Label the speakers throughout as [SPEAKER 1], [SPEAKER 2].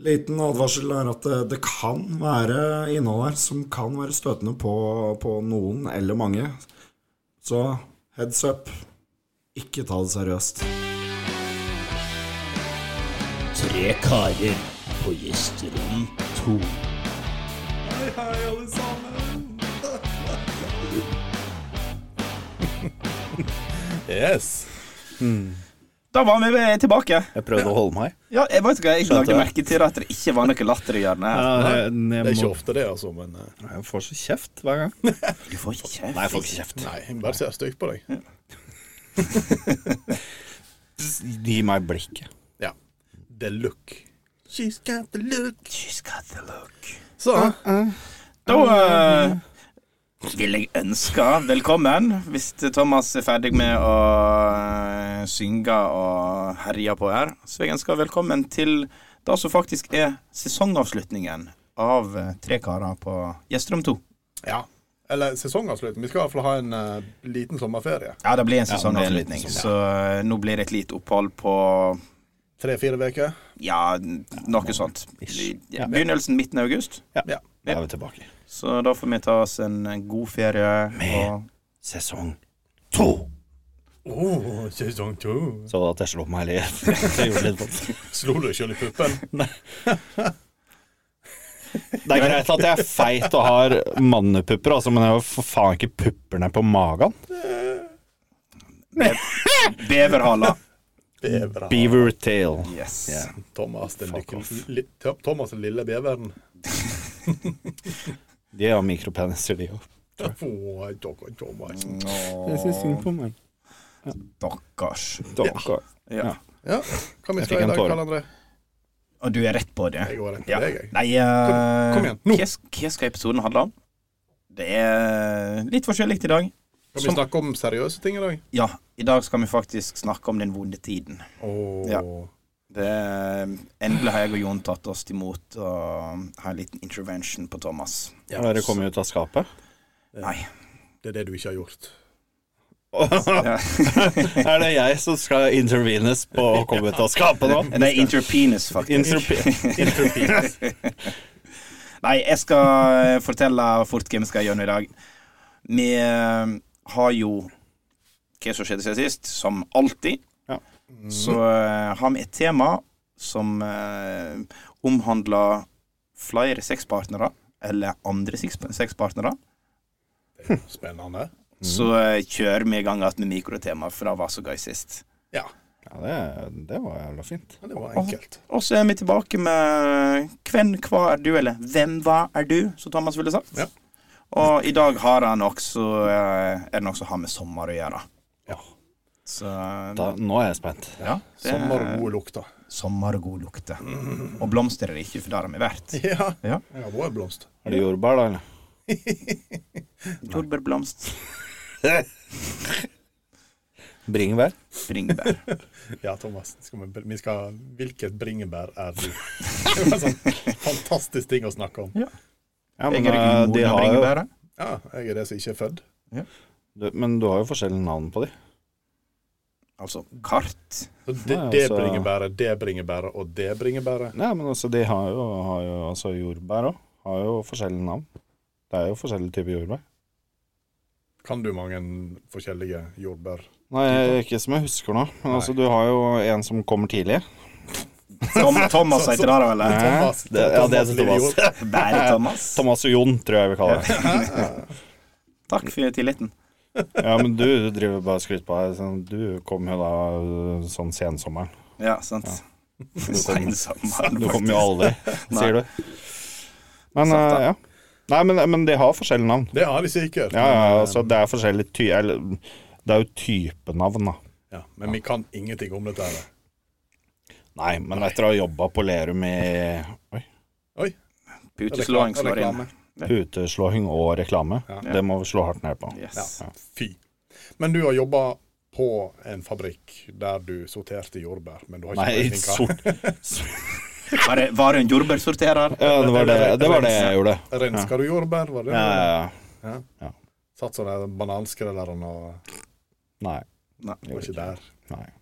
[SPEAKER 1] Liten advarsel er at eh, det, det kan være innhold her som kan være støtende på, på noen eller mange. Så heads up. Ikke ta det seriøst.
[SPEAKER 2] Tre karer på gjesterom to.
[SPEAKER 1] Hei, hei, alle sammen.
[SPEAKER 3] Yes.
[SPEAKER 4] Da var vi ved- tilbake.
[SPEAKER 3] Jeg prøvde å holde meg.
[SPEAKER 4] Ja, jeg vet ikke, jeg
[SPEAKER 3] Skjønte
[SPEAKER 4] lagde
[SPEAKER 3] det.
[SPEAKER 4] merke til at det ikke var noe latter i hjørnet. her.
[SPEAKER 5] jeg, jeg,
[SPEAKER 3] Det er
[SPEAKER 5] må,
[SPEAKER 3] ikke ofte det, altså, men eh,
[SPEAKER 5] jeg får så kjeft hver gang. Nei,
[SPEAKER 4] Du får ikke kjeft.
[SPEAKER 5] jeg får ikke kjeft.
[SPEAKER 3] Nei, jeg bare ser stygt på deg.
[SPEAKER 5] Gi meg blikket.
[SPEAKER 3] Ja. The look. She's got the look.
[SPEAKER 4] She's got the look.
[SPEAKER 3] Så
[SPEAKER 4] Da eh, vil jeg ønske velkommen, hvis Thomas er ferdig med å eh, synge og herje på her, så vil jeg ønske velkommen til det som faktisk er sesongavslutningen av eh, Tre karer på Gjesterom 2.
[SPEAKER 3] Ja. Eller sesongavslutning. Vi skal i hvert fall ha en eh, liten sommerferie.
[SPEAKER 4] Ja, det blir en
[SPEAKER 5] Ja, det blir en liten
[SPEAKER 4] sesongavslutning, så eh, nå blir det et lite opphold på
[SPEAKER 3] Tre-fire uker.
[SPEAKER 4] ja, noe sånt.
[SPEAKER 5] Ish.
[SPEAKER 4] Ja, Begynnelsen midten av august.
[SPEAKER 3] Ja.
[SPEAKER 5] Da er vi tilbake.
[SPEAKER 4] Så da får vi ta oss en god ferie. Og
[SPEAKER 5] Sesong to!
[SPEAKER 3] Oh, sesong to.
[SPEAKER 5] Så at jeg slo meg litt. Jeg gjorde litt vondt.
[SPEAKER 3] Slo du deg sjøl i puppen?
[SPEAKER 5] Det er greit at jeg er feit og har mannepupper, altså, men jeg har for faen ikke pupper ned på magen.
[SPEAKER 4] beverhala.
[SPEAKER 3] Bevera.
[SPEAKER 5] Beaver tail.
[SPEAKER 4] Yes.
[SPEAKER 5] Yeah.
[SPEAKER 3] Thomas den,
[SPEAKER 5] Fuck
[SPEAKER 3] lykke,
[SPEAKER 5] off.
[SPEAKER 3] li, Thomas den lille beveren.
[SPEAKER 5] De har mikropeniser, de Mm. òg.
[SPEAKER 3] Oh, dere, Thomas.
[SPEAKER 5] synd på meg.
[SPEAKER 4] Stakkars.
[SPEAKER 5] Ja.
[SPEAKER 4] Ja.
[SPEAKER 3] Ja, hva vi
[SPEAKER 5] Jeg
[SPEAKER 3] skal
[SPEAKER 5] fikk
[SPEAKER 3] i
[SPEAKER 5] en
[SPEAKER 3] dag,
[SPEAKER 5] tåre.
[SPEAKER 3] Karl André?
[SPEAKER 4] Og du er rett på det.
[SPEAKER 3] Jeg går rett på
[SPEAKER 4] Ja.
[SPEAKER 3] deg, jeg.
[SPEAKER 4] Nei, eh,
[SPEAKER 3] Kom igjen, nå.
[SPEAKER 4] Hva, hva skal episoden handle om? Det er litt forskjellig i dag.
[SPEAKER 3] Kan vi
[SPEAKER 4] Som-
[SPEAKER 3] snakke om seriøse ting i dag?
[SPEAKER 4] Ja, i dag skal vi faktisk snakke om den vonde tiden.
[SPEAKER 3] Oh.
[SPEAKER 4] Ja. Det er, endelig har jeg og Jon tatt oss imot og har en liten intervention på Thomas.
[SPEAKER 5] Ja, Dere kom jo ut av skapet.
[SPEAKER 4] Nei.
[SPEAKER 3] Det er det du ikke har gjort.
[SPEAKER 4] Ja.
[SPEAKER 5] er det jeg som skal intervenes på å komme ut av skapet nå?
[SPEAKER 4] Nei, interpenis, faktisk.
[SPEAKER 5] Interpe-
[SPEAKER 4] Nei, jeg skal eh, fortelle fort hva vi skal gjennom i dag. Vi eh, har jo hva som skjedde siden sist, som alltid.
[SPEAKER 5] Ja.
[SPEAKER 4] Så eh, har vi et tema som eh, omhandler flere sexpartnere, eller andre sex- sexpartnere.
[SPEAKER 3] Spennende.
[SPEAKER 4] Så eh, kjører vi i gang igjen med mikrotema, for det var så gøy sist.
[SPEAKER 3] Ja,
[SPEAKER 5] Ja, det, det var jævla fint.
[SPEAKER 3] men det var enkelt.
[SPEAKER 4] Og så er vi tilbake med Hvem hva er du, eller Hvem hva er du, som Thomas ville sagt.
[SPEAKER 3] Ja.
[SPEAKER 4] Og i dag har han også eh, er det noe som har med sommer å gjøre.
[SPEAKER 3] Ja.
[SPEAKER 4] Så
[SPEAKER 5] Da, nå er jeg spent.
[SPEAKER 4] ja, det er
[SPEAKER 3] Sommer og Sånn gode lukter.
[SPEAKER 4] sommer og god lukte. Og blomster er det ikke, for der har vi vært.
[SPEAKER 3] Ja.
[SPEAKER 4] Ja.
[SPEAKER 3] Jeg har vært blomst.
[SPEAKER 5] Er det jordbær, da? eller?
[SPEAKER 4] Jordbærblomst,
[SPEAKER 5] Bringebær?
[SPEAKER 4] bringebær.
[SPEAKER 3] Ja, Thomas. Skal vi, vi skal, hvilket bringebær er du? Det var en sånn fantastisk ting å snakke om.
[SPEAKER 5] Ja,
[SPEAKER 4] Jeg
[SPEAKER 5] men,
[SPEAKER 4] er ikke
[SPEAKER 5] eh, de
[SPEAKER 4] moden av
[SPEAKER 5] har jo,
[SPEAKER 4] bringebæret.
[SPEAKER 3] Ja, jeg er det som ikke er født.
[SPEAKER 5] du, men du har jo forskjellige navn på de.
[SPEAKER 4] Altså kart.
[SPEAKER 3] Så det,
[SPEAKER 5] Nei,
[SPEAKER 3] det
[SPEAKER 5] altså-
[SPEAKER 3] bringebæret, det bringebæret og det bringebæret.
[SPEAKER 5] Nei, men altså, de har jo, har jo altså jordbær òg. Har jo forskjellige navn. Det er jo forskjellige typer jordbær.
[SPEAKER 3] Kan du mange forskjellige jordbær?
[SPEAKER 5] Nei, ikke som jeg husker nå. Men altså, du har jo en som kommer tidlig.
[SPEAKER 4] Tom, Thomas heter det, da, eller?
[SPEAKER 3] Thomas,
[SPEAKER 5] Eh, det, ja, det
[SPEAKER 3] Thomas
[SPEAKER 5] heter
[SPEAKER 3] Lille
[SPEAKER 5] Thomas.
[SPEAKER 4] Bare Thomas.
[SPEAKER 5] Thomas og Jon, tror jeg vi kaller det.
[SPEAKER 4] Takk for tilliten.
[SPEAKER 5] Ja, men du driver bare og skryter på deg. sånn, Du kom jo da øh, sånn sensommeren.
[SPEAKER 4] Ja, sant. Seinsommeren,
[SPEAKER 5] Du kommer
[SPEAKER 4] faktisk.
[SPEAKER 5] jo aldri, sier du. Men
[SPEAKER 4] Sant,
[SPEAKER 5] øh, ja. Nei, men, men de har forskjellige navn.
[SPEAKER 3] Det har de sikkert.
[SPEAKER 5] Ja, ja,
[SPEAKER 3] men,
[SPEAKER 5] altså det er forskjellig ty... Eller, det er jo typenavn, da.
[SPEAKER 3] ja, men vi kan ingenting om dette her.
[SPEAKER 5] Nei, men etter å ha jobba på Lerum i oi,
[SPEAKER 3] Oi,
[SPEAKER 4] Puteslåing slår inn.
[SPEAKER 3] reklame.
[SPEAKER 5] puteslåing og reklame,
[SPEAKER 3] Ja.
[SPEAKER 5] det må vi slå hardt ned på.
[SPEAKER 4] Yes.
[SPEAKER 3] Fy. Men du har jobba på en fabrikk der du sorterte jordbær, men du har ikke
[SPEAKER 5] Nei,
[SPEAKER 3] peiling hva-
[SPEAKER 5] sort
[SPEAKER 4] Var det, var det en jordbærsorterer?
[SPEAKER 5] Ja, det var det, det, var det jeg gjorde.
[SPEAKER 3] Renska du jordbær, var det?
[SPEAKER 5] Ja, ja, ja.
[SPEAKER 3] Satt sånn der bananskrederen og
[SPEAKER 5] Nei.
[SPEAKER 4] Nei.
[SPEAKER 5] jeg
[SPEAKER 3] var
[SPEAKER 5] gjorde ikke
[SPEAKER 3] ikke
[SPEAKER 5] det.
[SPEAKER 3] der.
[SPEAKER 5] Nei.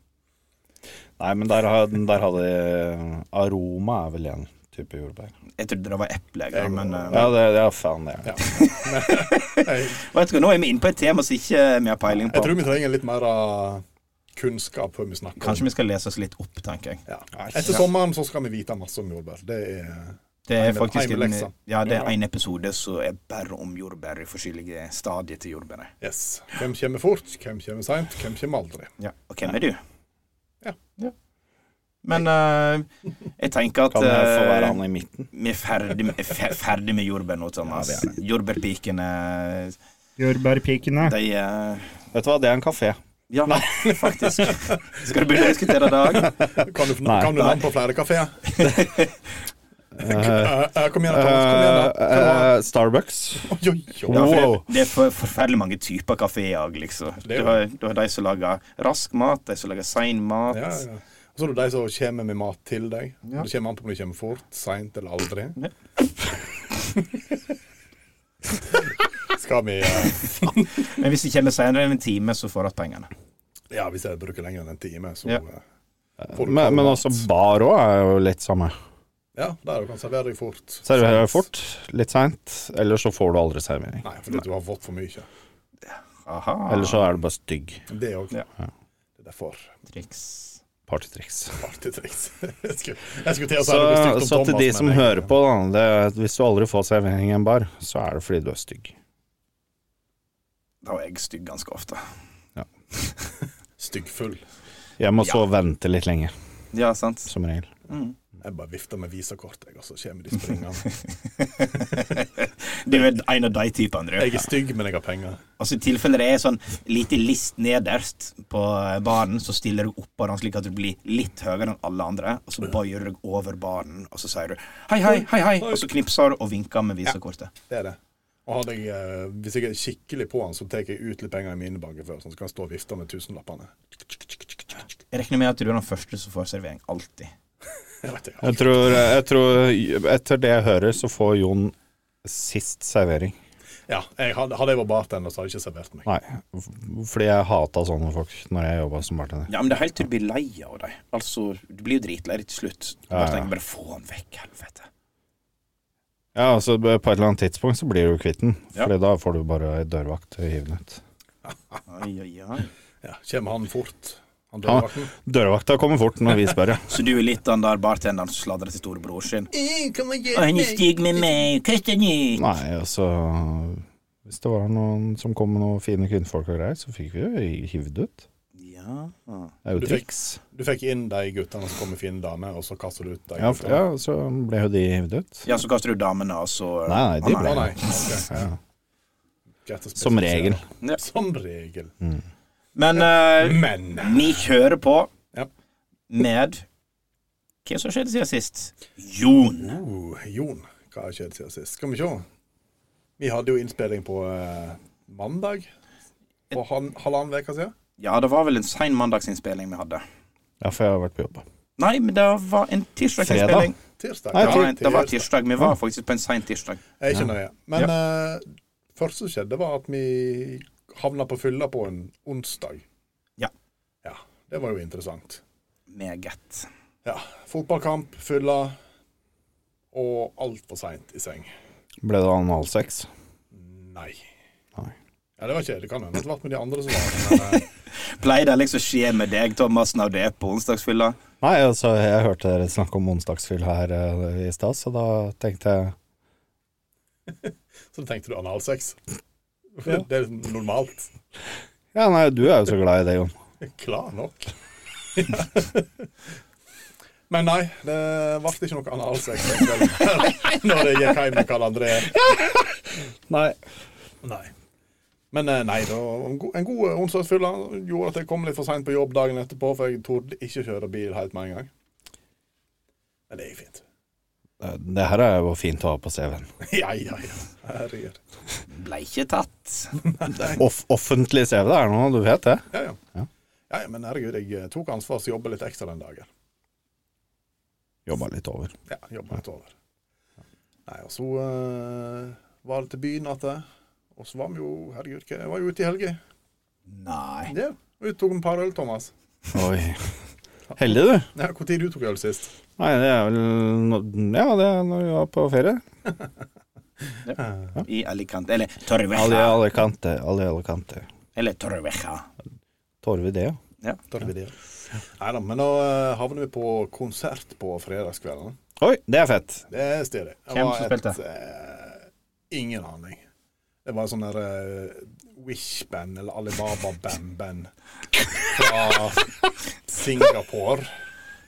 [SPEAKER 5] Nei, men der, har- der hadde eh, Aroma er vel en type jordbær.
[SPEAKER 4] Jeg trodde det var eple, jeg, men eh,
[SPEAKER 5] Ja, det, det er faen det. Ja.
[SPEAKER 3] Jeg,
[SPEAKER 4] vet du, hva, nå er vi inne på et tema som ikke eh, vi har peiling
[SPEAKER 3] jeg
[SPEAKER 4] på.
[SPEAKER 3] tror vi trenger litt mer av kunnskap før vi snakker.
[SPEAKER 4] Kanskje vi skal lese oss litt opp, tenker jeg.
[SPEAKER 3] ja. Etter sommeren så skal vi vite masse om jordbær. Det er
[SPEAKER 4] Det er
[SPEAKER 3] Heime-
[SPEAKER 4] faktisk en,
[SPEAKER 3] heimeleksa.
[SPEAKER 4] ja, det er en episode som er bare om jordbær i forskjellige stadier til jordbæret.
[SPEAKER 3] Yes. Hvem kommer fort, hvem kommer seint, hvem kommer aldri.
[SPEAKER 4] Ja. Og hvem er du?
[SPEAKER 3] Ja.
[SPEAKER 4] Men eh, jeg tenker at
[SPEAKER 5] Kan jeg få
[SPEAKER 4] eh,
[SPEAKER 5] være han i midten?
[SPEAKER 4] vi er ferdig med, fer- ferdig med jordbær nå, Thomas. Jordbærpikene,
[SPEAKER 6] Jordbærpikene.
[SPEAKER 4] de eh,
[SPEAKER 5] Vet du hva, det er en kafé.
[SPEAKER 4] Ja, faktisk. Skal du begynne å diskutere i dag?
[SPEAKER 3] Kan du,
[SPEAKER 5] Nei,
[SPEAKER 3] kan du
[SPEAKER 5] nei.
[SPEAKER 3] navn på flere kafeer? kom igjen, da, Thomas. Kom igjen, da. Kom igjen, da.
[SPEAKER 5] Eh, Starbucks.
[SPEAKER 3] Oi, oi, oi.
[SPEAKER 4] Ja, for
[SPEAKER 5] Wow.
[SPEAKER 4] det, det er for, forferdelig mange typer kafeer òg, liksom. Du
[SPEAKER 3] er jo-
[SPEAKER 4] har, du har de som lager rask mat, de som lager sein mat.
[SPEAKER 3] Ja, ja. Og så er det de som kommer med mat til deg. Det kommer an på om de kommer fort, seint eller aldri.
[SPEAKER 4] Ja.
[SPEAKER 3] Skal vi eh,
[SPEAKER 4] Men hvis det kommer senere enn en time, så får vi pengene.
[SPEAKER 3] Ja, hvis jeg bruker lenger enn en time, så
[SPEAKER 4] Ja.
[SPEAKER 3] eh, får du
[SPEAKER 5] Men, altså-
[SPEAKER 3] kald
[SPEAKER 5] men
[SPEAKER 3] mat.
[SPEAKER 5] også bar òg er jo litt samme.
[SPEAKER 3] Ja, der du kan servere deg fort.
[SPEAKER 5] Serverer
[SPEAKER 3] Sent.
[SPEAKER 5] fort, litt seint, eller så får du aldri servering.
[SPEAKER 3] Nei, fordi du har fått for mye.
[SPEAKER 4] Aha.
[SPEAKER 5] Eller så er du bare stygg.
[SPEAKER 3] Det òg.
[SPEAKER 4] Ja.
[SPEAKER 3] Det er for
[SPEAKER 4] triks.
[SPEAKER 5] Partytriks.
[SPEAKER 3] partytriks. jeg skulle jeg skulle til å si
[SPEAKER 5] Så,
[SPEAKER 3] noe stygt om
[SPEAKER 5] så til
[SPEAKER 3] Thomas,
[SPEAKER 5] de
[SPEAKER 3] men
[SPEAKER 5] som
[SPEAKER 3] jeg-
[SPEAKER 5] hører på, da, det, hvis du aldri får servering i en bar, så er det fordi du er stygg.
[SPEAKER 4] Da er jeg stygg ganske ofte.
[SPEAKER 3] Styggfull.
[SPEAKER 5] Jeg må så vente litt lenge,
[SPEAKER 4] Ja, sant?
[SPEAKER 5] som regel.
[SPEAKER 4] Mm.
[SPEAKER 3] Jeg bare vifter med visakort, jeg, og så kommer de springende.
[SPEAKER 4] Du er en av de typene,
[SPEAKER 3] Jeg
[SPEAKER 4] du.
[SPEAKER 3] er stygg, men jeg har penger.
[SPEAKER 4] Altså, I tilfelle det er sånn lite list nederst på baren, så stiller du oppå den slik at du blir litt høyere enn alle andre, og så bøyer du deg over baren, og så sier du hei, hei, hei, hei, og så knipser du og vinker med visakortet.
[SPEAKER 3] Det er det. Og hadde jeg, eh, hvis jeg er skikkelig på han, så tar jeg ut litt penger i mine banker før, sånn så kan jeg stå og vifte med tusenlappene.
[SPEAKER 4] Jeg regner med at du er den første som får servering, alltid.
[SPEAKER 3] Jeg vet ikke.
[SPEAKER 5] Jeg tror, jeg tror Etter det jeg hører, så får Jon sist servering.
[SPEAKER 3] Ja, jeg hadde, hadde jeg vært bartender, så hadde jeg ikke servert meg.
[SPEAKER 5] Nei, fordi jeg hata sånne folk når jeg jobba som bartender.
[SPEAKER 4] Ja, men det er helt til du blir lei av dem. Altså, du blir jo dritlei til slutt. Du
[SPEAKER 5] Ja,
[SPEAKER 4] bare
[SPEAKER 5] ja.
[SPEAKER 4] tenker bare få han vekk, helvete.
[SPEAKER 5] Ja, altså På et eller annet tidspunkt så blir du kvitt den,
[SPEAKER 4] Ja.
[SPEAKER 5] Fordi da får du bare ei dørvakt til å hive den ut.
[SPEAKER 4] Oi, oi, oi.
[SPEAKER 3] Ja, kommer han fort? Han
[SPEAKER 5] Ja.
[SPEAKER 3] dørvakten?
[SPEAKER 5] Dørvakta kommer fort når vi spør, ja.
[SPEAKER 4] Så du er litt den der bartenderen som sladrer til storebror sin?
[SPEAKER 3] Eh, Kom og
[SPEAKER 4] Og
[SPEAKER 3] hjelp
[SPEAKER 4] han er
[SPEAKER 3] meg!
[SPEAKER 4] stygg med meg, hva er det nytt?
[SPEAKER 5] Nei, altså Hvis det var noen som kom med noen fine kvinnfolk og greier, så fikk vi jo hivd ut.
[SPEAKER 4] Ja.
[SPEAKER 5] Det er
[SPEAKER 3] Du
[SPEAKER 5] jo
[SPEAKER 3] fikk-
[SPEAKER 5] triks.
[SPEAKER 3] Du fikk inn de guttene som kom med fine damer, og så kaster du ut de
[SPEAKER 5] Ja, f-
[SPEAKER 3] guttene.
[SPEAKER 5] ja, så ble jo de hivd ut.
[SPEAKER 4] ja, så kaster du damene, og så
[SPEAKER 5] Nei, nei, de
[SPEAKER 4] Å,
[SPEAKER 5] ble
[SPEAKER 3] Å nei.
[SPEAKER 5] ja.
[SPEAKER 3] Greit å spesifisere.
[SPEAKER 5] Som regel.
[SPEAKER 4] Ja.
[SPEAKER 3] Som regel.
[SPEAKER 4] Men eh,
[SPEAKER 3] Men
[SPEAKER 4] vi kjører på
[SPEAKER 3] Ja.
[SPEAKER 4] med Hva som skjedde siden sist? Jon.
[SPEAKER 3] uh, Jon, hva har skjedd siden sist? Skal vi se. Vi hadde jo innspilling på eh, mandag for han, halvannen uke siden.
[SPEAKER 4] Ja, det var vel en sein mandagsinnspilling vi hadde.
[SPEAKER 5] ja, for jeg har vært på jobb.
[SPEAKER 4] Nei, men det var en tirsdagsinnspilling.
[SPEAKER 3] Tirsdag.
[SPEAKER 5] Nei,
[SPEAKER 4] Det var en- Det var
[SPEAKER 3] tirsdag.
[SPEAKER 4] tirsdag. Vi var faktisk på en sein tirsdag.
[SPEAKER 3] Jeg er ikke nøye. Men eh, først som skjedde, var at vi havna på fylla på en onsdag.
[SPEAKER 4] Ja.
[SPEAKER 3] Ja, Det var jo interessant.
[SPEAKER 4] Meget.
[SPEAKER 3] Ja. Fotballkamp, fylla og altfor seint i seng.
[SPEAKER 5] Ble det analsex?
[SPEAKER 3] Nei.
[SPEAKER 5] Nei.
[SPEAKER 3] Ja, Det var kjedelig. Det kan hende at det ble med de andre som var der. men, eh,
[SPEAKER 4] Pleier det liksom å skje med deg, Thomas, når det er på onsdagsfylla?
[SPEAKER 5] Nei, altså, jeg hørte dere snakke om onsdagsfyll her eh, i stad, så da tenkte jeg
[SPEAKER 3] Så tenkte du analsex. Det, det er normalt.
[SPEAKER 5] Ja, nei, du er jo så glad i det, Jon.
[SPEAKER 3] Klar nok. Men nei, det ble ikke noe analsex den kvelden når jeg gikk hjem med Karl André.
[SPEAKER 5] Nei.
[SPEAKER 3] Nei. Men eh, nei, det var en god- en god onsdagsfylla gjorde at jeg kom litt for seint på jobb dagen etterpå, for jeg torde ikke kjøre bil helt med en gang. Men det gikk fint.
[SPEAKER 5] Eh, Det her er jo fint å ha på CV-en.
[SPEAKER 3] Ja, ja, ja. Herregud.
[SPEAKER 4] Ble ikke tatt.
[SPEAKER 5] Off offentlig CV, det er noe, du vet det?
[SPEAKER 3] Ja, ja.
[SPEAKER 5] Ja.
[SPEAKER 3] Ja, ja, men herregud, jeg eh, tok ansvar så jobba litt ekstra den dagen.
[SPEAKER 5] Jobba litt over.
[SPEAKER 3] Ja, jobba litt over. Nei, og så eh, var det til byen at det, Og så var vi jo Herregud, hva- jeg var jo ute i helga.
[SPEAKER 4] Nei.
[SPEAKER 3] Ja, vi tok en par øl, Thomas.
[SPEAKER 5] Oi. Heldig, du.
[SPEAKER 3] Ja, Når tok du øl sist?
[SPEAKER 5] Nei, det er vel nå- Ja, det er når vi var på ferie.
[SPEAKER 4] I Alicante. Eller Torveja.
[SPEAKER 5] Ali Alicante. Ali Alicante.
[SPEAKER 4] Eller Torveja.
[SPEAKER 5] Torve det, ja.
[SPEAKER 3] Da er det det. Nei da, men nå eh, havner vi på konsert på fredagskvelden.
[SPEAKER 5] Oi, det er fett.
[SPEAKER 3] Det stemmer. Det
[SPEAKER 4] Hvem
[SPEAKER 3] var
[SPEAKER 4] som
[SPEAKER 3] et,
[SPEAKER 4] spilte?
[SPEAKER 3] eh, ingen aning. Det var sånn der eh, Wish-band, eller Alibaba Bam-band fra Singapore.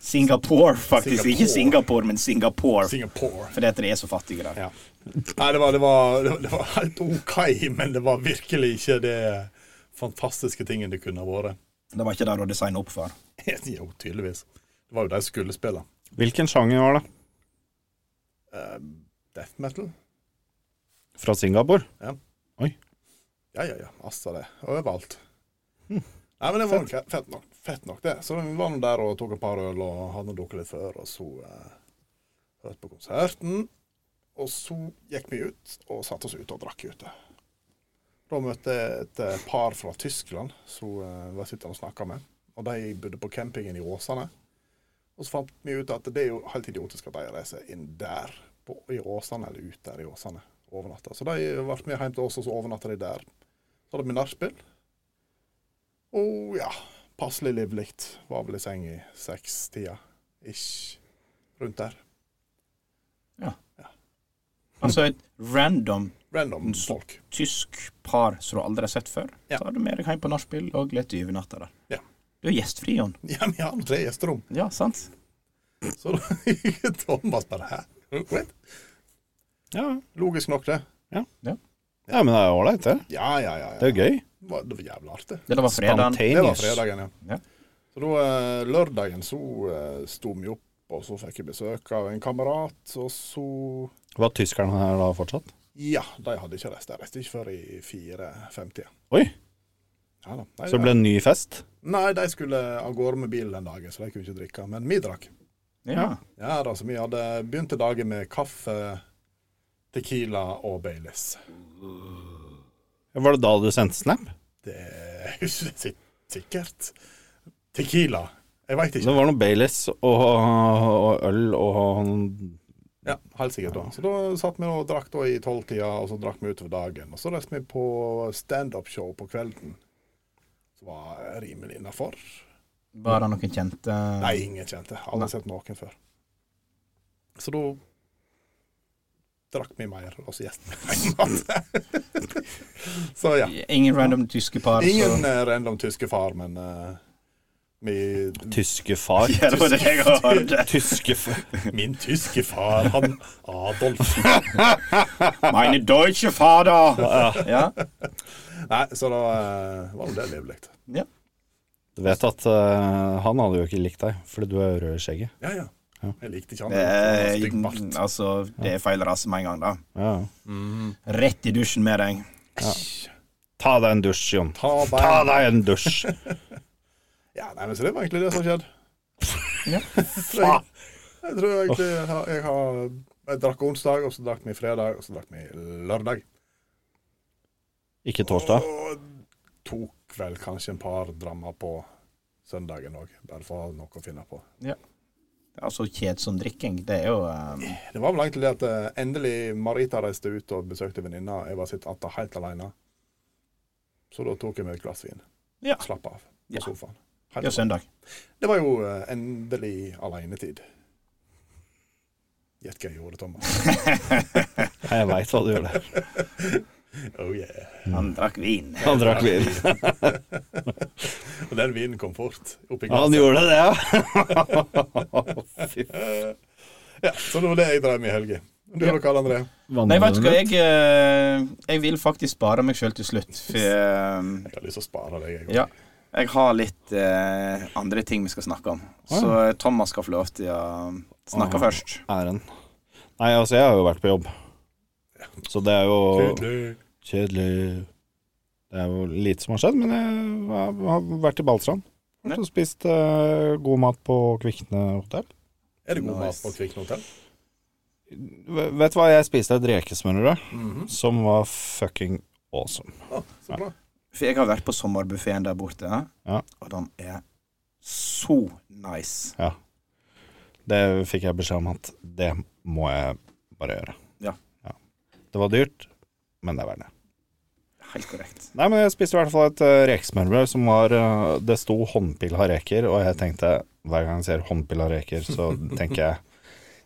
[SPEAKER 4] Singapore, faktisk.
[SPEAKER 3] Singapore.
[SPEAKER 4] Ikke Singapore, men Singapore.
[SPEAKER 3] Singapore.
[SPEAKER 4] Fordi at de er så fattige der.
[SPEAKER 3] Ja. Nei, det var, det, var, det var- det var helt OK, men det var virkelig ikke det fantastiske tingen det kunne ha vært.
[SPEAKER 4] Det var ikke det å designe opp for.
[SPEAKER 3] Jo, tydeligvis. Det var jo de som skulle spille.
[SPEAKER 5] Hvilken sjanger var det?
[SPEAKER 3] Eh, death metal?
[SPEAKER 5] Fra Singapore?
[SPEAKER 3] Ja, ja, ja. Altså det. Overalt. Hm. Nei, men det var fett. fett nok, fett nok det. Så vi var nå der og tok et par øl og hadde drukket litt før, og så eh, hørte på konserten. Og så gikk vi ut og satte oss ut og drakk ute. Da møtte jeg et eh, par fra Tyskland som eh, var sittende og snakka med. Og de bodde på campingen i Åsane. Og så fant vi ut at det er jo helt idiotisk at de reiser inn der på, i Åsane, eller ut der i Åsane, og overnatter. Så de ble med hjem til oss, og så overnatta de der. Så hadde vi nachspiel. Og ja, passelig livlig. Var vel i seng i sekstida ish. Rundt der.
[SPEAKER 4] Altså et random
[SPEAKER 3] Random
[SPEAKER 4] Mm, så-
[SPEAKER 3] folk.
[SPEAKER 4] tysk par som du aldri har sett før.
[SPEAKER 3] Ja.
[SPEAKER 4] Tar du med deg hjem på nachspiel og litt overnatter der.
[SPEAKER 3] Ja.
[SPEAKER 4] Du er gjestfri, Jon.
[SPEAKER 3] Ja, vi har tre gjesterom.
[SPEAKER 4] Ja, sant?
[SPEAKER 3] Så Thomas bare Hæ? Wait.
[SPEAKER 5] Ja,
[SPEAKER 3] Logisk nok, det.
[SPEAKER 5] ja men det er ålreit, det.
[SPEAKER 3] Ja, ja, ja. ja.
[SPEAKER 5] Det er jo gøy.
[SPEAKER 3] Det var, det var jævla artig.
[SPEAKER 4] Det var fredagen.
[SPEAKER 3] Det var
[SPEAKER 5] Spontaneous.
[SPEAKER 3] fredagen, ja.
[SPEAKER 4] Ja.
[SPEAKER 3] Så da eh, lørdagen så eh, sto vi opp, og så fikk jeg besøk av en kamerat, og så
[SPEAKER 5] Var tyskerne her da fortsatt?
[SPEAKER 3] Ja, de hadde ikke reist. De reiste ikke før i 4.50.
[SPEAKER 5] Oi,
[SPEAKER 3] Ja, da. Nei,
[SPEAKER 5] så det ble en ny fest?
[SPEAKER 3] Nei, de skulle av gårde med bil den dagen, så de kunne ikke drikke. Men vi drakk.
[SPEAKER 4] Ja.
[SPEAKER 3] Ja da, så vi hadde begynt dagen med kaffe, tequila og Baileys.
[SPEAKER 5] Var det da du sendte snap?
[SPEAKER 3] Det er ikke si- sikkert. Tequila. Jeg veit
[SPEAKER 5] Det
[SPEAKER 3] ikke.
[SPEAKER 5] var noe Baileys og, og øl og
[SPEAKER 3] Ja, Helt sikkert. da. Så da satt vi og drakk da i tolvtida, og så drakk vi utover dagen. Og så reiste vi på standup-show på kvelden, som var rimelig innafor.
[SPEAKER 4] Var det noen kjente
[SPEAKER 3] Nei, ingen kjente. Aldri sett noen før. Så da drakk vi mer, og så gjesten Så ja.
[SPEAKER 4] Ingen random tyske par?
[SPEAKER 3] Ingen
[SPEAKER 4] så...
[SPEAKER 3] eh, random tyske far, men eh, vi,
[SPEAKER 5] tyske far.
[SPEAKER 4] Ja, det var det jeg hørte.
[SPEAKER 5] Tyske far.
[SPEAKER 3] min tyske far, han Adolf
[SPEAKER 4] Meine deutsche Fader! Ja.
[SPEAKER 3] Nei, så da eh, var jo det livlig.
[SPEAKER 4] ja.
[SPEAKER 5] Du vet at eh, han hadde jo ikke likt deg, fordi du er rød i skjegget.
[SPEAKER 3] Ja, ja. Jeg likte ikke han.
[SPEAKER 4] Det
[SPEAKER 3] han hadde
[SPEAKER 4] er,
[SPEAKER 3] stygg bart.
[SPEAKER 4] altså, det er feil rase med en gang, da.
[SPEAKER 5] Ja.
[SPEAKER 4] Rett i dusjen med deg.
[SPEAKER 5] Ta deg en dusj, Jon.
[SPEAKER 3] Ta
[SPEAKER 5] Ta
[SPEAKER 3] bein.
[SPEAKER 5] deg en dusj.
[SPEAKER 3] Ja, nei, men så det var egentlig det som skjedde.
[SPEAKER 4] Ja.
[SPEAKER 3] Så jeg, jeg tror egentlig jeg, har- jeg har Jeg drakk onsdag, og så drakk vi fredag, og så drakk vi lørdag.
[SPEAKER 5] Ikke torsdag.
[SPEAKER 3] Og tok vel kanskje en par drammer på søndagen òg, bare for å ha noe å finne på.
[SPEAKER 4] Altså kjedsom drikking, det er jo um,
[SPEAKER 3] Det var vel egentlig det at eh, endelig Marita reiste ut og besøkte venninna. Jeg var sitt atter helt alene. Så da tok jeg meg et glass vin.
[SPEAKER 4] Ja.
[SPEAKER 3] Slapp av på
[SPEAKER 4] Ja.
[SPEAKER 3] sofaen.
[SPEAKER 4] Det er
[SPEAKER 3] Helt,
[SPEAKER 4] søndag.
[SPEAKER 3] det var jo eh, endelig alenetid. Gjett hva jeg gjorde, Thomas.
[SPEAKER 5] Jeg veit hva du gjør der.
[SPEAKER 3] Oh yeah.
[SPEAKER 4] Han drakk vin.
[SPEAKER 5] Han drakk vin.
[SPEAKER 3] Og den vinen kom fort oppi
[SPEAKER 5] Ja, Han
[SPEAKER 3] glasset.
[SPEAKER 5] gjorde det, ja. Fy
[SPEAKER 3] Eh, Ja, så det var det jeg drev med i helga. Du og Karl André?
[SPEAKER 4] Nei, vet du hva, jeg, eh, jeg vil faktisk spare meg sjøl til slutt. For eh,
[SPEAKER 3] Jeg har lyst til å spare deg, jeg òg.
[SPEAKER 4] ja, jeg har litt eh, andre ting vi skal snakke om. Så eh, Thomas skal få lov til å snakke først.
[SPEAKER 5] Æren. Nei, altså, jeg har jo vært på jobb. Så det er jo Kjedelig. Det er jo lite som har skjedd, men jeg har- har vært i Ballstrand. Vært Og spist eh, god mat på Kvikne hotell.
[SPEAKER 3] Er det god
[SPEAKER 4] Nice.
[SPEAKER 3] mat på Kvikne hotell?
[SPEAKER 5] V- Vet du hva, jeg spiste et rekesmørbrød
[SPEAKER 3] Mhm.
[SPEAKER 5] som var fucking awesome.
[SPEAKER 3] Ah, så bra.
[SPEAKER 4] For jeg har vært på sommerbuffeen der borte,
[SPEAKER 5] Ja.
[SPEAKER 4] og den er så nice.
[SPEAKER 5] Det fikk jeg beskjed om at det må jeg bare gjøre.
[SPEAKER 4] Ja.
[SPEAKER 5] Det var dyrt, men det er verdt det.
[SPEAKER 4] Helt korrekt.
[SPEAKER 5] Nei, men jeg spiste i hvert fall et uh, rekesmørbrød som var eh, Det sto 'håndpilla reker', og jeg tenkte hver gang jeg ser 'håndpilla reker', så tenker jeg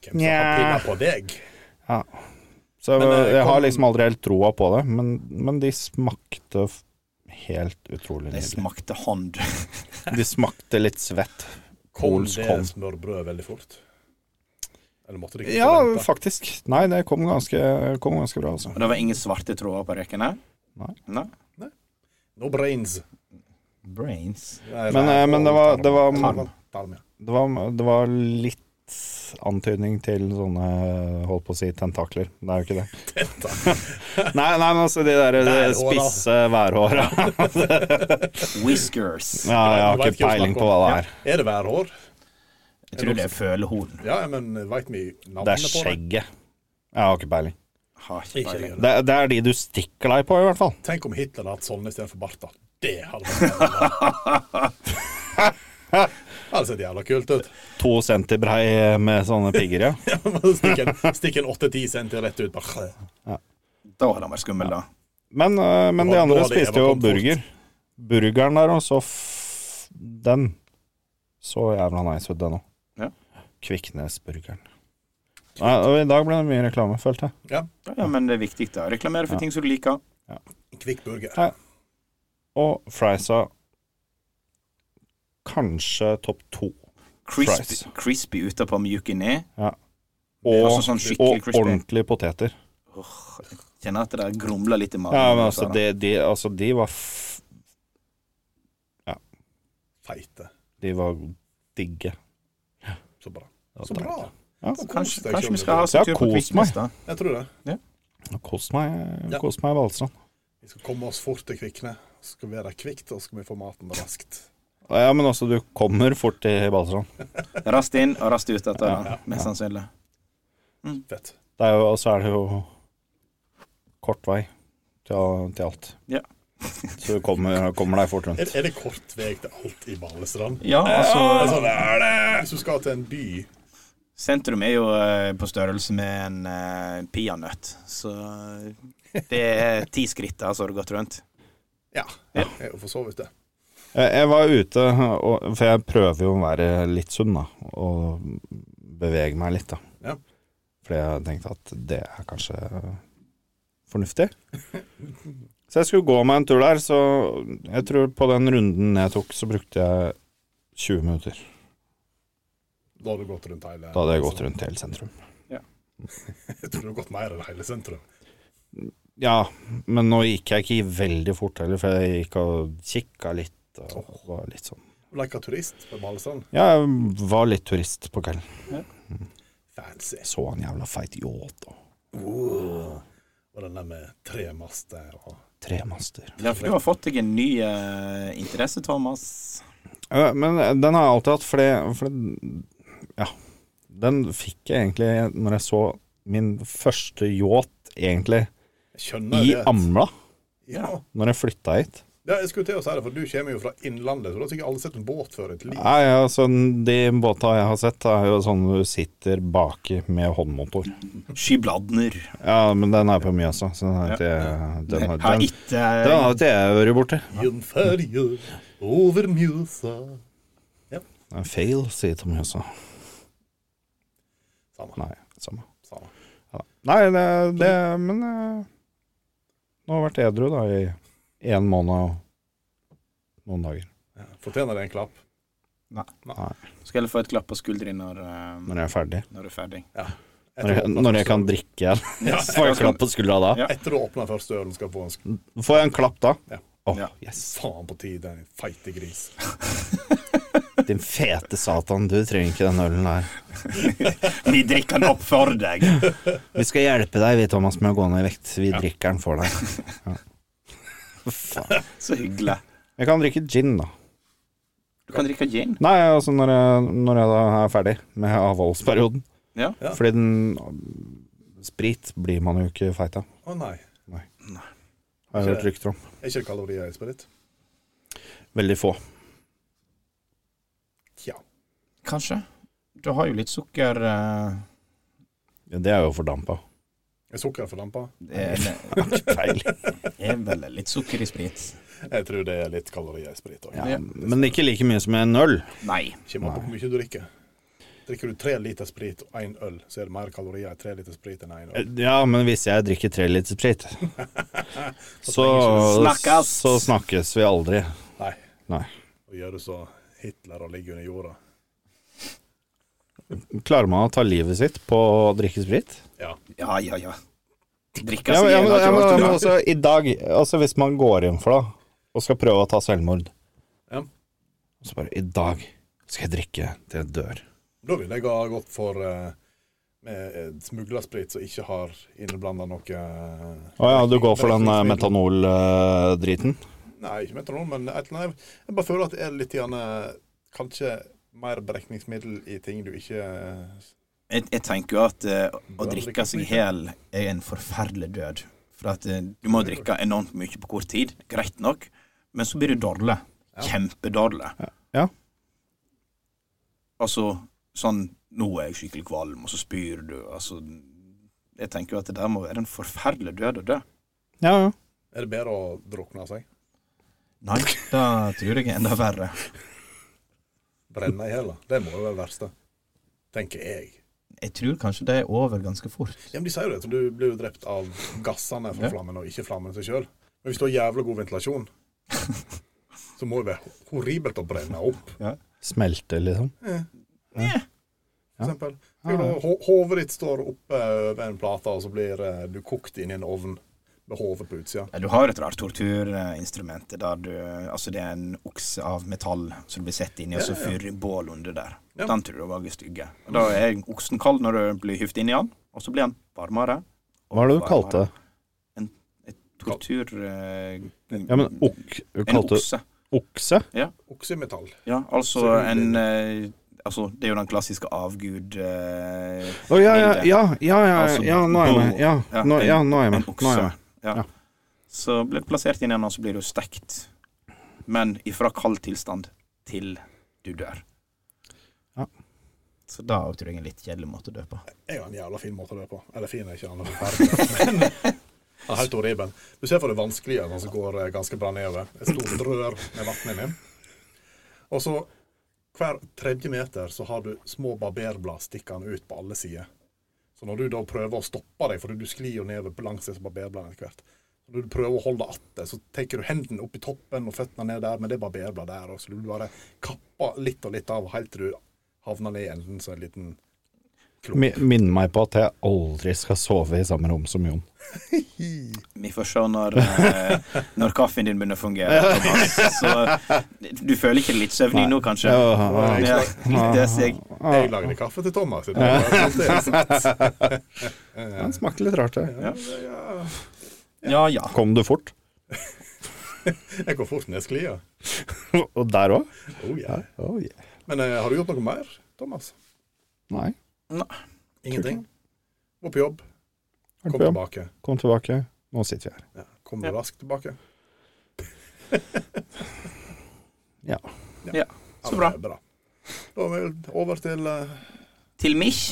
[SPEAKER 3] Hvem som
[SPEAKER 5] Nja.
[SPEAKER 3] har pinna på deg?
[SPEAKER 5] Så
[SPEAKER 3] Men, eh,
[SPEAKER 5] jeg
[SPEAKER 3] kom-
[SPEAKER 5] har liksom aldri helt troa på det, men, men de smakte f- helt utrolig
[SPEAKER 4] Det
[SPEAKER 5] nydelig.
[SPEAKER 4] smakte hånd.
[SPEAKER 5] De smakte litt svett.
[SPEAKER 3] Kom
[SPEAKER 5] Polsk
[SPEAKER 3] det
[SPEAKER 5] hånd.
[SPEAKER 3] smørbrød veldig fort? Eller måtte de ikke
[SPEAKER 5] Ja,
[SPEAKER 3] vente?
[SPEAKER 5] faktisk. Nei, det kom ganske, kom ganske bra, altså.
[SPEAKER 4] Og det var ingen svarte tråder på rekene?
[SPEAKER 5] Nei.
[SPEAKER 4] Nei.
[SPEAKER 3] No brains.
[SPEAKER 4] Brains.
[SPEAKER 3] Nei,
[SPEAKER 5] Men,
[SPEAKER 3] nei,
[SPEAKER 5] eh, men det
[SPEAKER 3] tarm.
[SPEAKER 5] var- det var-
[SPEAKER 3] Tarm, tarm, ja.
[SPEAKER 5] Det var, det var litt antydning til sånne, holdt på å si, tentakler. Det er jo ikke det. nei, nei, men altså de der eh,
[SPEAKER 3] Værhåra.
[SPEAKER 5] spisse værhåra.
[SPEAKER 4] Whiskers.
[SPEAKER 5] Ah, Ja, jeg har
[SPEAKER 3] Du vet
[SPEAKER 5] ikke peiling på hva det er.
[SPEAKER 3] Er det værhår?
[SPEAKER 4] Jeg tror det er følehorn.
[SPEAKER 3] Ja, men veit vi
[SPEAKER 5] Det
[SPEAKER 3] navnet på
[SPEAKER 5] er
[SPEAKER 3] det?
[SPEAKER 5] skjegget. Jeg har ikke peiling.
[SPEAKER 4] Har ikke
[SPEAKER 3] Ikke
[SPEAKER 4] peiling.
[SPEAKER 3] det.
[SPEAKER 5] Det, det er de du stikker deg på, i hvert fall.
[SPEAKER 3] Tenk om Hitler hadde hatt sånne istedenfor barter. Det hadde vært jævla Det hadde sett jævla kult ut.
[SPEAKER 5] To centibrei med sånne pigger, ja.
[SPEAKER 3] Stikk en, stikk en 8-10 cm rett ut. Bare.
[SPEAKER 4] Da hadde han vært skummel, da.
[SPEAKER 5] Men, eh, men de
[SPEAKER 3] Hva- hva
[SPEAKER 5] andre
[SPEAKER 3] det
[SPEAKER 5] spiste
[SPEAKER 3] var
[SPEAKER 5] jo
[SPEAKER 3] komfort.
[SPEAKER 5] burger. Burgeren der, og så f Den så jævla nice ut, den òg.
[SPEAKER 4] Ja.
[SPEAKER 5] Kviknes-burgeren. Nei, og I dag ble det mye reklame, følte jeg.
[SPEAKER 4] Ja, men det er viktig da. reklamere for ting som du liker.
[SPEAKER 3] En Kvikk burger.
[SPEAKER 5] Og friesa kanskje topp to.
[SPEAKER 4] Crispy,
[SPEAKER 5] Fries.
[SPEAKER 4] crispy utapå, mjuk inni.
[SPEAKER 5] Og,
[SPEAKER 4] Altså sånn skikkelig
[SPEAKER 5] og
[SPEAKER 4] crispy.
[SPEAKER 5] ordentlige poteter.
[SPEAKER 4] Kjenner at det grumler litt i magen.
[SPEAKER 5] Ja, men altså,
[SPEAKER 4] Så da.
[SPEAKER 5] de, de, altså, de var f
[SPEAKER 3] Feite.
[SPEAKER 5] De var digge.
[SPEAKER 3] Så bra.
[SPEAKER 5] Det var
[SPEAKER 3] Så bra.
[SPEAKER 5] deilig. Ja.
[SPEAKER 3] Så kos
[SPEAKER 4] Kanskje,
[SPEAKER 3] deg,
[SPEAKER 4] kanskje vi
[SPEAKER 3] Kjønne.
[SPEAKER 4] skal ha oss
[SPEAKER 5] Jeg
[SPEAKER 4] en
[SPEAKER 5] har
[SPEAKER 4] tur på
[SPEAKER 5] kost meg.
[SPEAKER 4] Kviknes, da.
[SPEAKER 3] Jeg tror det.
[SPEAKER 5] Kos meg
[SPEAKER 3] Ja.
[SPEAKER 5] Kos meg i Valstrand.
[SPEAKER 3] Vi skal komme oss fort til Kvikne. Så skal vi være kvikt, og så skal vi få maten raskt.
[SPEAKER 5] Ja, men også, du kommer fort til Valstrand.
[SPEAKER 4] Raskt inn og raskt ut etter, da,
[SPEAKER 5] Ja, ja,
[SPEAKER 4] mest sannsynlig.
[SPEAKER 3] Fett.
[SPEAKER 5] Det er jo, og så er det jo kort vei til, til alt.
[SPEAKER 4] Ja.
[SPEAKER 5] så du kommer, kommer deg fort rundt.
[SPEAKER 3] Er, er det kort vei til alt i Balestrand?
[SPEAKER 4] Ja, altså
[SPEAKER 3] Altså, det er det! Hvis du skal til en by
[SPEAKER 4] Sentrum er jo eh, på størrelse med en eh, peanøtt, så eh, det er ti skritt da, så har du gått rundt.
[SPEAKER 3] Ja,
[SPEAKER 4] Ja.
[SPEAKER 3] er jo for så vidt det.
[SPEAKER 5] Jeg, jeg var ute, og, for jeg prøver jo å være litt sunn, da. Og bevege meg litt, da.
[SPEAKER 3] Ja.
[SPEAKER 5] Fordi jeg tenkte at det er kanskje fornuftig. Så jeg skulle gå meg en tur der, så jeg tror på den runden jeg tok, så brukte jeg 20 minutter.
[SPEAKER 3] Da har du gått rundt hele
[SPEAKER 5] Da hadde jeg gått rundt hele sentrum.
[SPEAKER 3] Jeg tror du har gått mer enn hele sentrum.
[SPEAKER 5] Ja, men nå gikk jeg ikke veldig fort heller, for jeg gikk og kikka litt. Og var litt sånn.
[SPEAKER 3] Leika turist på Balestrand.
[SPEAKER 5] Ja, jeg var litt turist på kvelden.
[SPEAKER 3] Fancy.
[SPEAKER 5] Jeg så en jævla feit yacht og
[SPEAKER 3] Og den der med tre master og
[SPEAKER 5] tremaster.
[SPEAKER 4] Ja, for du har fått deg en ny eh, interesse, Thomas.
[SPEAKER 5] Ja, Men eh, den har jeg alltid hatt, fordi, fordi Ja. Den fikk jeg egentlig når jeg så min første yacht, egentlig,
[SPEAKER 3] Jeg skjønner
[SPEAKER 5] i
[SPEAKER 3] det.
[SPEAKER 5] Amla,
[SPEAKER 3] Ja.
[SPEAKER 5] når jeg flytta hit.
[SPEAKER 3] ja, jeg skulle til å si det, for du kommer jo fra innlandet, så du har sikkert aldri sett en båt før i ditt liv.
[SPEAKER 5] Nei, altså, de båta jeg har sett, er jo sånn du sitter baki med håndmotor.
[SPEAKER 4] Skybladner.
[SPEAKER 5] Ja, men den er på Mjøsa, så den har ikke den, har-
[SPEAKER 4] Har
[SPEAKER 5] den,
[SPEAKER 4] ikke eh,
[SPEAKER 5] den har ikke jeg vært borti.
[SPEAKER 3] Jernferje over Mjøsa
[SPEAKER 5] Det er en Feil, sier Tom Mjøsa.
[SPEAKER 3] Samme.
[SPEAKER 5] Nei, samme.
[SPEAKER 3] Samme.
[SPEAKER 5] Ja. Nei, det, det Men eh, nå har jeg vært edru da i én måned og noen dager.
[SPEAKER 3] Ja. Fortjener det en klapp?
[SPEAKER 4] Skal jeg få et klapp på skulderen når, eh,
[SPEAKER 5] Når jeg er ferdig.
[SPEAKER 4] når du er ferdig.
[SPEAKER 5] Når jeg, når jeg kan drikke igjen. Så får jeg en klapp på skuldra da.
[SPEAKER 4] Ja.
[SPEAKER 3] Etter du åpner første ølen, skal du få en sk-
[SPEAKER 5] Får jeg en klapp da?
[SPEAKER 3] Ja.
[SPEAKER 5] Åh,
[SPEAKER 4] Ja.
[SPEAKER 5] yes.
[SPEAKER 3] faen på tide, din feite gris.
[SPEAKER 5] Din fete satan, du trenger ikke den ølen der.
[SPEAKER 4] Vi drikker den opp for deg.
[SPEAKER 5] Vi skal hjelpe deg, vi, Thomas, med å gå ned i vekt. Vi drikker den for deg. Ja. Faen.
[SPEAKER 4] Så hyggelig.
[SPEAKER 5] Jeg kan drikke gin, da.
[SPEAKER 4] Du kan drikke gin.
[SPEAKER 5] Nei, altså når jeg, når jeg da er ferdig med avholdsperioden.
[SPEAKER 4] Ja.
[SPEAKER 3] Ja.
[SPEAKER 5] Fordi den Sprit blir man jo ikke feit av,
[SPEAKER 3] Å nei.
[SPEAKER 5] har jeg hørt rykter om.
[SPEAKER 3] Er ikke det kalorier i sprit?
[SPEAKER 5] Veldig få.
[SPEAKER 3] Ja.
[SPEAKER 4] Kanskje. du har jo litt sukker eh,
[SPEAKER 5] Ja, det er jo fordampa.
[SPEAKER 3] Er sukker for lampa?
[SPEAKER 4] det er,
[SPEAKER 5] Feil.
[SPEAKER 4] det er vel litt sukker i sprit?
[SPEAKER 3] Jeg tror det er litt kalorier i sprit òg.
[SPEAKER 5] Ja, men ikke like mye som en øl.
[SPEAKER 4] Nei.
[SPEAKER 3] Kommer an på hvor mye du drikker. Drikker du tre liter sprit og én øl, så er det mer kalorier i tre liter sprit enn én øl.
[SPEAKER 5] Ja, men hvis jeg drikker tre liter sprit, så,
[SPEAKER 4] Snakkes.
[SPEAKER 5] så snakkes vi aldri.
[SPEAKER 3] Nei.
[SPEAKER 5] Nei.
[SPEAKER 3] Og gjør du så Hitler og ligger under jorda.
[SPEAKER 5] Klarer man å ta livet sitt på å drikke sprit?
[SPEAKER 3] Ja.
[SPEAKER 4] Ja, ja, ja. Drikke
[SPEAKER 5] Ja,
[SPEAKER 4] seg
[SPEAKER 5] men, ja, men, ja,
[SPEAKER 4] har ikke
[SPEAKER 5] men,
[SPEAKER 4] vært
[SPEAKER 5] men
[SPEAKER 4] bra.
[SPEAKER 5] også i dag, altså hvis man går inn for det, og skal prøve å ta selvmord
[SPEAKER 3] Ja.
[SPEAKER 5] Og så bare I dag skal jeg drikke til jeg dør.
[SPEAKER 3] Da ville jeg ha gått for eh, med eh, smuglersprit som ikke har innblanda noe eh,
[SPEAKER 5] Å ja, du går for den eh, metanoldriten?
[SPEAKER 3] Nei, ikke metanol, men et eller annet. Jeg bare føler at det er litt grann, eh, kanskje mer berekningsmiddel i ting du ikke eh,
[SPEAKER 4] Jeg, jeg tenker jo at eh, å
[SPEAKER 3] Du har
[SPEAKER 4] drikke
[SPEAKER 3] drikket
[SPEAKER 4] seg i
[SPEAKER 3] mye.
[SPEAKER 4] hjel er en forferdelig død. For at eh, du må drikke enormt mye på kort tid, greit nok, men så blir du dårlig. Kjempedårlig.
[SPEAKER 5] Ja.
[SPEAKER 4] Altså sånn Nå er jeg skikkelig kvalm, og så spyr du. Altså Jeg tenker jo at det der må være en forferdelig død å dø.
[SPEAKER 5] Ja, ja.
[SPEAKER 3] Er det bedre å drukne altså, seg?
[SPEAKER 4] Nei, da tror jeg er enda verre.
[SPEAKER 3] Brenne i hjel? da. Det må jo være det verste. Tenker jeg.
[SPEAKER 4] Jeg tror kanskje det er over ganske fort.
[SPEAKER 3] Ja, men De sier jo det, at du blir jo drept av gassene fra
[SPEAKER 4] Ja.
[SPEAKER 3] flammen, og ikke flammen seg sjøl. Men hvis du har jævla god ventilasjon, så må det være horribelt å brenne opp,
[SPEAKER 5] Smelte, liksom.
[SPEAKER 3] for eksempel. Jo, da, ho- Hodet ditt står oppe ved en plate, og så blir eh, du kokt inn i en ovn med hodet på utsida.
[SPEAKER 4] Ja, Du har et rart torturinstrument der du Altså, det er en okse av metall som du blir satt inni, og så fyrer du bål under der.
[SPEAKER 3] Ja.
[SPEAKER 4] Den tror du var stygge. Og Da er oksen kald når du blir hyvd inn i den, og så blir den varmere.
[SPEAKER 5] Hva er det du kalte det?
[SPEAKER 4] Tortur... eh,
[SPEAKER 5] Ja, men ok, du
[SPEAKER 4] en
[SPEAKER 5] kalte det
[SPEAKER 4] okse.
[SPEAKER 5] okse?
[SPEAKER 3] Oksemetall.
[SPEAKER 4] Ja, altså
[SPEAKER 3] Så-
[SPEAKER 4] en eh, Altså, det er jo den klassiske avgud eh,
[SPEAKER 5] Å ja, ja, ja, ja, ja,
[SPEAKER 4] Altså,
[SPEAKER 5] ja, nå er jeg med. Ja, nå, ja, nå er jeg
[SPEAKER 4] En
[SPEAKER 5] med. Nå er jeg
[SPEAKER 4] okse.
[SPEAKER 5] med.
[SPEAKER 4] Ja.
[SPEAKER 5] Ja.
[SPEAKER 4] Så blir du plassert inn i den, og så blir du stekt. Men ifra kald tilstand til du dør.
[SPEAKER 5] Ja.
[SPEAKER 4] Så da er jo, tror jeg en litt kjedelig måte å dø på.
[SPEAKER 3] Jeg har en jævla fin måte å dø på. Eller fin er ikke han forferdelig. Men han er helt horribel. Du ser for deg vanskeliggjøreren som går eh, ganske bra nedover. Et stort rør med vann inni. Og så hver tredje meter så har du små barberblad stikkende ut på alle sider. Så når du da prøver å stoppe deg, for du sklir jo nedover på langs disse barberbladene etter hvert Når du prøver å holde atter, så tenker du hendene opp i toppen og føttene ned der, men det er barberblad der, og så du bare kapper litt og litt av helt til du havner ned i enden som en liten klump.
[SPEAKER 5] Mi- Minn meg på at jeg aldri skal sove i samme rom som Jon.
[SPEAKER 4] Vi får se når, eh, når kaffen din begynner å fungere. Thomas. Så du føler ikke litt søvnig nå, kanskje?
[SPEAKER 5] Ja,
[SPEAKER 4] Ja, det ser jeg.
[SPEAKER 3] Jeg lagde kaffe til Thomas. Det var fantastisk.
[SPEAKER 5] Den smakte litt rart, det.
[SPEAKER 4] Ja ja.
[SPEAKER 5] Kom du fort?
[SPEAKER 3] Jeg går fort ned sklia.
[SPEAKER 5] Og der òg?
[SPEAKER 3] Oh, ja.
[SPEAKER 5] Oh, yeah.
[SPEAKER 3] Men eh, har du gjort noe mer, Thomas?
[SPEAKER 5] Nei.
[SPEAKER 3] Ingenting? Gå på jobb, kom
[SPEAKER 5] Kom,
[SPEAKER 3] tilbake.
[SPEAKER 5] kom tilbake. Nå sitter vi her.
[SPEAKER 3] Ja. Kom du raskt tilbake?
[SPEAKER 5] Ja.
[SPEAKER 3] Ja,
[SPEAKER 4] Så bra.
[SPEAKER 3] det er bra. Da er vi vel over til eh,
[SPEAKER 4] Til mich.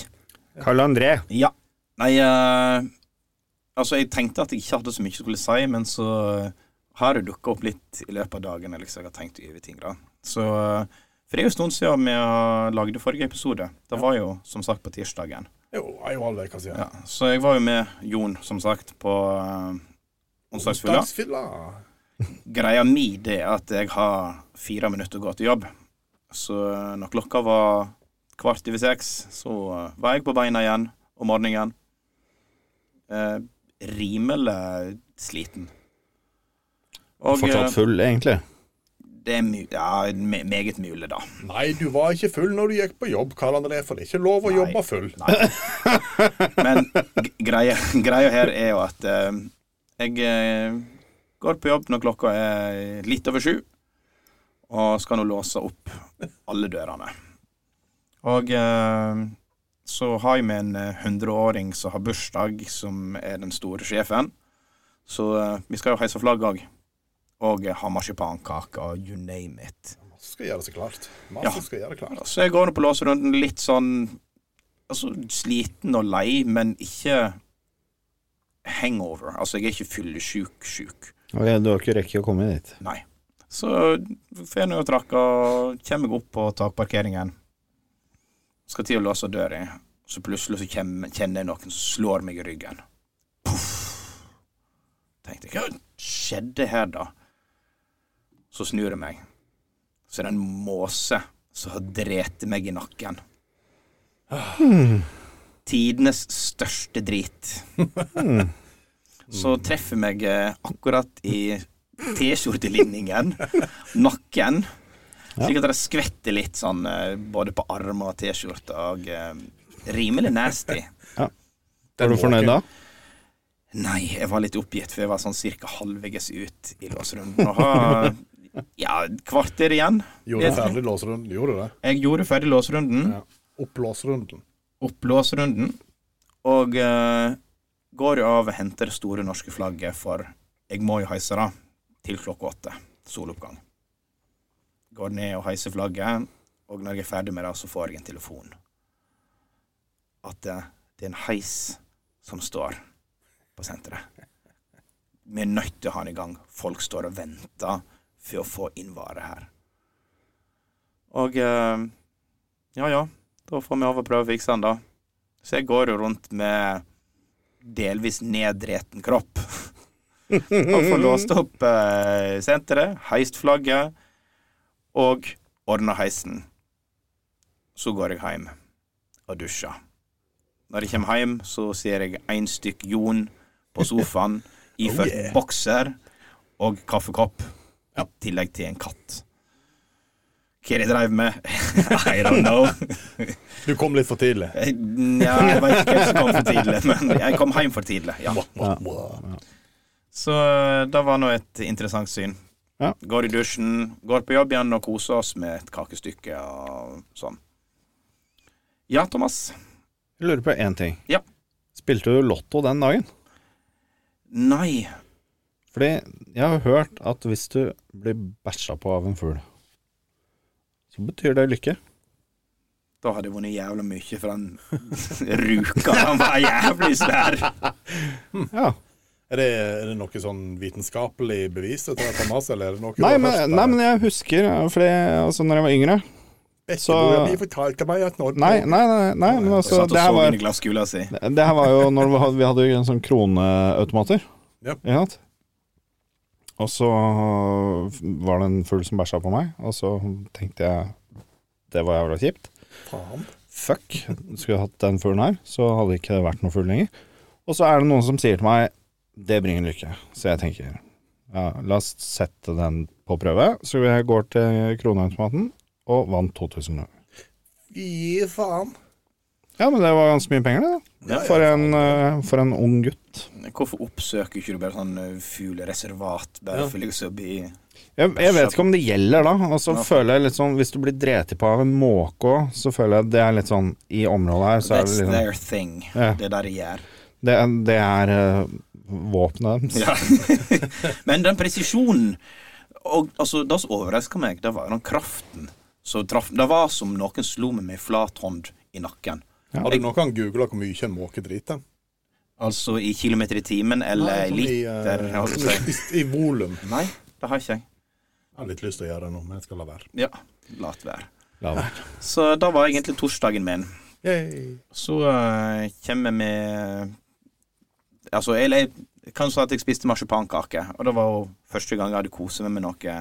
[SPEAKER 5] Karl André.
[SPEAKER 4] Ja. Nei, eh, altså jeg tenkte at jeg ikke hadde så mye jeg skulle si, men så eh, har det dukka opp litt i løpet av dagen eller liksom jeg har tenkt over ting. da. Så, eh, For det er jo en stund siden vi lagde forrige episode. Det var jo som sagt på tirsdagen.
[SPEAKER 3] Jo, ei og en halv uke siden.
[SPEAKER 4] Ja, så jeg var jo med Jon, som sagt, på eh, onsdagsfylla.
[SPEAKER 3] Dagsfylla.
[SPEAKER 4] Greia mi det er at jeg har fire minutter å gå til jobb. Så når klokka var kvart over seks, så var jeg på beina igjen om morgenen. Eh, rimelig sliten. Og eh,
[SPEAKER 5] Fortsatt full, egentlig.
[SPEAKER 4] det er mu ja, me meget mulig, da.
[SPEAKER 3] Nei, du var ikke full når du gikk på jobb, Karl André, for det er ikke lov å
[SPEAKER 4] Nei.
[SPEAKER 3] jobbe full.
[SPEAKER 4] Nei. Men g- greia, greia her er jo at eh, jeg eh, går på jobb når klokka er litt over sju, og skal nå låse opp alle dørene. Og eh, så har jeg med en eh, hundreåring som har bursdag, som er den store sjefen. Så eh, vi skal jo heise flagg òg. Og eh, ha marsipankake og you name it.
[SPEAKER 3] som skal gjøre seg klart. Masse
[SPEAKER 4] Ja.
[SPEAKER 3] skal gjøre klart.
[SPEAKER 4] Så jeg går nå på låserunden litt sånn altså, sliten og lei, men ikke hangover. Altså, jeg er ikke fyllesyk-syk.
[SPEAKER 5] Ok, Du har ikke rekke å komme dit.
[SPEAKER 4] Så får jeg nå trakk og kommer meg opp på takparkeringen. Skal til å låse døra, så plutselig så kjem- kjenner jeg noen som slår meg i ryggen. Puff. Tenkte jeg, hva skjedde her da? Så snur jeg meg. Så er det en måse som har drept meg i nakken. Tidenes største drit. Så treffer meg eh, akkurat i T-skjortelinningen, nakken. Slik at det skvetter litt sånn eh, både på armer og T-skjorte. Og eh, rimelig nasty.
[SPEAKER 5] Er du fornøyd da?
[SPEAKER 4] Nei, jeg var litt oppgitt, for jeg var sånn cirka halvveis ut i låserunden. Og har ja, et kvarter igjen.
[SPEAKER 3] Gjorde du ferdig låserunden? Gjorde du det?
[SPEAKER 4] Jeg gjorde ferdig låserunden,
[SPEAKER 3] Ja. Opp låserunden.
[SPEAKER 4] opp låserunden, og eh, går jo av og henter det store norske flagget, for jeg må jo heise det til klokka åtte, soloppgang. Går ned og heiser flagget, og når jeg er ferdig med det, så får jeg en telefon. At eh, det er en heis som står på senteret. Vi er nødt til å ha den i gang. Folk står og venter for å få inn vare her. Og eh, ja, ja. Da får vi over prøve å fikse den, da. Så jeg går jo rundt med delvis nedreten kropp. og får låst opp eh, senteret, heist flagget, og ordna heisen. Så går jeg hjem og dusjer. Når jeg kommer hjem, så ser jeg én stykk Jon på sofaen iført bokser og kaffekopp, i tillegg til en katt. Hva de drev med? I don't know.
[SPEAKER 3] Du kom litt for tidlig.
[SPEAKER 4] Jeg- Eh, Nja, jeg vet ikke hvem som kom for tidlig, men jeg kom hjem for tidlig. Ja. Så det var nå et interessant syn.
[SPEAKER 5] Ja.
[SPEAKER 4] Går i dusjen, går på jobb igjen og koser oss med et kakestykke og sånn. Ja, Thomas.
[SPEAKER 5] Jeg lurer på én ting.
[SPEAKER 4] Ja.
[SPEAKER 5] Spilte du lotto den dagen?
[SPEAKER 4] Nei.
[SPEAKER 5] Fordi jeg har hørt at hvis du blir bæsja på av en fugl, så betyr det lykke.
[SPEAKER 4] Da hadde jeg vunnet jævla mye for den ruka. Han var jævlig svær.
[SPEAKER 5] Ja.
[SPEAKER 3] Er det, er det noe sånn vitenskapelig bevis til dette, Thomas, eller er det noe
[SPEAKER 5] Nei,
[SPEAKER 3] du har
[SPEAKER 5] men,
[SPEAKER 3] hørt,
[SPEAKER 5] nei,
[SPEAKER 3] eller?
[SPEAKER 5] men jeg husker Fordi altså, når jeg var yngre så-
[SPEAKER 3] Bekkeboer, de fortalte meg at Norge
[SPEAKER 5] Nei, nei, nei, nei men
[SPEAKER 4] Så
[SPEAKER 5] altså
[SPEAKER 4] satt og
[SPEAKER 5] Det her
[SPEAKER 4] så
[SPEAKER 5] var
[SPEAKER 4] inn i glasskula si.
[SPEAKER 5] Det her var jo når vi hadde, vi hadde jo en sånn kroneautomater.
[SPEAKER 3] Ja.
[SPEAKER 5] Ikke sant? Og så var det en fugl som bæsja på meg, og så tenkte jeg det var jævla kjipt.
[SPEAKER 3] Faen.
[SPEAKER 5] Fuck, skulle jeg hatt den fuglen her, så hadde ikke det vært noen fugl lenger. Og så er det noen som sier til meg det bringer lykke. Så jeg tenker ja, la oss sette den på prøve. Så jeg går til kroneautomaten og vant 2000 kroner.
[SPEAKER 3] Gi faen.
[SPEAKER 5] Ja, men det var ganske mye penger, det. da. For en, eh, for en ung gutt.
[SPEAKER 4] Hvorfor oppsøker ikke du bare sånn eh, fuglereservat bare for liksom å bli
[SPEAKER 5] Jeg, jeg vet ikke om det gjelder, da. Og så føler jeg litt sånn Hvis du blir dreti på av en måke òg, så føler jeg det er litt sånn I området her, så er det
[SPEAKER 4] That's
[SPEAKER 5] liksom
[SPEAKER 4] their thing.
[SPEAKER 5] Ja.
[SPEAKER 4] Det er det de gjør.
[SPEAKER 5] Det, er- det er eh, våpenet deres.
[SPEAKER 4] Ja. Men den presisjonen og, altså, Det som overraska meg, det var den kraften som traff Det var som noen slo meg med ei flat hånd i nakken.
[SPEAKER 3] Har du noen gang googla hvor mye en måke driter?
[SPEAKER 4] Altså i kilometer i timen eller
[SPEAKER 3] Nei, sånn i, eh,
[SPEAKER 4] liter. holdt jeg på å si.
[SPEAKER 3] I, i volum.
[SPEAKER 4] Nei, det har ikke jeg.
[SPEAKER 3] Jeg har litt lyst til å gjøre det nå, men jeg skal la være.
[SPEAKER 4] Ja, lat være.
[SPEAKER 5] La være.
[SPEAKER 4] Så det var egentlig torsdagen min.
[SPEAKER 3] Yay.
[SPEAKER 4] Så eh, kommer vi Altså, jeg, jeg kan si at jeg spiste marsipankake, og det var jo første gang jeg hadde kost meg med noe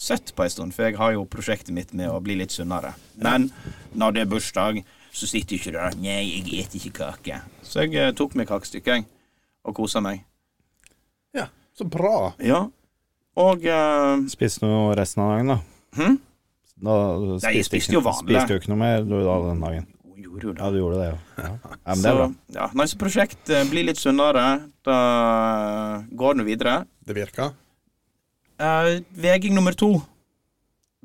[SPEAKER 4] søtt på en stund, for jeg har jo prosjektet mitt med å bli litt sunnere. Men når det er bursdag, så sitter jo ikke du der. Nei, jeg eter ikke kake. Så jeg eh, tok meg kakestykke jeg, og kosa meg.
[SPEAKER 3] Ja, så bra.
[SPEAKER 4] Ja. Og eh,
[SPEAKER 5] Spiste du noe resten av dagen, da?
[SPEAKER 4] Hm?
[SPEAKER 5] da
[SPEAKER 4] Nei, jeg spiste jo vanlig.
[SPEAKER 5] Spiste jo ikke noe mer du, da, den dagen.
[SPEAKER 4] hun gjorde jo det.
[SPEAKER 5] Ja, du gjorde det, jo. Ja. Ja, men det
[SPEAKER 4] så
[SPEAKER 5] er bra.
[SPEAKER 4] ja, nei, så prosjekt eh, blir litt sunnere. Da går det nå videre.
[SPEAKER 3] Det virker.
[SPEAKER 4] Eh, Veging nummer to.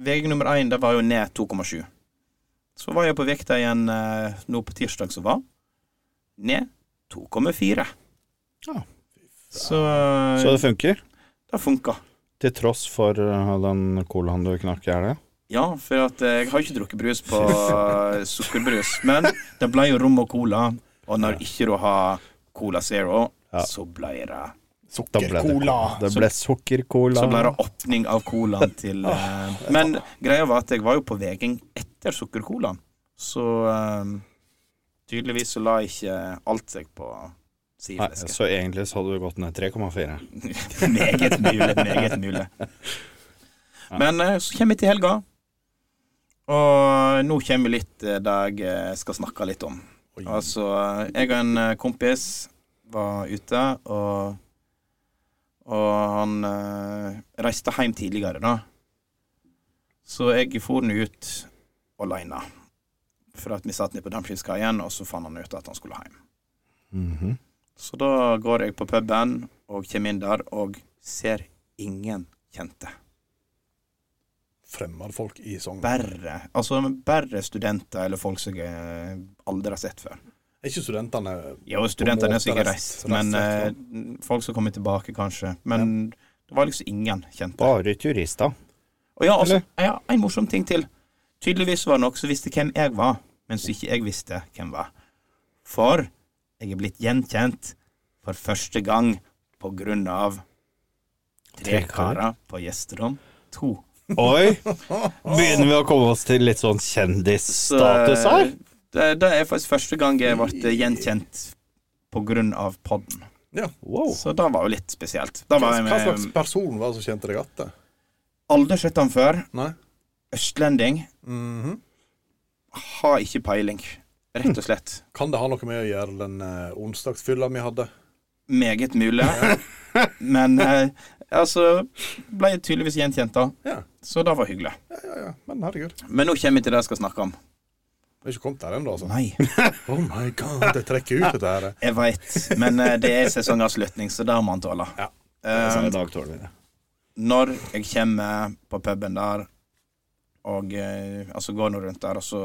[SPEAKER 4] Veging nummer én, det var jo ned 2,7. Så var jeg på vekta igjen eh, nå på tirsdag som var. Ned 2,4.
[SPEAKER 5] Ja.
[SPEAKER 4] Så, eh,
[SPEAKER 5] Så det funker?
[SPEAKER 4] det funka.
[SPEAKER 5] Til tross for eh, den colaen du knakk i helga?
[SPEAKER 4] Ja, for at eh, jeg har ikke drukket brus på eh, sukkerbrus. Men det ble jo rom og cola, og når ikke du har Cola Zero,
[SPEAKER 5] Ja.
[SPEAKER 4] så ble det
[SPEAKER 5] Da ble det-
[SPEAKER 3] Sukkercola.
[SPEAKER 5] Det ble sukkercola.
[SPEAKER 4] Så ble det åpning av colaen til eh, Men greia var at jeg var jo på veging etter sukkercolaen, så eh, tydeligvis så la ikke alt seg på
[SPEAKER 5] Nei,
[SPEAKER 4] sideflesket.
[SPEAKER 5] så egentlig så hadde du gått ned 3,4.
[SPEAKER 4] meget mulig, meget mulig. Men eh, så kommer vi til helga, og nå kommer litt eh, det jeg eh, skal snakke litt om. Altså, eh, jeg og en eh, kompis var ute, og, og han eh, reiste hjem tidligere, da. Så jeg for nå ut aleine. For at vi satt nede på Dampskipskaien, og så fant han ut at han skulle hjem.
[SPEAKER 5] Mhm.
[SPEAKER 4] Så da går jeg på puben og kommer inn der og ser ingen kjente.
[SPEAKER 3] Fremmedfolk i Sogn.
[SPEAKER 4] Bare, altså bare studenter eller folk som jeg aldri har sett før.
[SPEAKER 3] Er ikke studentene
[SPEAKER 4] Ja, og studentene er
[SPEAKER 3] måte
[SPEAKER 4] sikkert reist,
[SPEAKER 3] reist-
[SPEAKER 4] men eh,
[SPEAKER 3] reist
[SPEAKER 4] folk som kommer tilbake, kanskje. Men det var liksom ingen kjente.
[SPEAKER 5] Bare turister.
[SPEAKER 4] Og ja, altså, ja, en morsom ting til. Tydeligvis var det noen som visste hvem jeg var, mens ikke jeg visste hvem var. For jeg er blitt gjenkjent for første gang på grunn av tre
[SPEAKER 5] Tre kar?
[SPEAKER 4] karer på gjesterom. To.
[SPEAKER 5] Oi! Begynner vi å komme oss til litt sånn
[SPEAKER 4] Så,
[SPEAKER 5] kjendisstatus
[SPEAKER 3] eh,
[SPEAKER 5] her?
[SPEAKER 4] Det, det er faktisk første gang jeg ble gjenkjent på grunn av podden.
[SPEAKER 5] Wow.
[SPEAKER 4] Så det var jo litt spesielt. Da
[SPEAKER 3] Oh. Hva,
[SPEAKER 4] var jeg
[SPEAKER 3] hva slags
[SPEAKER 4] med
[SPEAKER 3] person var det som kjente deg igjen?
[SPEAKER 4] Aldri sett han før.
[SPEAKER 3] Nei?
[SPEAKER 4] Østlending.
[SPEAKER 3] Mhm.
[SPEAKER 4] Har ikke peiling, rett og slett.
[SPEAKER 3] Kan det ha noe med å gjøre den eh, onsdagsfylla vi hadde?
[SPEAKER 4] Meget mulig. Men eh, altså Ble jeg tydeligvis gjenkjent, da.
[SPEAKER 3] Ja.
[SPEAKER 4] Så det var hyggelig.
[SPEAKER 3] Ja, ja, ja. Men herregud.
[SPEAKER 4] Men nå kommer vi til det jeg skal snakke om.
[SPEAKER 3] Vi er ikke kommet der ennå, altså.
[SPEAKER 4] Nei,
[SPEAKER 3] Oh my god, det trekker ut dette her.
[SPEAKER 4] jeg veit. Men eh, det er sesongavslutning, så det må han tåle.
[SPEAKER 3] Ja.
[SPEAKER 4] Eh,
[SPEAKER 5] Så i dag tåler vi det.
[SPEAKER 4] når jeg kommer på puben der og eh, altså går nå rundt der, og så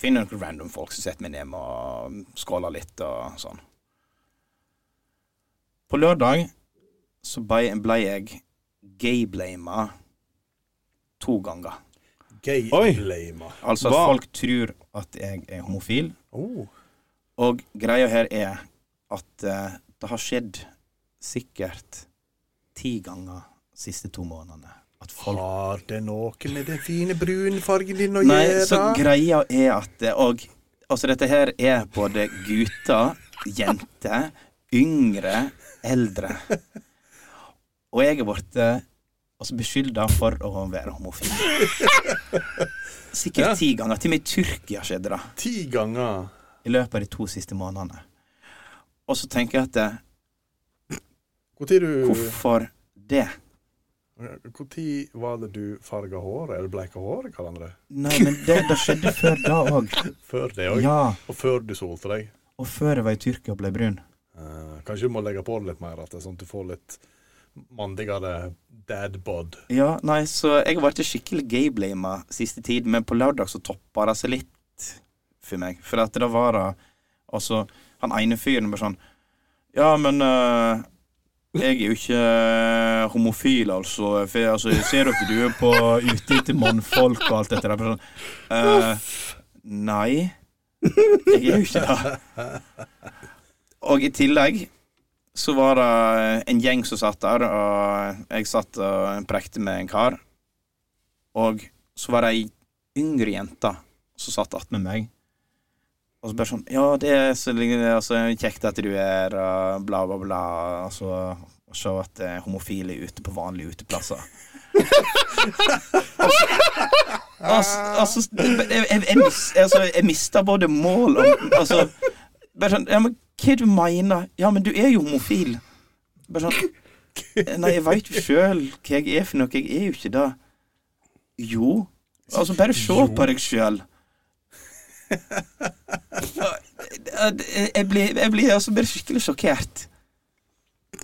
[SPEAKER 4] finner jeg noen random folk som setter meg ned og skåler litt og sånn. På lørdag så ble, ble jeg gayblama to ganger.
[SPEAKER 5] Oi.
[SPEAKER 3] Gay-blama.
[SPEAKER 4] Altså at
[SPEAKER 5] Hva?
[SPEAKER 4] folk tror at jeg er homofil,
[SPEAKER 3] Oh.
[SPEAKER 4] og greia her er at eh, det har skjedd sikkert ti ganger siste to månedene at folk
[SPEAKER 3] Har det noe med den fine brunfargen din å
[SPEAKER 4] Nei, så
[SPEAKER 3] gjøre?
[SPEAKER 4] greia er at det òg Altså, dette her er både gutter, jenter, yngre, eldre. Og jeg er blitt eh, altså beskylda for å være homofil. Sikkert ti ganger. Til og med i Tyrkia skjedde det
[SPEAKER 3] Ti ganger.
[SPEAKER 4] i løpet av de to siste månedene. Og så tenker jeg at eh,
[SPEAKER 3] Hvor tid du
[SPEAKER 4] hvorfor det?
[SPEAKER 3] Hvor tid var det du farga håret? Eller bleika håret, kaller han det.
[SPEAKER 4] Nei, men det, det skjedde før da òg.
[SPEAKER 3] Før det òg.
[SPEAKER 4] Ja.
[SPEAKER 3] Og før du solte deg.
[SPEAKER 4] Og før jeg var i Tyrkia og ble brun.
[SPEAKER 3] Eh, kanskje du må legge på det litt mer, at det er sånn at du får litt mandigere dad bod.
[SPEAKER 4] Ja, nei, så jeg ble skikkelig gayblama siste tid, men på lørdag så toppa det seg litt for meg. For at det var da Altså, han ene fyren bare sånn Ja, men eh, jeg er jo ikke eh, homofil, altså. For jeg, altså, jeg ser dere du er på ute etter mannfolk og alt dette der. Bare Sånn, eh, nei, jeg er jo ikke det. Og i tillegg så var det eh, en gjeng som satt der, og jeg satt og prekte med en kar. Og så var det ei yngre jente som satt attmed meg. Og så bare sånn Ja, det er så altså, kjekt at du er og bla, bla, bla. Altså, å se at eh, homofile er ute på vanlige uteplasser. altså, altså jeg, jeg, jeg, mis- altså, jeg mista både mål og altså, Bare sånn Ja, men hva er det du mener? Ja, men du er jo homofil. Bare sånn Nei, jeg veit jo sjøl hva jeg er for noe. Jeg er jo ikke det. Jo. Altså, bare se på deg sjøl. Jeg blir, jeg blir altså bare skikkelig sjokkert.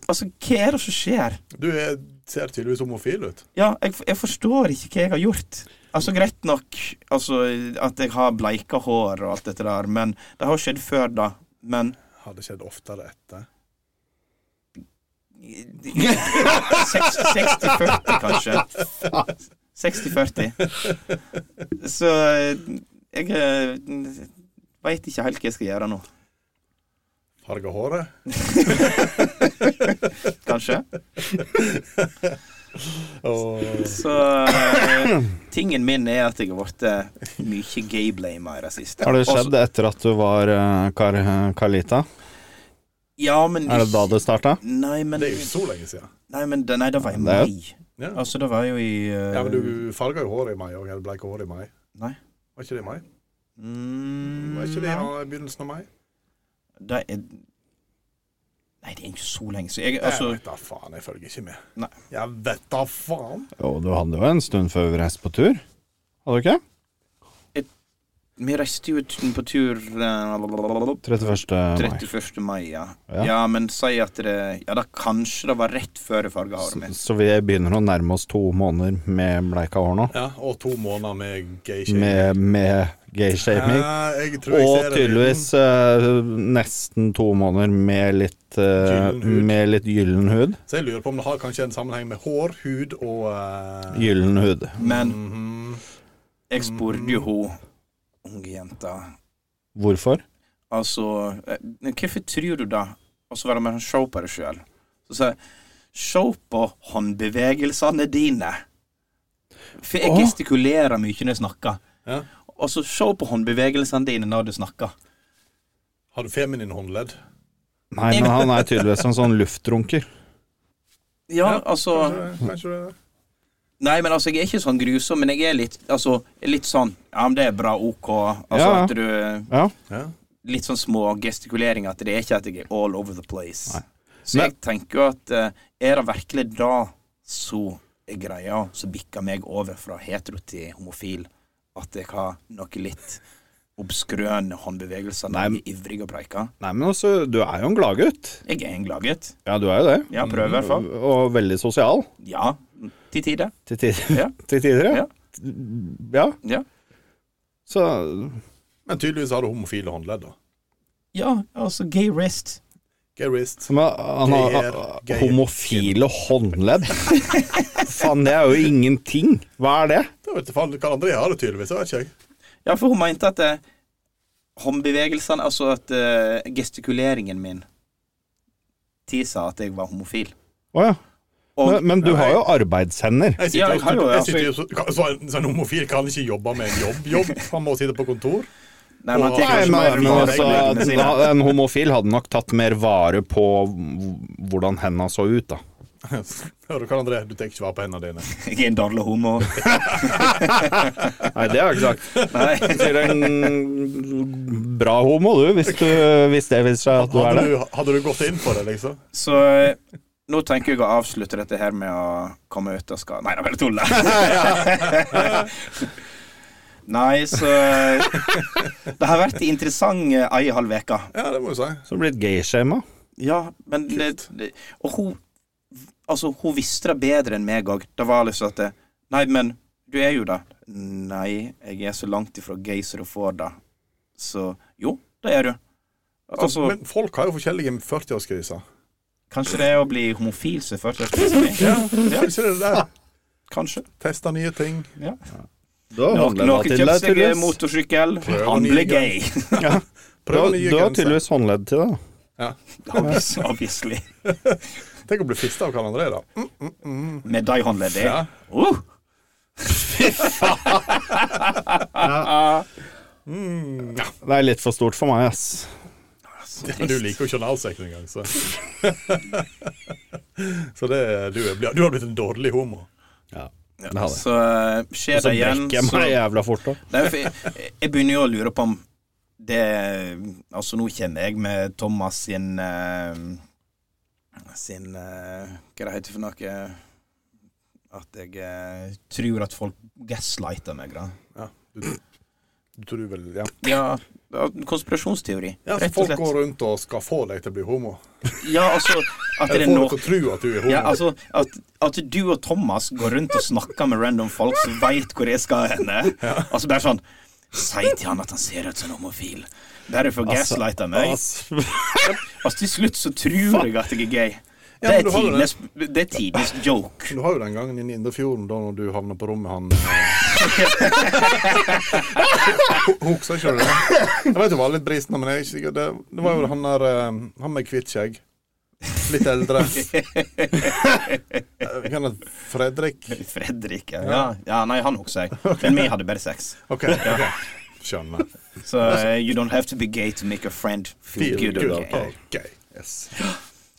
[SPEAKER 4] Altså, hva er det som skjer?
[SPEAKER 3] Du er, ser tydeligvis homofil ut.
[SPEAKER 4] Ja, jeg, jeg forstår ikke hva jeg har gjort. Altså, Greit nok altså, at jeg har bleika hår og alt dette der, men det har skjedd før da. Men
[SPEAKER 3] Hadde skjedd oftere etter.
[SPEAKER 4] 60-40, kanskje. 60-40. Så eh, jeg veit ikke helt hva jeg skal gjøre nå.
[SPEAKER 3] Farge håret?
[SPEAKER 4] Kanskje.
[SPEAKER 3] Og
[SPEAKER 4] Så eh, tingen min er at jeg har blitt eh, mye gayblama i det siste.
[SPEAKER 5] Har det
[SPEAKER 4] Også-
[SPEAKER 5] skjedd etter at du var eh, Kar Carlita?
[SPEAKER 4] Ja, men
[SPEAKER 5] Er det da det starta?
[SPEAKER 4] Nei, men,
[SPEAKER 3] det er jo ikke så lenge siden.
[SPEAKER 4] nei, men det- nei, det var i
[SPEAKER 5] Det er jo-
[SPEAKER 4] mai.
[SPEAKER 3] Ja,
[SPEAKER 4] Altså, det var jo i eh,
[SPEAKER 3] ja men du farga jo håret i mai òg, eller bleik håret i mai?
[SPEAKER 4] Nei.
[SPEAKER 3] Var ikke det i mai?
[SPEAKER 4] Mm,
[SPEAKER 3] Var ikke det
[SPEAKER 4] nei.
[SPEAKER 3] i begynnelsen av mai?
[SPEAKER 4] Det er Nei, det er ikke så lenge siden. Jeg,
[SPEAKER 3] Jeg
[SPEAKER 4] altså,
[SPEAKER 3] vet da faen, jeg følger ikke med.
[SPEAKER 4] Nei.
[SPEAKER 3] Jeg vet da faen.
[SPEAKER 5] Jo, du hadde jo en stund før vi reiste på tur. Hadde du ikke?
[SPEAKER 4] vi reiste jo ut på tur eh,
[SPEAKER 5] 31. mai.
[SPEAKER 4] 31. mai, ja.
[SPEAKER 5] Ja.
[SPEAKER 4] ja. men si at det Ja, da kanskje det var rett før jeg farga håret mitt.
[SPEAKER 5] Så vi begynner å nærme oss to måneder med bleika hår nå.
[SPEAKER 3] Ja, og to måneder med gay
[SPEAKER 5] Med, med gayshaming.
[SPEAKER 3] jeg tror jeg
[SPEAKER 5] Og
[SPEAKER 3] ser det.
[SPEAKER 5] tydeligvis eh, nesten to måneder med litt, eh,
[SPEAKER 3] Gyllen hud.
[SPEAKER 5] med litt gyllen hud.
[SPEAKER 3] Så jeg lurer på om det har kanskje en sammenheng med hår, hud og eh,
[SPEAKER 5] Gyllen hud.
[SPEAKER 4] Men
[SPEAKER 3] mhm.
[SPEAKER 4] jeg spurte jo hun unge jenta
[SPEAKER 5] Hvorfor?
[SPEAKER 4] Altså eh, Hvorfor tror du det? Og så var det mer sånn show på deg sjøl. Så sa jeg Se på håndbevegelsene dine. For jeg
[SPEAKER 5] Åh.
[SPEAKER 4] gestikulerer mye når jeg snakker.
[SPEAKER 3] Ja.
[SPEAKER 4] Og så se på håndbevegelsene dine når du snakker.
[SPEAKER 3] Har du feminin håndledd?
[SPEAKER 5] Nei, men han er tydeligvis en sånn luftdrunker.
[SPEAKER 4] Ja, altså
[SPEAKER 3] Kanskje- Kanskje det
[SPEAKER 4] Nei, men altså, jeg er ikke sånn grusom, men jeg er litt, altså, litt sånn Ja, men det er bra, OK. Altså
[SPEAKER 5] Ja, ja.
[SPEAKER 4] at du
[SPEAKER 5] Ja.
[SPEAKER 3] ja.
[SPEAKER 4] Litt sånn små gestikuleringer. At det er ikke at jeg er all over the place.
[SPEAKER 5] Nei.
[SPEAKER 4] Så
[SPEAKER 5] Men-
[SPEAKER 4] jeg tenker jo at eh, er det virkelig da så er greia som bikker meg over fra hetero til homofil, at jeg har noe litt obskrøne håndbevegelser når jeg er ivrig og preiker?
[SPEAKER 5] Nei, men altså, du er jo en gladgutt.
[SPEAKER 4] Jeg er en gladgutt.
[SPEAKER 5] Ja, du er jo det.
[SPEAKER 4] Ja, prøver i hvert fall.
[SPEAKER 5] Og veldig sosial.
[SPEAKER 4] Ja, til tider.
[SPEAKER 5] Til tider,
[SPEAKER 4] Ja.
[SPEAKER 5] til tider ja.
[SPEAKER 4] Ja.
[SPEAKER 5] ja.
[SPEAKER 4] Ja.
[SPEAKER 5] Så
[SPEAKER 3] Men tydeligvis har du homofile håndledd, da.
[SPEAKER 4] Ja, altså gay rest.
[SPEAKER 3] Gay wrist.
[SPEAKER 5] som er- han har
[SPEAKER 3] Geir, Geir.
[SPEAKER 5] homofile håndledd. Faen, det er jo ingenting. Hva er det?
[SPEAKER 3] Da vet du faen hva andre har det, tydeligvis. Det vet ikke jeg.
[SPEAKER 4] Ja, for hun mente at eh, håndbevegelsene, altså at eh, gestikuleringen min tilsa at jeg var homofil.
[SPEAKER 5] Å ja.
[SPEAKER 4] Og
[SPEAKER 5] Men, men du har jo arbeidshender.
[SPEAKER 3] Jeg
[SPEAKER 4] Ja,
[SPEAKER 3] sitter,
[SPEAKER 4] jeg har jo-
[SPEAKER 3] jo, jeg sitter jo så, så, en- så en homofil kan ikke jobbe med en jobb. jobb. Han må sitte på kontor.
[SPEAKER 4] Nei, men han
[SPEAKER 3] Åh.
[SPEAKER 4] tar
[SPEAKER 5] Nei, men,
[SPEAKER 4] kanskje mer
[SPEAKER 5] men
[SPEAKER 4] vare på
[SPEAKER 5] altså,
[SPEAKER 4] reglene sine.
[SPEAKER 5] da- En homofil hadde nok tatt mer vare på hvordan henda så ut, da.
[SPEAKER 3] Hører du hva, André? Du tenker ikke vare på hendene dine.
[SPEAKER 4] Jeg er en dårlig homo.
[SPEAKER 5] Nei, det har jeg ikke sagt.
[SPEAKER 4] Nei.
[SPEAKER 5] Du er en bra homo, du, hvis, du, hvis det viser seg at du er
[SPEAKER 3] Hadde
[SPEAKER 5] det.
[SPEAKER 3] du, hadde du gått inn på det, liksom?
[SPEAKER 4] Så eh, nå tenker jeg å avslutte dette her med å komme ut og skal Nei, det er bare tull. da. Nei, så eh, Det har vært interessant eh, ei halv uke.
[SPEAKER 3] Ja, det må du si.
[SPEAKER 5] Så blir det gayshama.
[SPEAKER 4] Ja, men det, det, Og hun Altså, hun visste det bedre enn meg òg. Det var liksom at det, Nei, men du er jo det. Nei, jeg er så langt ifra gay som du får det. Så jo, det er du. Altså,
[SPEAKER 3] Men folk har jo forskjellige 40-årskriser.
[SPEAKER 4] kanskje det er å bli homofil som er førsteårskrisen?
[SPEAKER 3] Ja, kanskje det er det der.
[SPEAKER 4] Kanskje.
[SPEAKER 3] Teste nye ting.
[SPEAKER 5] Du har
[SPEAKER 4] Noen
[SPEAKER 5] håndledda
[SPEAKER 4] noen
[SPEAKER 5] til
[SPEAKER 4] kjøpte
[SPEAKER 5] deg,
[SPEAKER 4] seg
[SPEAKER 5] tydeligvis.
[SPEAKER 4] eh, motorsykkel.
[SPEAKER 3] Prøver
[SPEAKER 4] Han
[SPEAKER 3] nye
[SPEAKER 4] ble gay.
[SPEAKER 3] grenser.
[SPEAKER 5] Du har,
[SPEAKER 3] Prøv nye
[SPEAKER 5] du har
[SPEAKER 3] grenser.
[SPEAKER 5] tydeligvis håndledd til det.
[SPEAKER 3] Ja.
[SPEAKER 4] Obvious- Obviously.
[SPEAKER 3] Tenk å bli fista av Karl André, da. Mm.
[SPEAKER 4] Med de håndleddet.
[SPEAKER 3] Ja.
[SPEAKER 4] Uh,
[SPEAKER 5] Det er litt for stort for meg, ass.
[SPEAKER 4] så
[SPEAKER 3] Men du
[SPEAKER 4] trist.
[SPEAKER 3] liker jo ikke analsekk engang, så Så det, du, er, du har blitt en dårlig homo.
[SPEAKER 5] Ja, det har det.
[SPEAKER 4] Så eh, skjer
[SPEAKER 5] Så
[SPEAKER 4] det igjen,
[SPEAKER 5] brekker jeg meg jævla fort òg.
[SPEAKER 4] Nei, for jeg, jeg begynner jo å lure på om det Altså, nå kjenner jeg med Thomas sin eh, Sin eh, Hva det heter for noe At jeg eh, tror at folk gaslighter meg, da.
[SPEAKER 3] Du tror vel, ja.
[SPEAKER 4] Ja, konspirasjonsteori.
[SPEAKER 3] ja så
[SPEAKER 4] rett og
[SPEAKER 3] folk
[SPEAKER 4] slett.
[SPEAKER 3] går rundt og skal få deg til å bli homo.
[SPEAKER 4] Ja, altså At det
[SPEAKER 3] Eller
[SPEAKER 4] er
[SPEAKER 3] få
[SPEAKER 4] noe
[SPEAKER 3] deg til å tro at du er homo.
[SPEAKER 4] Ja, altså, at, at du og Thomas går rundt og snakker med random folk som veit hvor jeg skal henne. Altså bare sånn Si til han at han ser ut som en homofil.
[SPEAKER 3] Altså,
[SPEAKER 4] Bare for å gaslighte meg.
[SPEAKER 5] Ass.
[SPEAKER 4] Altså, til slutt så tror jeg at jeg er gay. det
[SPEAKER 3] Ja, men
[SPEAKER 4] er
[SPEAKER 3] du har jo det.
[SPEAKER 4] tidenes, det er tidenes joke.
[SPEAKER 3] Du har jo den gangen inne i Indrefjorden, da når du havna på rommet han eh, Hu- Husker ikke du det? Jeg vet det var litt brisen, men jeg er ikke sikker. Det, det var
[SPEAKER 5] Mm.
[SPEAKER 3] jo han der eh, Han med hvitt skjegg. Litt eldre. Eh, Kan det Fredrik
[SPEAKER 4] Fredrik, ja. ja. ja nei, han husker jeg. Men vi hadde bare sex.
[SPEAKER 3] OK. ok. Skjønner.
[SPEAKER 4] Så eh, you don't have to be gay to make a friend feel good about it.
[SPEAKER 3] OK. Yes.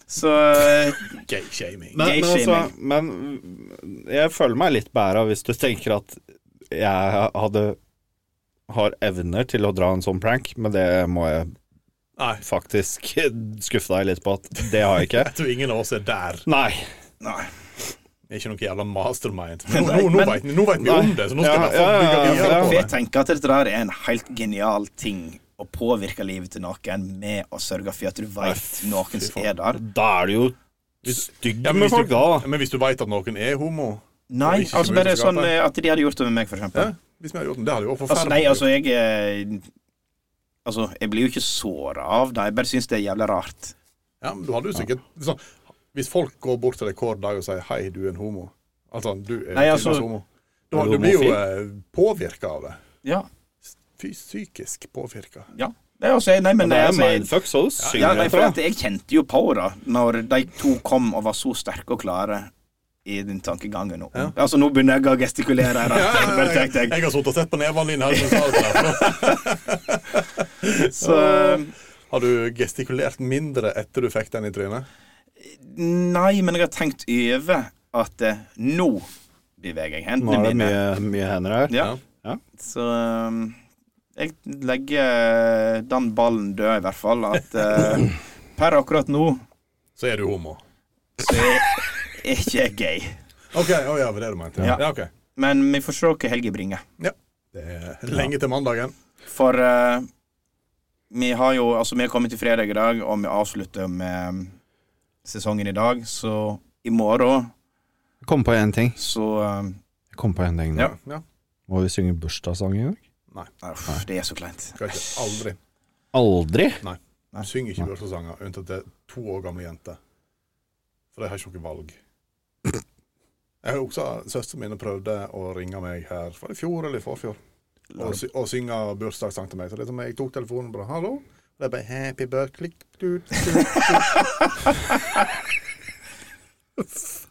[SPEAKER 4] Så eh,
[SPEAKER 3] Gay shaming.
[SPEAKER 5] Men,
[SPEAKER 4] Gay
[SPEAKER 5] men, altså,
[SPEAKER 4] shaming.
[SPEAKER 5] men jeg føler meg litt bæra hvis du tenker at jeg hadde har evner til å dra en sånn prank, men det må jeg
[SPEAKER 3] Nei.
[SPEAKER 5] faktisk skuffe deg litt på at det har jeg ikke.
[SPEAKER 3] Jeg tror ingen av oss er der.
[SPEAKER 5] Nei.
[SPEAKER 4] nei.
[SPEAKER 3] Ikke noe jævla mastermind. Nå, nå, nå
[SPEAKER 4] men-
[SPEAKER 3] veit vi, nå vet vi om det, så nå
[SPEAKER 5] Ja,
[SPEAKER 3] skal vi få
[SPEAKER 5] ja, ja,
[SPEAKER 3] bygge videre
[SPEAKER 5] ja.
[SPEAKER 3] på
[SPEAKER 4] For
[SPEAKER 3] det.
[SPEAKER 4] jeg tenker at dette der er en helt genial ting å påvirke livet til noen med å sørge for at du veit noen som er der.
[SPEAKER 5] Da er du jo stygg
[SPEAKER 3] Ja, men,
[SPEAKER 5] med
[SPEAKER 3] hvis
[SPEAKER 5] folk,
[SPEAKER 3] du,
[SPEAKER 5] da.
[SPEAKER 3] men hvis du veit at noen er homo
[SPEAKER 4] Nei,
[SPEAKER 3] Det er ikke så
[SPEAKER 4] altså
[SPEAKER 3] mye
[SPEAKER 4] bare
[SPEAKER 3] som skal
[SPEAKER 4] sånn eh, at de hadde gjort det med meg, for eksempel.
[SPEAKER 3] ja, Hvis vi hadde gjort det, det hadde jo vært
[SPEAKER 4] Altså,
[SPEAKER 3] forferdelig.
[SPEAKER 4] nei, altså, jeg eh, Altså, jeg blir jo ikke såra av det, jeg bare syns det er jævla rart.
[SPEAKER 3] ja, men du hadde jo sikkert sånn, Hvis folk går bort til deg hver dag og sier 'hei, du er en homo' Altså, du er
[SPEAKER 4] Nei,
[SPEAKER 3] en
[SPEAKER 4] altså-
[SPEAKER 3] homo. Du,
[SPEAKER 5] Er du
[SPEAKER 3] du blir jo eh,
[SPEAKER 5] homofil?
[SPEAKER 3] påvirka av det.
[SPEAKER 4] Ja.
[SPEAKER 3] Fy, psykisk påvirka.
[SPEAKER 4] ja. Nei, altså, jeg- nei, men,
[SPEAKER 5] Det er
[SPEAKER 4] altså, jeg,
[SPEAKER 5] mindfuck, så du
[SPEAKER 4] ja,
[SPEAKER 5] synger
[SPEAKER 4] nei, for at
[SPEAKER 5] etter.
[SPEAKER 4] jeg kjente jo på det når de to kom og var så sterke og klare i den tankegangen. om- Altså, nå begynner jeg å gestikulere. her,
[SPEAKER 3] Ja,
[SPEAKER 4] jeg bare
[SPEAKER 3] jeg,
[SPEAKER 4] tenkte jeg.
[SPEAKER 3] jeg har sittet og sett på nevene dine. her, som sa det der.
[SPEAKER 4] Så eh,
[SPEAKER 3] Har du gestikulert mindre etter du fikk den i trynet?
[SPEAKER 4] Nei, men jeg har tenkt over at eh, nå beveger jeg
[SPEAKER 5] Nå er
[SPEAKER 4] hendene
[SPEAKER 5] det
[SPEAKER 4] mine.
[SPEAKER 5] mye, mye hender her.
[SPEAKER 4] Ja.
[SPEAKER 5] Ja.
[SPEAKER 4] Så um, jeg legger den ballen død, i hvert fall. At eh, per akkurat nå
[SPEAKER 3] Så er du homo.
[SPEAKER 4] så er er ikke jeg gay.
[SPEAKER 3] OK, å ja, det var det du mente. Ja.
[SPEAKER 4] Ja.
[SPEAKER 3] Ja, ok.
[SPEAKER 4] Men vi får se hva helga bringer.
[SPEAKER 3] ja. Det er lenge til mandagen.
[SPEAKER 4] For eh, vi har jo Altså, vi har kommet til fredag i dag, og vi avslutter med um, sesongen i dag, så i morgen
[SPEAKER 5] Jeg kom på én ting.
[SPEAKER 4] så um,
[SPEAKER 5] Jeg kom på en ting nå.
[SPEAKER 4] Ja.
[SPEAKER 3] Ja.
[SPEAKER 5] Må vi synge bursdagssang i dag?
[SPEAKER 4] eh, Uff, det er så kleint.
[SPEAKER 3] Skal ikke, aldri.
[SPEAKER 5] Aldri.
[SPEAKER 3] Hun synger ikke bursdagssanger unntatt det er to år gamle jenter. For de har ikke noe valg. Jeg har også Søstrene mine prøvde å ringe meg her var det i fjor eller i forfjor og, sy og synge bursdagssang til meg. Så det er som jeg tok telefonen og bare 'Hallo?' Og det er bare 'Happy birthday du, du, du.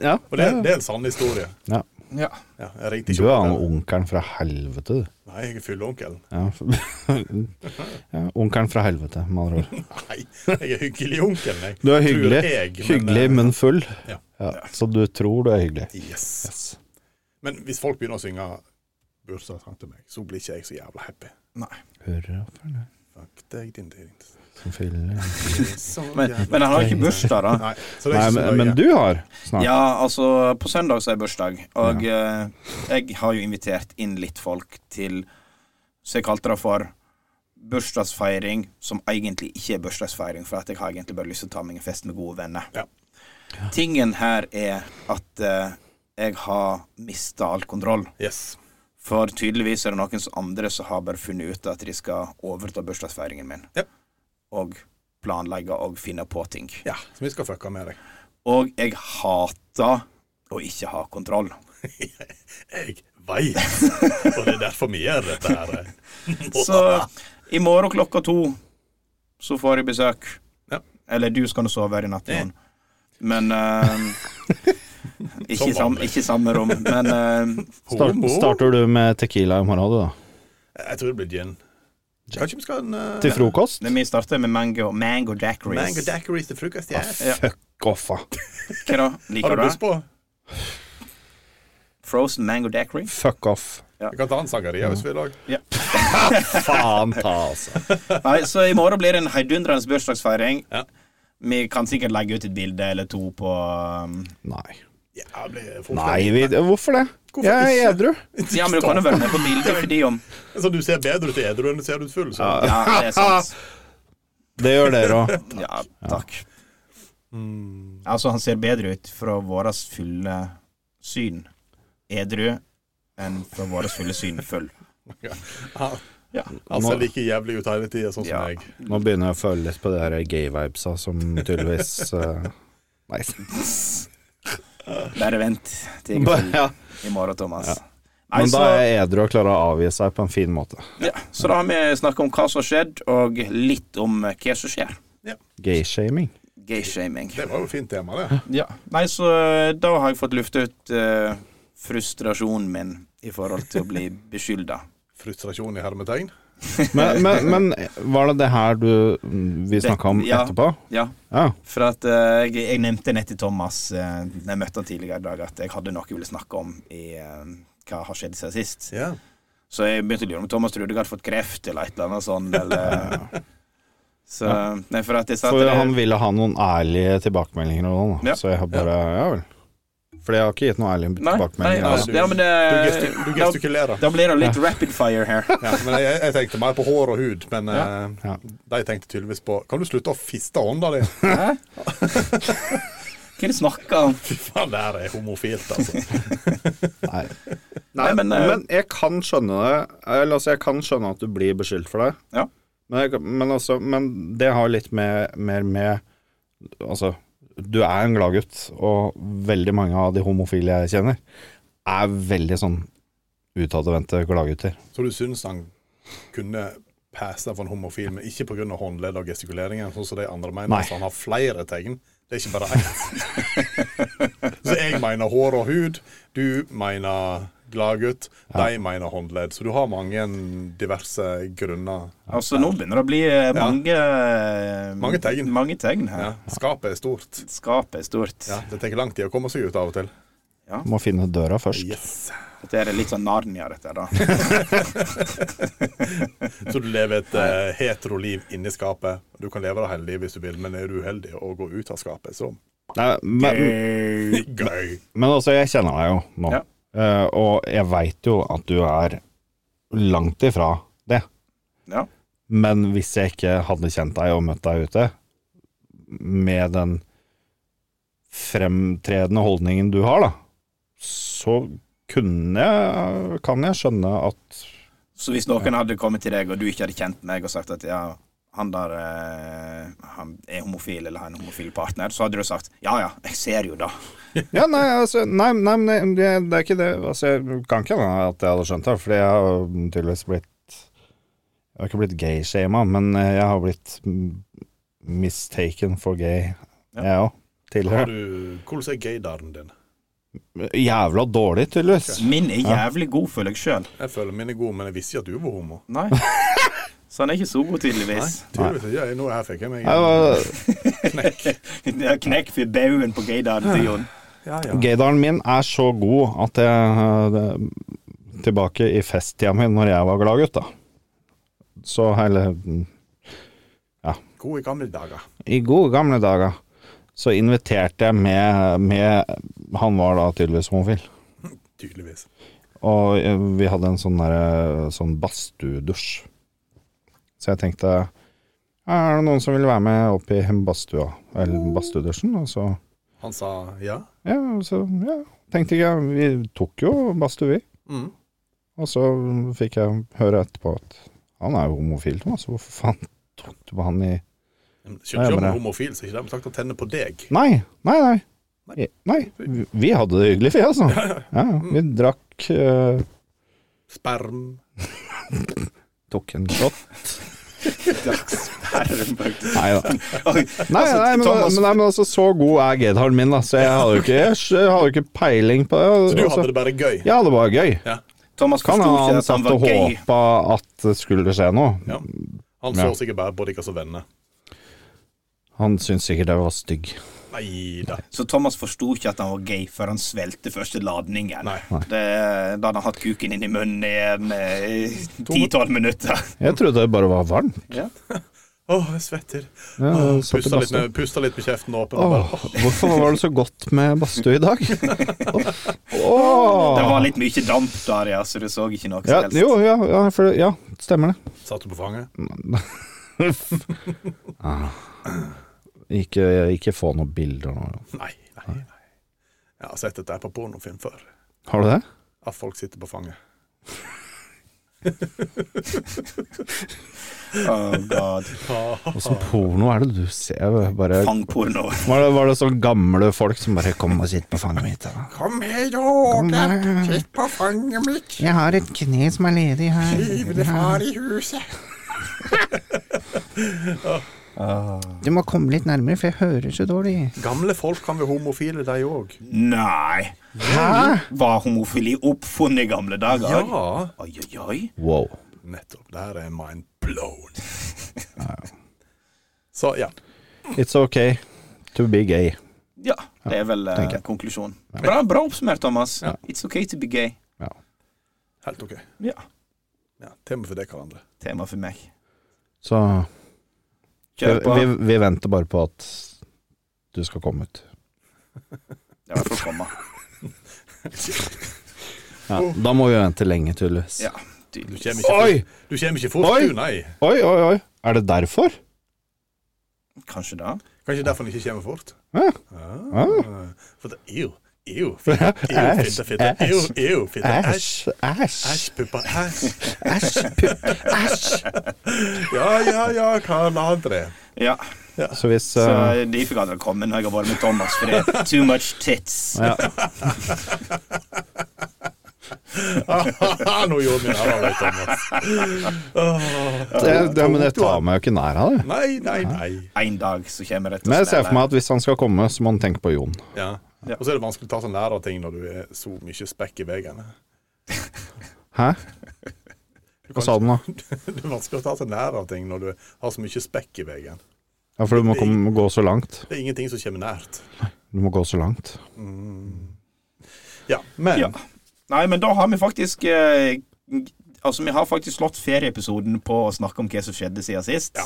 [SPEAKER 5] Ja.
[SPEAKER 3] Og det, det er en sann historie.
[SPEAKER 5] Ja.
[SPEAKER 4] Ja.
[SPEAKER 3] Ja, jeg ringte
[SPEAKER 5] Du
[SPEAKER 3] ikke
[SPEAKER 5] er
[SPEAKER 3] opp
[SPEAKER 5] han
[SPEAKER 3] den.
[SPEAKER 5] onkelen fra helvete, du.
[SPEAKER 3] Nei, jeg er fylleonkelen.
[SPEAKER 5] Ja. ja, onkelen fra helvete, med andre ord.
[SPEAKER 3] Nei, jeg er hyggelig onkelen, jeg.
[SPEAKER 5] Du er
[SPEAKER 3] Tror
[SPEAKER 5] hyggelig,
[SPEAKER 3] jeg, men,
[SPEAKER 5] hyggelig
[SPEAKER 3] eh,
[SPEAKER 5] men full.
[SPEAKER 3] ja.
[SPEAKER 5] Ja, så du tror du er hyggelig.
[SPEAKER 3] Yes. Men hvis folk begynner å synge bursdagssang til meg, så blir ikke jeg så jævla happy.
[SPEAKER 5] Hurra for deg
[SPEAKER 3] Fuck deg, din dering.
[SPEAKER 5] som fyller
[SPEAKER 3] Så
[SPEAKER 4] Men,
[SPEAKER 3] jævla-
[SPEAKER 4] men han har ikke bursdag, da.
[SPEAKER 3] Nei, så
[SPEAKER 5] Sånn. Nei,
[SPEAKER 3] det er ikke så
[SPEAKER 5] men,
[SPEAKER 3] nøye.
[SPEAKER 5] men du har snart.
[SPEAKER 4] Ja, altså, på søndag så er bursdag, og eh, jeg har jo invitert inn litt folk til Så jeg kalte det for bursdagsfeiring som egentlig ikke er bursdagsfeiring, for at jeg har egentlig bare lyst til å ta meg en fest med gode venner.
[SPEAKER 3] Ja.
[SPEAKER 4] Tingen her er at eh, jeg har mista all kontroll.
[SPEAKER 3] Yes.
[SPEAKER 4] For tydeligvis er det noen som andre som har bare funnet ut at de skal overta bursdagsfeiringen min.
[SPEAKER 3] Ja.
[SPEAKER 4] Og planlegge og finne på ting.
[SPEAKER 3] Ja, så vi skal fucka med deg.
[SPEAKER 4] Og jeg hater å ikke ha kontroll.
[SPEAKER 3] Jeg veit, og det er derfor vi gjør dette her.
[SPEAKER 4] Så i morgen klokka to så får jeg besøk.
[SPEAKER 3] Ja.
[SPEAKER 4] Eller du skal nå sove her i natt, Jon. Men eh, ikke,
[SPEAKER 3] Som
[SPEAKER 4] sam,
[SPEAKER 3] vanlig.
[SPEAKER 4] ikke samme rom. Men eh,
[SPEAKER 5] Start, starter du med tequila i morgen, du, da?
[SPEAKER 3] Jeg tror det blir gin. Kanskje vi skal ha en eh,
[SPEAKER 5] Til frokost?
[SPEAKER 4] men vi starter med mango, mango daiquiris.
[SPEAKER 3] mango daiquiris til frokost?
[SPEAKER 5] Ah,
[SPEAKER 3] Ja.
[SPEAKER 5] Fuck off, da.
[SPEAKER 4] Hva da?
[SPEAKER 3] Har
[SPEAKER 4] Liker
[SPEAKER 3] du
[SPEAKER 4] du
[SPEAKER 3] lyst
[SPEAKER 4] det?
[SPEAKER 3] på?
[SPEAKER 4] Frozen mango daiquiri?
[SPEAKER 5] Fuck off.
[SPEAKER 3] Vi kan ta en sangeria hvis vi vil òg.
[SPEAKER 5] Faen ta, altså.
[SPEAKER 4] Nei, så i morgen blir det en heidundrende bursdagsfeiring.
[SPEAKER 3] Ja.
[SPEAKER 4] Vi kan sikkert legge ut et bilde eller to på um,
[SPEAKER 5] Nei.
[SPEAKER 3] Ja, det blir fort-
[SPEAKER 5] Nei, vi, hvorfor det?
[SPEAKER 3] Hvorfor
[SPEAKER 5] Jeg er
[SPEAKER 3] ikke?
[SPEAKER 5] edru.
[SPEAKER 4] Ja, men du kan jo være med på bildet fordi om
[SPEAKER 3] Så du ser bedre ut i edru enn du ser ut full. Så.
[SPEAKER 4] Ja, det er sant.
[SPEAKER 5] Det gjør dere òg.
[SPEAKER 4] Ja, takk.
[SPEAKER 3] Mm.
[SPEAKER 4] Altså, han ser bedre ut fra våres fulle syn edru enn fra våres fulle syn full.
[SPEAKER 3] Ja.
[SPEAKER 4] Ja.
[SPEAKER 3] Han
[SPEAKER 5] Altså,
[SPEAKER 3] ser like jævlig ut hele tida, sånn som
[SPEAKER 4] Ja.
[SPEAKER 3] jeg.
[SPEAKER 5] Nå begynner jeg å føle litt på de her gay-vibesa som tydeligvis eh, Nei.
[SPEAKER 4] Bare vent til
[SPEAKER 5] Bare- ja.
[SPEAKER 4] i morgen, Thomas. Nei,
[SPEAKER 5] Men da
[SPEAKER 4] så,
[SPEAKER 5] er jeg edru og klarer å avgi seg på en fin måte.
[SPEAKER 4] ja, så da har vi snakka om hva som har skjedd, og litt om eh, hva som skjer.
[SPEAKER 5] Gay-shaming.
[SPEAKER 4] Gay-shaming.
[SPEAKER 3] Det var jo et fint tema, det.
[SPEAKER 4] Ja. Nei, så eh, da har jeg fått lufta ut eh, frustrasjonen min i forhold til å bli beskylda.
[SPEAKER 3] Frustrasjon i hermetegn.
[SPEAKER 5] Men, men, men var det det her du vi snakka om
[SPEAKER 4] Det- ja.
[SPEAKER 5] etterpå?
[SPEAKER 4] Ja,
[SPEAKER 5] Ja.
[SPEAKER 4] for at eh, jeg, jeg nevnte nett til Thomas eh, Når jeg møtte han tidligere i dag, at jeg hadde noe jeg ville snakke om i eh, hva har skjedd siden sist.
[SPEAKER 3] Ja.
[SPEAKER 4] Så jeg begynte å lure om Thomas trodde jeg hadde fått kreft eller et eller annet sånt. Eller, så, nei, for at jeg sa at
[SPEAKER 5] For
[SPEAKER 4] det-
[SPEAKER 5] han ville ha noen ærlige tilbakemeldinger og sånn, da.
[SPEAKER 4] Ja.
[SPEAKER 5] så jeg har bare Ja vel. For jeg har ikke gitt noen ærlige
[SPEAKER 4] Nei, nei,
[SPEAKER 5] tilbakemeldinger.
[SPEAKER 4] altså, ja, men det,
[SPEAKER 3] Du, gestu, du
[SPEAKER 5] Eh,
[SPEAKER 3] gestikulerer.
[SPEAKER 4] da, da blir det litt rapid fire her.
[SPEAKER 3] Ja, men jeg, jeg tenkte mer på hår og hud, men eh,
[SPEAKER 5] Ja.
[SPEAKER 3] de tenkte tydeligvis på Kan du slutte å fiste hånda di?
[SPEAKER 4] Hæ? Hva er det du snakker om?
[SPEAKER 3] Fy faen, det her er homofilt, altså.
[SPEAKER 5] Nei.
[SPEAKER 4] Nei, men, eh,
[SPEAKER 5] Men jeg kan skjønne det. Eller altså, jeg kan skjønne at du blir beskyldt for det.
[SPEAKER 4] Ja.
[SPEAKER 5] Men, jeg, men, altså, men det har litt mer, mer med Altså, du er en gladgutt, og veldig mange av de homofile jeg kjenner, er veldig sånn utadvendte gladgutter.
[SPEAKER 3] Så du syns han kunne passe for en homofil, men ikke pga. håndledd og gestikuleringen, sånn som de andre mener?
[SPEAKER 5] Nei.
[SPEAKER 3] Så han har flere tegn? Det er ikke bare ett. så jeg mener hår og hud, du mener gladgutt, de mener håndledd. Så du har mange diverse grunner.
[SPEAKER 4] Altså, nå begynner det å bli eh, mange eh,
[SPEAKER 3] Mange tegn.
[SPEAKER 4] Mange tegn her.
[SPEAKER 3] Ja. Skapet er stort.
[SPEAKER 4] Skapet er stort.
[SPEAKER 3] Ja, det tar lang tid å komme seg ut av og til.
[SPEAKER 5] Du må finne døra først.
[SPEAKER 3] Yes.
[SPEAKER 4] Dette er litt sånn Narnia, dette her, da.
[SPEAKER 3] Så du lever et uh, heteroliv inni skapet. Du kan leve det hele livet hvis du vil, men er du uheldig og går ut av skapet, så
[SPEAKER 5] Nei, men,
[SPEAKER 3] gøy.
[SPEAKER 5] men altså, jeg kjenner deg jo nå,
[SPEAKER 4] Ja.
[SPEAKER 5] Eh, og jeg veit jo at du er langt ifra det.
[SPEAKER 4] Ja.
[SPEAKER 5] Men hvis jeg ikke hadde kjent deg og møtt deg ute, med den fremtredende holdningen du har, da, så kunne jeg, kan jeg skjønne at
[SPEAKER 4] Så hvis noen hadde kommet til deg, og du ikke hadde kjent meg, og sagt at ja, han der eh, han er homofil, eller har en homofil partner, så hadde du sagt ja ja, jeg ser jo da.
[SPEAKER 5] Ja, nei, altså, nei, nei, nei det, det er ikke det. Altså, jeg kan ikke hende at jeg hadde skjønt det, fordi jeg har tydeligvis blitt Jeg har ikke blitt gay-shama, men eh, jeg har blitt mm, mistaken for gay, jeg òg,
[SPEAKER 3] Har
[SPEAKER 5] tidligere.
[SPEAKER 3] du, hvordan er gaydaren din?
[SPEAKER 5] Jævla dårlig, tydeligvis.
[SPEAKER 4] Min er jævlig god, føler jeg sjøl.
[SPEAKER 3] Jeg føler min er god, men jeg visste ikke at du var homo.
[SPEAKER 4] Nei. Så han er ikke så god, tydeligvis.
[SPEAKER 3] Tydeligvis ikke. Jeg- Nå her fikk jeg meg
[SPEAKER 5] Jeg var,
[SPEAKER 4] Det er knekk for baugen på gaydaren til Jon.
[SPEAKER 3] ja, ja.
[SPEAKER 5] Gaydaren min er så god at jeg eh, Tilbake i festtida mi, når jeg var glad gutt, da. Så hele
[SPEAKER 3] God i gamle dager.
[SPEAKER 5] I gode gamle dager så inviterte jeg med, med Han var da tydeligvis homofil.
[SPEAKER 3] Tydeligvis.
[SPEAKER 5] Og eh, vi hadde en sånn, derre- sånn badstuedusj. Så jeg tenkte "Ja, Er det noen som vil være med opp i badstua? Eller badstuedusjen? Og så
[SPEAKER 3] Han sa ja.
[SPEAKER 5] Ja, så ja, tenkte jeg Vi tok jo badstue, vi.
[SPEAKER 3] Mm.
[SPEAKER 5] Og så fikk jeg høre etterpå at han er jo homofil, Thomas. Hvorfor faen tok du på han i
[SPEAKER 3] Skjønner
[SPEAKER 5] Ja,
[SPEAKER 3] ikke om du
[SPEAKER 5] men
[SPEAKER 3] er
[SPEAKER 5] det-
[SPEAKER 3] homofil, så ikke de sagt å tenne på deg.
[SPEAKER 5] Nei, nei, nei. Nei, vi- vi hadde det hyggelig, vi, altså. Ja, ja. vi drakk eh,
[SPEAKER 3] Sperm.
[SPEAKER 5] Tok en shot.
[SPEAKER 4] Dagsperm, faktisk.
[SPEAKER 5] Nei da.
[SPEAKER 4] Oi,
[SPEAKER 5] Nei,
[SPEAKER 4] altså,
[SPEAKER 5] nei, men,
[SPEAKER 4] Thomas-
[SPEAKER 5] men, nei, men altså, så god er Gedharden min, da, så jeg hadde jo ikke, jeg hadde jo ikke peiling på det.
[SPEAKER 3] Så du hadde
[SPEAKER 5] Altså,
[SPEAKER 3] det bare gøy?
[SPEAKER 5] ja, det var gøy.
[SPEAKER 4] Thomas
[SPEAKER 5] Kan
[SPEAKER 4] forsto
[SPEAKER 5] ha
[SPEAKER 4] ikke
[SPEAKER 5] han
[SPEAKER 4] at han
[SPEAKER 5] satt
[SPEAKER 4] var
[SPEAKER 5] og
[SPEAKER 4] gay.
[SPEAKER 5] håpa at det skulle skje noe.
[SPEAKER 3] Ja. Han så
[SPEAKER 5] Ja.
[SPEAKER 3] sikkert bare på dere som venner.
[SPEAKER 5] Han syntes sikkert jeg var stygg.
[SPEAKER 3] Nei da.
[SPEAKER 4] Så Thomas forsto ikke at han var gay før han svelgte første ladningen.
[SPEAKER 3] Nei.
[SPEAKER 4] Det, da hadde han hatt kuken inn i munnen i en, eh, 10-12 minutter.
[SPEAKER 5] Jeg trodde det bare var varmt.
[SPEAKER 3] Å, jeg svetter.
[SPEAKER 5] Ja, jeg satt i
[SPEAKER 3] Pusta Ah, litt,
[SPEAKER 5] badstue.
[SPEAKER 3] med, pusta litt med kjeften åpen. og
[SPEAKER 5] Åh,
[SPEAKER 3] bare, åh,
[SPEAKER 5] hvorfor var det så godt med badstue i dag?
[SPEAKER 4] Det
[SPEAKER 5] Åh.
[SPEAKER 4] var litt mye damp der, ja, så du så ikke noe
[SPEAKER 5] Ah. Ja,
[SPEAKER 4] som helst.
[SPEAKER 5] jo, ja, ja, for, det- ja, stemmer det.
[SPEAKER 3] Satt du på fanget?
[SPEAKER 5] Mm. Ikke, ikke få noen bilder nå.
[SPEAKER 3] Nei, nei, nei. Jeg har sett dette her på pornofilm før.
[SPEAKER 5] Har du det?
[SPEAKER 3] At folk sitter på fanget.
[SPEAKER 4] Oh god.
[SPEAKER 5] Åssen porno er det du ser? Bare,
[SPEAKER 4] Fangporno.
[SPEAKER 5] var, det, var det sånn gamle folk som bare Kom og sitt på fanget mitt. Da.
[SPEAKER 3] Kom her,
[SPEAKER 5] Kom her.
[SPEAKER 3] Åge. Sitt på fanget mitt.
[SPEAKER 5] Jeg har et kne som er ledig her.
[SPEAKER 3] Livende far i huset.
[SPEAKER 5] Du må komme litt nærmere, for jeg hører så dårlig.
[SPEAKER 3] Ah. Gamle folk kan være homofile, de òg.
[SPEAKER 4] Nei.
[SPEAKER 5] Hæ?
[SPEAKER 4] Var homofili oppfunnet i gamle dager?
[SPEAKER 3] Ja.
[SPEAKER 4] Oi, oi, oi.
[SPEAKER 5] Wow.
[SPEAKER 3] Nettopp. Der er mind blown. Så ja.
[SPEAKER 5] It's okay to be gay.
[SPEAKER 4] Ja, det er vel eh,
[SPEAKER 5] tenker jeg.
[SPEAKER 4] konklusjonen. Bra, bra oppsummert, Thomas. It's okay to be gay.
[SPEAKER 3] Helt ok.
[SPEAKER 4] Ja.
[SPEAKER 3] Ja, Tema for deg, hverandre.
[SPEAKER 4] Tema for meg.
[SPEAKER 5] Så
[SPEAKER 4] Kjør på.
[SPEAKER 5] vi, vi venter bare på at du skal komme ut.
[SPEAKER 4] Ja, jeg får komme.
[SPEAKER 5] Ja, Mm. da må vi vente lenge, tydeligvis.
[SPEAKER 4] Ja,
[SPEAKER 3] Du
[SPEAKER 4] tydelig.
[SPEAKER 3] kommer ikke,
[SPEAKER 5] Oi!
[SPEAKER 3] fort- du kommer ikke fort,
[SPEAKER 5] Oi!
[SPEAKER 3] du, nei.
[SPEAKER 5] Oi, oi, oi. Er det derfor?
[SPEAKER 4] Kanskje da.
[SPEAKER 3] Kanskje derfor han ikke kommer fort.
[SPEAKER 5] Ja.
[SPEAKER 3] Ah. For det Ew, ew, fitte, ew,
[SPEAKER 5] Æsj,
[SPEAKER 3] fitte, fitte. Ew,
[SPEAKER 5] æsj,
[SPEAKER 3] ew, fitte, æsj.
[SPEAKER 5] Ah, Æsj. Æsj.
[SPEAKER 3] Æsj, puppa, æsj.
[SPEAKER 5] Æsj. pupp, Æsj.
[SPEAKER 3] Ja, ja, ja, Karl André.
[SPEAKER 4] Ja,
[SPEAKER 5] Så hvis
[SPEAKER 4] så
[SPEAKER 5] eh,
[SPEAKER 4] derfor kan jeg komme når jeg har vært med Thomas, for det er too much tits.
[SPEAKER 5] ja.
[SPEAKER 3] Nå gjorde vi det her, vet du, Thomas.
[SPEAKER 5] det, det, Men jeg tar meg jo ikke nær av det.
[SPEAKER 3] Nei, nei, nei.
[SPEAKER 4] En dag så kommer det til
[SPEAKER 5] Men jeg ser for meg at hvis han skal komme, så må han tenke på Jon.
[SPEAKER 3] Ja. Og så er det vanskelig å ta sånn lærerting når du er så mye spekk i veggene.
[SPEAKER 5] Hæ? Hva sa du nå?
[SPEAKER 3] Det er vanskelig å ta seg nær av ting når du har så mye spekk i veggen.
[SPEAKER 5] Ja, for du må komme, gå så langt.
[SPEAKER 3] Det er ingenting som kommer nært.
[SPEAKER 5] Du må gå så langt.
[SPEAKER 3] Ja, men
[SPEAKER 4] Ja. Nei, men da har vi faktisk eh, Altså, vi har faktisk slått ferieepisoden på å snakke om hva som skjedde siden sist.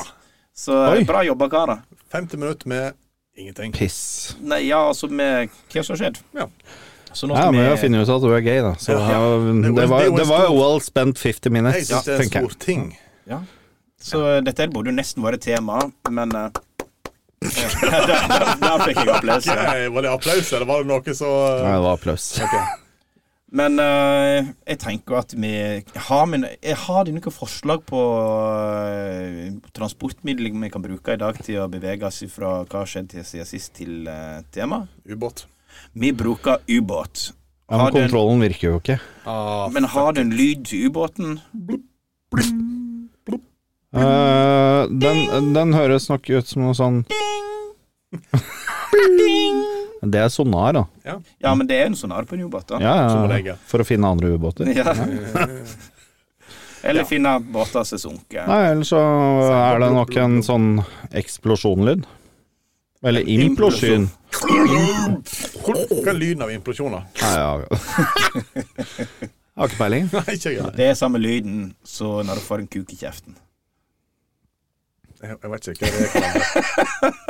[SPEAKER 4] Så eh,
[SPEAKER 5] Oi.
[SPEAKER 4] bra jobba, karer.
[SPEAKER 3] 50 minutter med ingenting.
[SPEAKER 5] Piss.
[SPEAKER 4] Nei, ja, altså, med hva som har skjedd.
[SPEAKER 3] Ja.
[SPEAKER 4] Så nå
[SPEAKER 5] Ja,
[SPEAKER 4] skal
[SPEAKER 5] men
[SPEAKER 4] vi
[SPEAKER 5] jeg finner ut at du er gay, da. Så
[SPEAKER 3] Ja.
[SPEAKER 5] det,
[SPEAKER 3] Det
[SPEAKER 5] var,
[SPEAKER 3] er jo- det er jo
[SPEAKER 5] det
[SPEAKER 3] en
[SPEAKER 5] var
[SPEAKER 3] stor-
[SPEAKER 5] well spent 50
[SPEAKER 3] Jeg
[SPEAKER 5] minutes,
[SPEAKER 3] syns det er en
[SPEAKER 5] tenker
[SPEAKER 3] stor
[SPEAKER 5] jeg.
[SPEAKER 3] ting.
[SPEAKER 4] Ja. Så eh, dette burde jo nesten vært tema, men eh, der, der, der fikk jeg applaus.
[SPEAKER 3] Nei, var det applaus, eller var det noe så
[SPEAKER 5] Ja, det var applaus.
[SPEAKER 4] Men eh, jeg tenker at vi Har, vi, jeg har de noen forslag på eh, transportmidler vi kan bruke i dag til å bevege oss fra hva har skjedd til siden sist, til eh, tema?
[SPEAKER 3] ubåt?
[SPEAKER 4] Vi bruker ubåt.
[SPEAKER 5] Ja, men
[SPEAKER 4] Har den-
[SPEAKER 5] kontrollen virker jo ikke.
[SPEAKER 3] Ah,
[SPEAKER 4] Men har den lyd til ubåten?
[SPEAKER 5] Eh, den, den høres nok ut som noe sånn Det er sonar, da.
[SPEAKER 4] Ja, men det er en sonar på en ubåt, da.
[SPEAKER 5] Ja,
[SPEAKER 3] Som å
[SPEAKER 5] ja,
[SPEAKER 3] legge.
[SPEAKER 5] for å finne andre ubåter.
[SPEAKER 4] Ja. Eller finne båter som sunker.
[SPEAKER 5] Nei, ellers så er det nok en sånn eksplosjonlyd. Eller implosjon.
[SPEAKER 4] implosjon.
[SPEAKER 3] Hva er lyden av implosjoner?
[SPEAKER 5] Nei, ja. Jeg har ikke peiling.
[SPEAKER 3] Nei, ikke jeg.
[SPEAKER 4] Det er samme lyden som når du får en kuk i kjeften.
[SPEAKER 3] Jeg jeg vet ikke hva det er.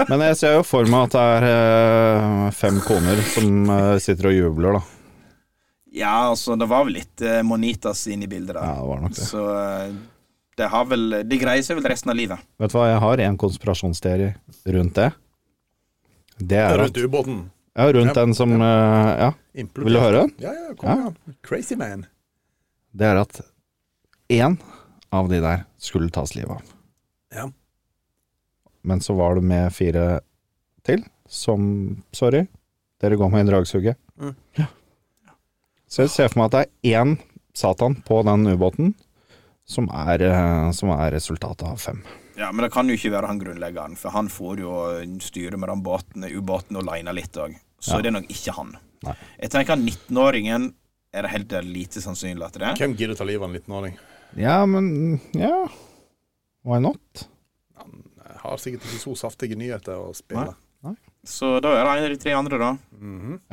[SPEAKER 5] Men jeg ser jo for meg at det er eh, fem koner som eh, sitter og jubler, da.
[SPEAKER 4] Ja, altså, det var vel litt eh, Monitas inne i bildet
[SPEAKER 5] Ja,
[SPEAKER 4] der.
[SPEAKER 5] det var nok det.
[SPEAKER 4] Så eh, det har vel De greier seg vel resten av livet.
[SPEAKER 5] Vet du hva, jeg har en konspirasjonsteori rundt det. Det er at
[SPEAKER 3] Rundt ubåten.
[SPEAKER 5] Ja, rundt den som eh, Ja,
[SPEAKER 3] Implodert.
[SPEAKER 5] vil du høre den?
[SPEAKER 3] Ja, ja, kom igjen. Crazy man.
[SPEAKER 5] Det er at én av de der skulle tas livet av.
[SPEAKER 3] Ja.
[SPEAKER 5] Men så var det med fire til som Sorry, dere går med i dragsuget.
[SPEAKER 3] Mm.
[SPEAKER 5] Ja. Så jeg ser for meg at det er én Satan på den ubåten som er, eh, som er resultatet av fem.
[SPEAKER 4] Ja, Men det kan jo ikke være han grunnleggeren, for han får jo styre med den båten, ubåten aleine litt òg. Så
[SPEAKER 5] Ja.
[SPEAKER 4] det er nok ikke han.
[SPEAKER 5] Nei.
[SPEAKER 4] Jeg tenker at 19-åringen er det helt eh, lite sannsynlig at det er.
[SPEAKER 3] Hvem gidder å ta livet av en litenåring?
[SPEAKER 5] Ja, men Ja, why not?
[SPEAKER 3] Jeg Har sikkert ikke så saftige nyheter å spille. Mhm.
[SPEAKER 4] Så da er det en av de tre andre, da.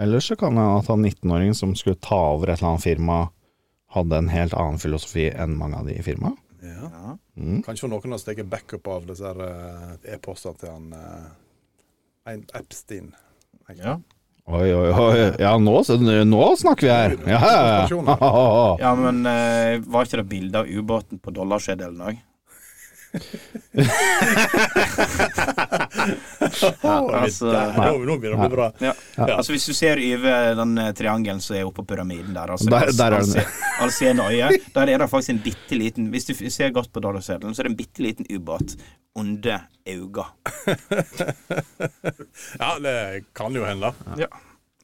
[SPEAKER 5] Ellers så kan det hende at han 19-åringen som skulle ta over et eller annet firma, hadde en helt annen filosofi enn mange av de i firmaet.
[SPEAKER 3] Ja.
[SPEAKER 4] Ja.
[SPEAKER 3] Kanskje noen har steket backup av disse her, eh, e-postene til han eh, Ein- Epstein.
[SPEAKER 4] Ja.
[SPEAKER 5] Oi, oi, oi. Ja, nå, nå snakker vi her. Ja, ja, ja.
[SPEAKER 4] Ja, men eh, var ikke det bilde av ubåten på dollarskjedelen òg? altså-
[SPEAKER 3] Der, nå, nå begynner det å bli bra.
[SPEAKER 4] Ja.
[SPEAKER 3] Ja.
[SPEAKER 4] Altså Hvis du ser over den eh, triangelen som er oppe på pyramiden der, altså,
[SPEAKER 5] Der- der er den.
[SPEAKER 4] Alsenøye, der er det faktisk en bitte liten Hvis du f- ser godt på dollarsedelen, så er det en bitte liten ubåt under auga.
[SPEAKER 3] Ja, det kan jo hende.
[SPEAKER 4] Ja.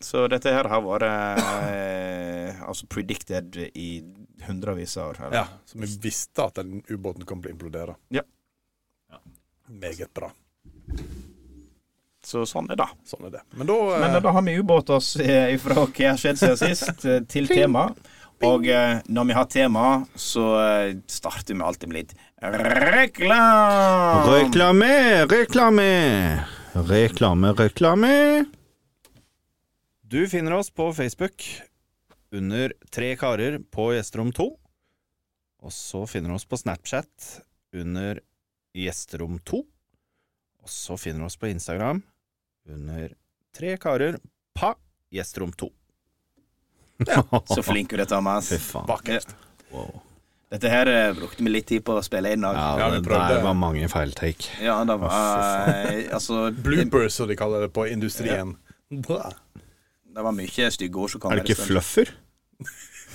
[SPEAKER 4] Så dette her har vært eh, altså predicted i hundrevis av år. eller?
[SPEAKER 3] Ja, så vi visste at den ubåten kom til å implodere.
[SPEAKER 4] Ja.
[SPEAKER 3] Meget bra.
[SPEAKER 4] Så sånn er det.
[SPEAKER 3] Sånn er det. Men da eh,
[SPEAKER 4] Men da har vi ubåter s- eh, ifra hva har skjedd siden sist, eh, til tema. Og eh, når vi har tema, så eh, starter vi alltid med litt reklame.
[SPEAKER 5] Reklame, reklame, reklame, reklame. Du finner oss på Facebook under Tre karer på Gjesterom 2. Og så finner du oss på Snapchat under Gjesterom 2. Og så finner du oss på Instagram under Tre karer pa Gjesterom 2.
[SPEAKER 4] Så flink du er, Thomas. Eh,
[SPEAKER 5] Fy faen.
[SPEAKER 3] Vakkert.
[SPEAKER 5] Wow.
[SPEAKER 4] Dette her eh, brukte vi litt tid på å spille inn. Og,
[SPEAKER 5] Ja,
[SPEAKER 3] Ja, vi
[SPEAKER 5] det
[SPEAKER 3] prøvde.
[SPEAKER 5] der var mange feiltake.
[SPEAKER 4] ja, det var eh, Altså, det,
[SPEAKER 3] Bloopers, som de kaller det på industrien. Bra.
[SPEAKER 4] det var mye stygge ord som kom.
[SPEAKER 5] Er det
[SPEAKER 4] her i
[SPEAKER 5] ikke
[SPEAKER 4] stund.
[SPEAKER 5] fluffer?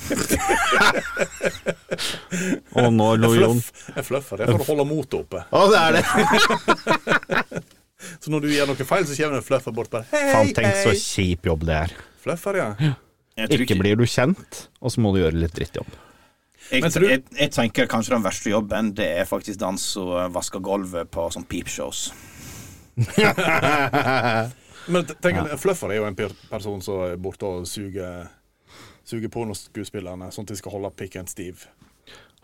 [SPEAKER 5] Å, nå lo Jon.
[SPEAKER 3] Fluff. Jeg fluffer. Det er for å holde motet oppe.
[SPEAKER 5] Å, det er det!
[SPEAKER 3] Så når du gjør noe feil, så kommer det en fluffer bort bare Hei,
[SPEAKER 5] Faen, tenk så
[SPEAKER 3] hei.
[SPEAKER 5] kjip jobb det er.
[SPEAKER 3] Fluffer, ja.
[SPEAKER 4] Jeg tror
[SPEAKER 5] Ikke blir du kjent, og så må du gjøre litt drittjobb.
[SPEAKER 4] Jeg,
[SPEAKER 3] Men tror du-
[SPEAKER 4] jeg, jeg tenker kanskje den verste jobben Det er faktisk den som vasker gulvet på sånn peepshows.
[SPEAKER 3] Men t- tenk, en fluffer er jo en per- person som er borte og suger Suger på noen skuespillerne, sånn at de skal holde pikken stiv.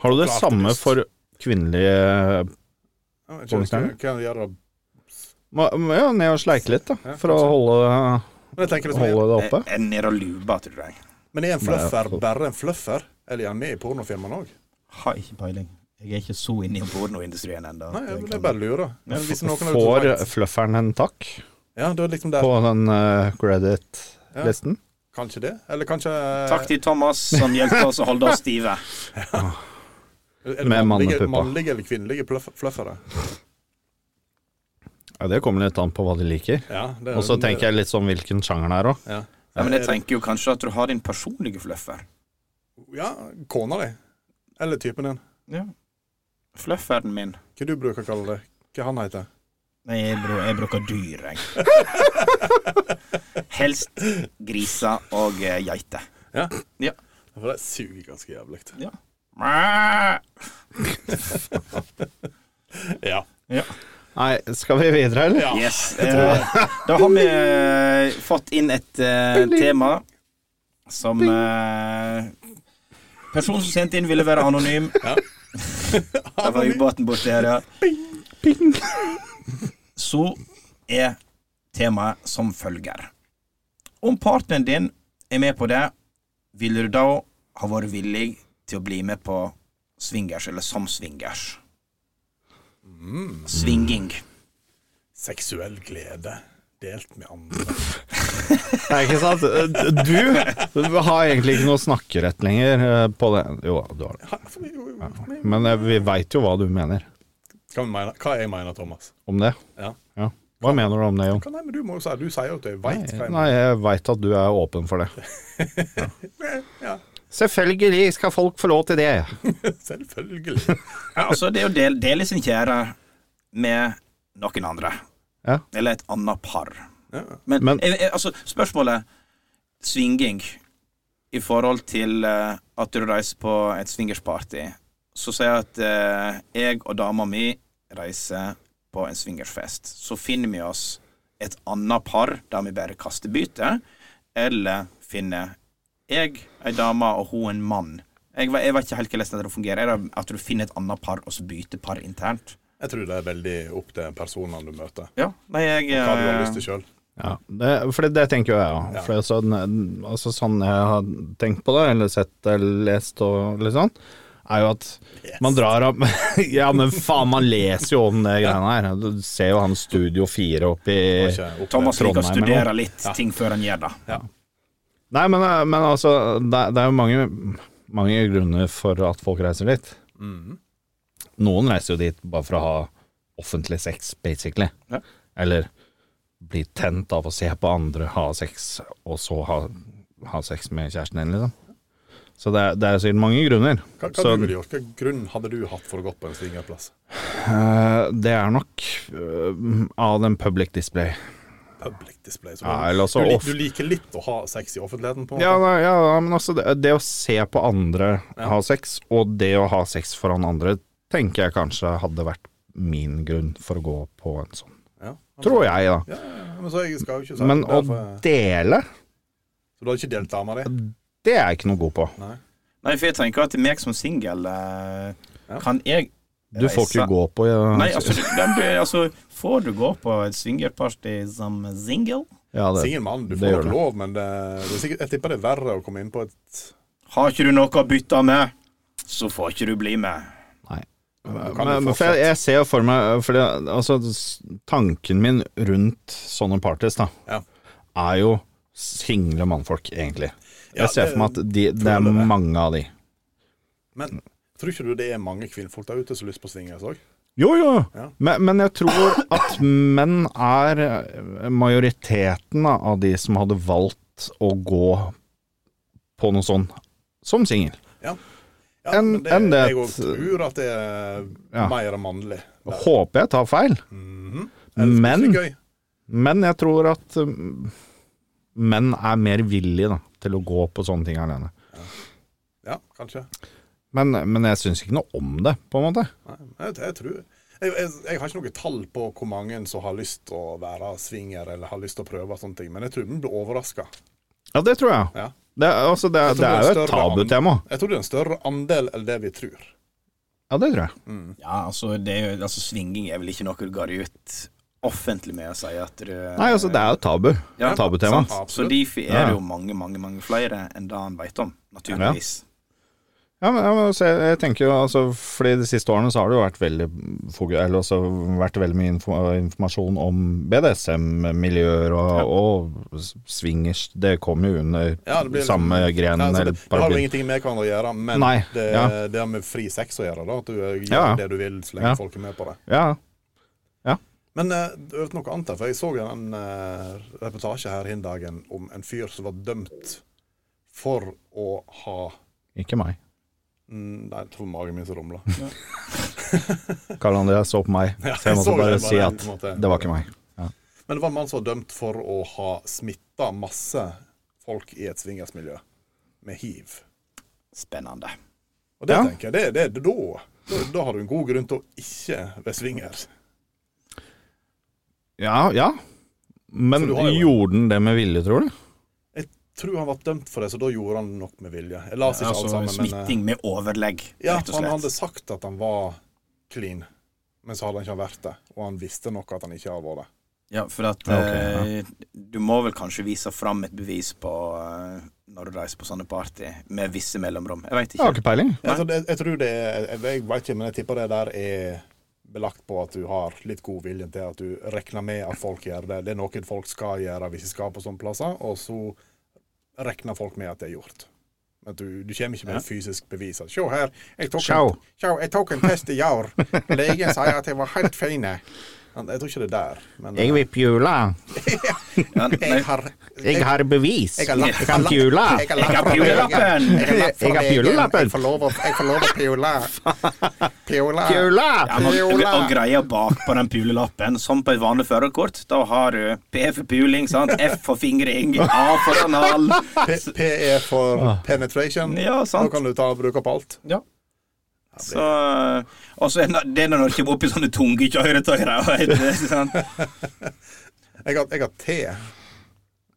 [SPEAKER 5] Har du det
[SPEAKER 3] Klart
[SPEAKER 5] samme
[SPEAKER 3] lyst.
[SPEAKER 5] for kvinnelige
[SPEAKER 3] Ja, men ikke-
[SPEAKER 5] Pornostjerne?
[SPEAKER 3] Hva hva gjør det?
[SPEAKER 5] må, må jo ned og sleike litt, da, for å holde,
[SPEAKER 3] Men jeg tenker liksom,
[SPEAKER 5] holde det
[SPEAKER 4] Er
[SPEAKER 5] oppe.
[SPEAKER 4] er den nede og luber, tror jeg.
[SPEAKER 3] Men er en
[SPEAKER 5] Nei,
[SPEAKER 3] fluffer
[SPEAKER 5] jeg-
[SPEAKER 3] bare en fluffer? Eller er han med i pornofilmene òg?
[SPEAKER 4] Har ikke peiling. Jeg er ikke så inne i pornoindustrien ennå.
[SPEAKER 3] Nei, jeg, jeg bare lurer. Men hvis noen har
[SPEAKER 5] Får
[SPEAKER 3] utrolig-
[SPEAKER 5] flufferen en takk
[SPEAKER 3] Ja, da er det liksom der.
[SPEAKER 5] på den eh, credit-listen?
[SPEAKER 3] Kanskje det? Eller kanskje
[SPEAKER 4] Takk til Thomas, som hjelper oss å holde oss stive.
[SPEAKER 3] Er det
[SPEAKER 5] Med
[SPEAKER 3] mannlige,
[SPEAKER 5] mannepuppa.
[SPEAKER 3] mannlige eller kvinnelige fluff- fluffere?
[SPEAKER 5] Ja, det kommer litt an på hva de liker.
[SPEAKER 3] Ja, det er- eh,
[SPEAKER 5] Og så tenker jeg litt sånn hvilken sjanger det er òg.
[SPEAKER 3] ja.
[SPEAKER 4] Ja, men jeg tenker jo kanskje at du har din personlige fluffer.
[SPEAKER 3] ja, kona di. Eller typen din.
[SPEAKER 4] Ja. Flufferen min.
[SPEAKER 3] Hva du bruker å kalle det? Hva han heter?
[SPEAKER 4] Nei, jeg, bru- jeg bruker dyr, jeg. Helst griser og eh, geiter.
[SPEAKER 3] Ja.
[SPEAKER 4] Ja.
[SPEAKER 3] For det suger ganske jævlig.
[SPEAKER 4] Ja. Mæ.
[SPEAKER 3] Ja.
[SPEAKER 5] Nei, skal vi videre, eller?
[SPEAKER 4] Yes. Eh, da har vi eh, fått inn et eh, tema som eh, Personen som sendte inn, ville være anonym.
[SPEAKER 3] Ja.
[SPEAKER 4] Det var ubåten borti her, ja. Så er temaet som følger. Om partneren din er med på det, vil du da ha vært villig til å bli med på swingers, eller som swingers? Svinging.
[SPEAKER 3] Seksuell glede delt med andre.
[SPEAKER 5] Nei, ikke sant? Du har egentlig ikke noe snakkerett lenger eh, på det. Jo, du har det.
[SPEAKER 3] Ha, for- jo, jo, jo.
[SPEAKER 5] Men eh, vi veit jo hva du mener
[SPEAKER 3] Hva, vi mener, hva jeg mener, Thomas?
[SPEAKER 5] om det.
[SPEAKER 3] Ja.
[SPEAKER 5] Ja. Hva mener du om det, Jon?
[SPEAKER 3] Hva, nei, men du må jo si Du sier jo at jeg veit hva jeg
[SPEAKER 5] Nei,
[SPEAKER 3] mener.
[SPEAKER 5] jeg veit at du er åpen for det.
[SPEAKER 3] Ja,
[SPEAKER 5] Selvfølgelig skal folk få lov til det.
[SPEAKER 3] selvfølgelig.
[SPEAKER 4] Ja, altså, det er å del, dele sin kjære med noen andre.
[SPEAKER 5] Ja.
[SPEAKER 4] Eller et annet par.
[SPEAKER 3] Ja.
[SPEAKER 4] Men,
[SPEAKER 5] Men-
[SPEAKER 4] eh, eh, altså, spørsmålet Svinging i forhold til eh, at du reiser på et swingersparty. Så sier jeg at eh, jeg og dama mi reiser på en swingersfest. Så finner vi oss et annet par der vi bare kaster bytte, eller finner jeg, ei dame og hun en mann. Jeg, ve- jeg vet ikke helt hvordan det fungerer. Er det at du finner et annet par, og så bytter par internt?
[SPEAKER 3] Jeg tror det er veldig opp til personene du møter.
[SPEAKER 4] Ja, nei, jeg
[SPEAKER 3] Hva du har
[SPEAKER 4] eh,
[SPEAKER 3] lyst til sjøl.
[SPEAKER 5] Ja, det, for det, det tenker jo jeg òg.
[SPEAKER 3] Ja.
[SPEAKER 5] For altså, n- altså, sånn jeg har tenkt på det, eller sett eller lest og litt sånn, er jo at man drar opp Ja, men faen, man leser jo om det greiene her. Du ser jo han Studio 4 oppi
[SPEAKER 4] Thomas liker
[SPEAKER 5] Trondheim
[SPEAKER 4] å
[SPEAKER 5] eller
[SPEAKER 4] studere litt ting før han gjør det.
[SPEAKER 5] Nei, men, men altså, det, det er jo mange, mange grunner for at folk reiser dit.
[SPEAKER 3] Mhm.
[SPEAKER 5] Noen reiser jo dit bare for å ha offentlig sex, basically.
[SPEAKER 4] Ja.
[SPEAKER 5] Eller bli tent av å se på andre ha sex, og så ha, ha sex med kjæresten din, liksom. Så det er, det er sikkert mange grunner.
[SPEAKER 3] Hva, hva,
[SPEAKER 5] Så-
[SPEAKER 3] du ville gjort? hva grunn hadde du hatt for å gått på en swingerplass?
[SPEAKER 5] Eh, det er nok eh, av den public display.
[SPEAKER 3] Public display. Så
[SPEAKER 5] Ja, eller
[SPEAKER 3] du,
[SPEAKER 5] også
[SPEAKER 3] lik-
[SPEAKER 5] off-
[SPEAKER 3] du liker litt å ha sex i offentligheten? på en
[SPEAKER 5] Ja,
[SPEAKER 3] måte?
[SPEAKER 5] nei, ja nei, men altså det, det å se på andre ha sex, og det å ha sex foran andre, tenker jeg kanskje hadde vært min grunn for å gå på en sånn.
[SPEAKER 3] Ja.
[SPEAKER 5] Tror jeg, da.
[SPEAKER 3] Ja, ja, men så jeg skal jo ikke si
[SPEAKER 5] Men
[SPEAKER 3] det,
[SPEAKER 5] å
[SPEAKER 3] for jeg-
[SPEAKER 5] dele,
[SPEAKER 3] Så du har ikke delt dama di?
[SPEAKER 5] det er jeg ikke noe god på.
[SPEAKER 4] Nei, for jeg tenker at meg som singel eh, Kan jeg
[SPEAKER 5] Du får ikke
[SPEAKER 4] reise-
[SPEAKER 5] gå på ja,
[SPEAKER 4] Nei, altså, den blir, altså Får du gå på et swingerparty som singel?
[SPEAKER 5] ja, det,
[SPEAKER 3] Singel mann, du
[SPEAKER 5] det
[SPEAKER 3] får
[SPEAKER 5] gjør
[SPEAKER 3] nok
[SPEAKER 5] det.
[SPEAKER 3] lov, men det, det er sikkert, jeg tipper det er verre å komme inn på et
[SPEAKER 4] Har ikke du noe å bytte med, så får ikke du bli med.
[SPEAKER 3] du kan jo
[SPEAKER 5] men, men for jeg, jeg ser jo for meg for det, altså, s- Tanken min rundt sånne parties da,
[SPEAKER 3] Ja.
[SPEAKER 5] er jo single mannfolk, egentlig.
[SPEAKER 3] Ja,
[SPEAKER 5] Jeg ser
[SPEAKER 3] det-
[SPEAKER 5] for meg at de, det er
[SPEAKER 3] jeg det.
[SPEAKER 5] mange av de.
[SPEAKER 3] Men tror ikke du det er mange kvinnfolk der ute som har lyst på swingers òg?
[SPEAKER 5] Jo, jo,
[SPEAKER 3] Ja.
[SPEAKER 5] men, men jeg tror at menn er eh, majoriteten av de som hadde valgt å gå på noe sånn som singel.
[SPEAKER 3] Ja,
[SPEAKER 5] En-
[SPEAKER 3] men det,
[SPEAKER 5] en det-
[SPEAKER 3] jeg òg tror at det er
[SPEAKER 5] Ja.
[SPEAKER 3] mer mannlig. der.
[SPEAKER 5] Håper jeg tar feil,
[SPEAKER 3] Mhm. Ellers blir det
[SPEAKER 5] men,
[SPEAKER 3] ikke gøy.
[SPEAKER 5] men jeg tror at um, menn er mer villige da, til å gå på sånne ting alene.
[SPEAKER 3] Ja, kanskje.
[SPEAKER 5] Men, men jeg syns ikke noe om det, på en måte.
[SPEAKER 3] Nei, jeg, jeg tror jeg, jeg, jeg har ikke noe tall på hvor mange som har lyst til å være swinger eller har lyst til å prøve sånne ting, men jeg tror vi blir overraska.
[SPEAKER 5] Ja, det tror jeg.
[SPEAKER 3] Ja.
[SPEAKER 5] Det, er- altså, det, er-
[SPEAKER 3] Jeg tror
[SPEAKER 5] det
[SPEAKER 3] det er
[SPEAKER 5] er jo
[SPEAKER 3] en
[SPEAKER 5] et
[SPEAKER 3] større an-
[SPEAKER 5] tabutema.
[SPEAKER 3] Jeg tror det er en større andel enn det vi tror.
[SPEAKER 5] Ja, det tror jeg.
[SPEAKER 4] Ja, altså, det er jo, altså Svinging er vel ikke noe du går ut offentlig med å si at du
[SPEAKER 5] Nei, altså, det er jo tabu.
[SPEAKER 4] Ja,
[SPEAKER 5] Tabutema.
[SPEAKER 4] sant. Så Difi er
[SPEAKER 5] Ja.
[SPEAKER 4] det jo mange, mange mange flere enn det han veit om, naturligvis.
[SPEAKER 5] Ja, men, ja, men altså, jeg, jeg tenker jo altså, Fordi de siste årene så har det jo vært veldig fokus, Eller også vært veldig mye info, informasjon om BDSM-miljøer og, og s- swingers. Det kom jo under
[SPEAKER 3] Ja, det blir liksom-
[SPEAKER 5] samme gren
[SPEAKER 3] Nei, altså,
[SPEAKER 5] eller
[SPEAKER 3] det, det har jo
[SPEAKER 5] paraplyen.
[SPEAKER 3] ingenting med hverandre å gjøre, men
[SPEAKER 5] Nei,
[SPEAKER 3] det,
[SPEAKER 5] ja.
[SPEAKER 3] det har med fri sex å gjøre. da At du eh, gjør
[SPEAKER 5] Ja.
[SPEAKER 3] det du vil så lenge
[SPEAKER 5] Ja.
[SPEAKER 3] folk er med på det.
[SPEAKER 5] Ja,
[SPEAKER 3] Men eh, du vet noe annet, her, for jeg så en eh, reportasje her hin dagen om en fyr som var dømt for å ha
[SPEAKER 5] ikke meg.
[SPEAKER 3] Mm, Nei, jeg tror magen min som rumla.
[SPEAKER 5] Karl André så på meg,
[SPEAKER 3] Ja,
[SPEAKER 5] så jeg
[SPEAKER 3] jeg
[SPEAKER 5] måtte
[SPEAKER 3] så
[SPEAKER 5] bare
[SPEAKER 3] det,
[SPEAKER 5] si
[SPEAKER 3] bare,
[SPEAKER 5] at
[SPEAKER 3] på en måte.
[SPEAKER 5] det var ikke meg.
[SPEAKER 3] Men det var en mann som var dømt for å ha smitta masse folk i et swingersmiljø med hiv.
[SPEAKER 4] Spennende.
[SPEAKER 3] Og det
[SPEAKER 5] Ja.
[SPEAKER 3] tenker jeg, det, det, da, da, da har du en god grunn til å ikke være swingers.
[SPEAKER 5] Ja, ja. Men
[SPEAKER 3] For du har jo-
[SPEAKER 5] gjorde den det med vilje, tror du?
[SPEAKER 3] Jeg tror han var dømt for det, så da gjorde han nok med vilje. Jeg las ikke
[SPEAKER 4] Altså
[SPEAKER 3] alt sammen, men eh,
[SPEAKER 4] Smitting med overlegg,
[SPEAKER 3] ja,
[SPEAKER 4] rett og
[SPEAKER 3] han hadde
[SPEAKER 4] slett.
[SPEAKER 3] sagt at han var clean, men så hadde han ikke vært det. Og han visste nok at han ikke har vært det.
[SPEAKER 4] Ja, for at
[SPEAKER 5] Ja, ok,
[SPEAKER 4] eh, du må vel kanskje vise fram et bevis på eh, når du reiser på sånne party, med visse mellomrom. Jeg veit
[SPEAKER 5] Jeg har
[SPEAKER 4] ikke.
[SPEAKER 5] ikke peiling.
[SPEAKER 3] Jeg, tror Altså, det, jeg tror det er, jeg, jeg vet ikke, men jeg tipper det der er belagt på at du har litt god vilje til at du regner med at folk gjør det. Det er noe folk skal gjøre hvis de skal på sånne plasser, og så regner folk med at det er gjort. At du, du kommer ikke med et fysisk bevis. At, Sjå her, jeg tok,
[SPEAKER 5] Sjå.
[SPEAKER 3] en, sjå, jeg tok en test i år. Legen sier at jeg var helt fin. Men Jeg tror ikke det er der. Men eh,
[SPEAKER 5] vil på jula.
[SPEAKER 4] Ja, nei,
[SPEAKER 3] jeg har
[SPEAKER 5] har bevis.
[SPEAKER 3] jeg har lagt- jeg har lagt- jeg har lagt
[SPEAKER 4] Jeg har
[SPEAKER 3] fra legen.
[SPEAKER 4] pjolelappen.
[SPEAKER 3] Jeg har lagt fra
[SPEAKER 5] Jeg har
[SPEAKER 3] legen.
[SPEAKER 5] pjolelappen.
[SPEAKER 3] Jeg får lov å- Jeg får lov å pjola. Pjola.
[SPEAKER 4] Ja, men, og, og greia bakpå den pulelappen, som på et vanlig førerkort, da har du P for puling, sant? F for fingring, A for anal.
[SPEAKER 3] P- PE for penetration.
[SPEAKER 4] Ja,
[SPEAKER 3] Nå
[SPEAKER 4] sant.
[SPEAKER 3] kan du ta og bruke opp alt.
[SPEAKER 4] Så, og så er det- det er når du kommer opp i sånne tunge kjøretøyer. sant?
[SPEAKER 3] Jeg har, jeg har T.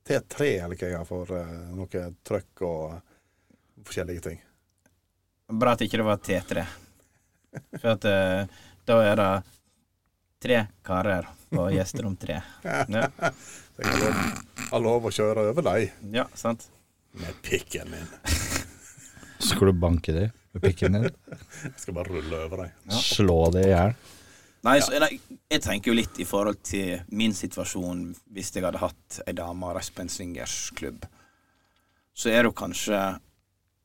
[SPEAKER 3] T3 eller hva jeg har for eh, noe trøkk og forskjellige ting.
[SPEAKER 4] Bra at ikke det var T3. For at eh, da er det tre karer på gjesterom tre. Ja,
[SPEAKER 3] Så jeg har lov, har lov å kjøre over deg
[SPEAKER 4] ja sant?
[SPEAKER 3] med pikken min.
[SPEAKER 5] Skal du banke det med pikken din?
[SPEAKER 3] Jeg skal bare rulle over deg.
[SPEAKER 5] Slå det i hjel?
[SPEAKER 4] Nei, så, nei, jeg tenker jo litt i forhold til min situasjon hvis jeg hadde hatt ei dame og reist på en swingersklubb. Så er det jo kanskje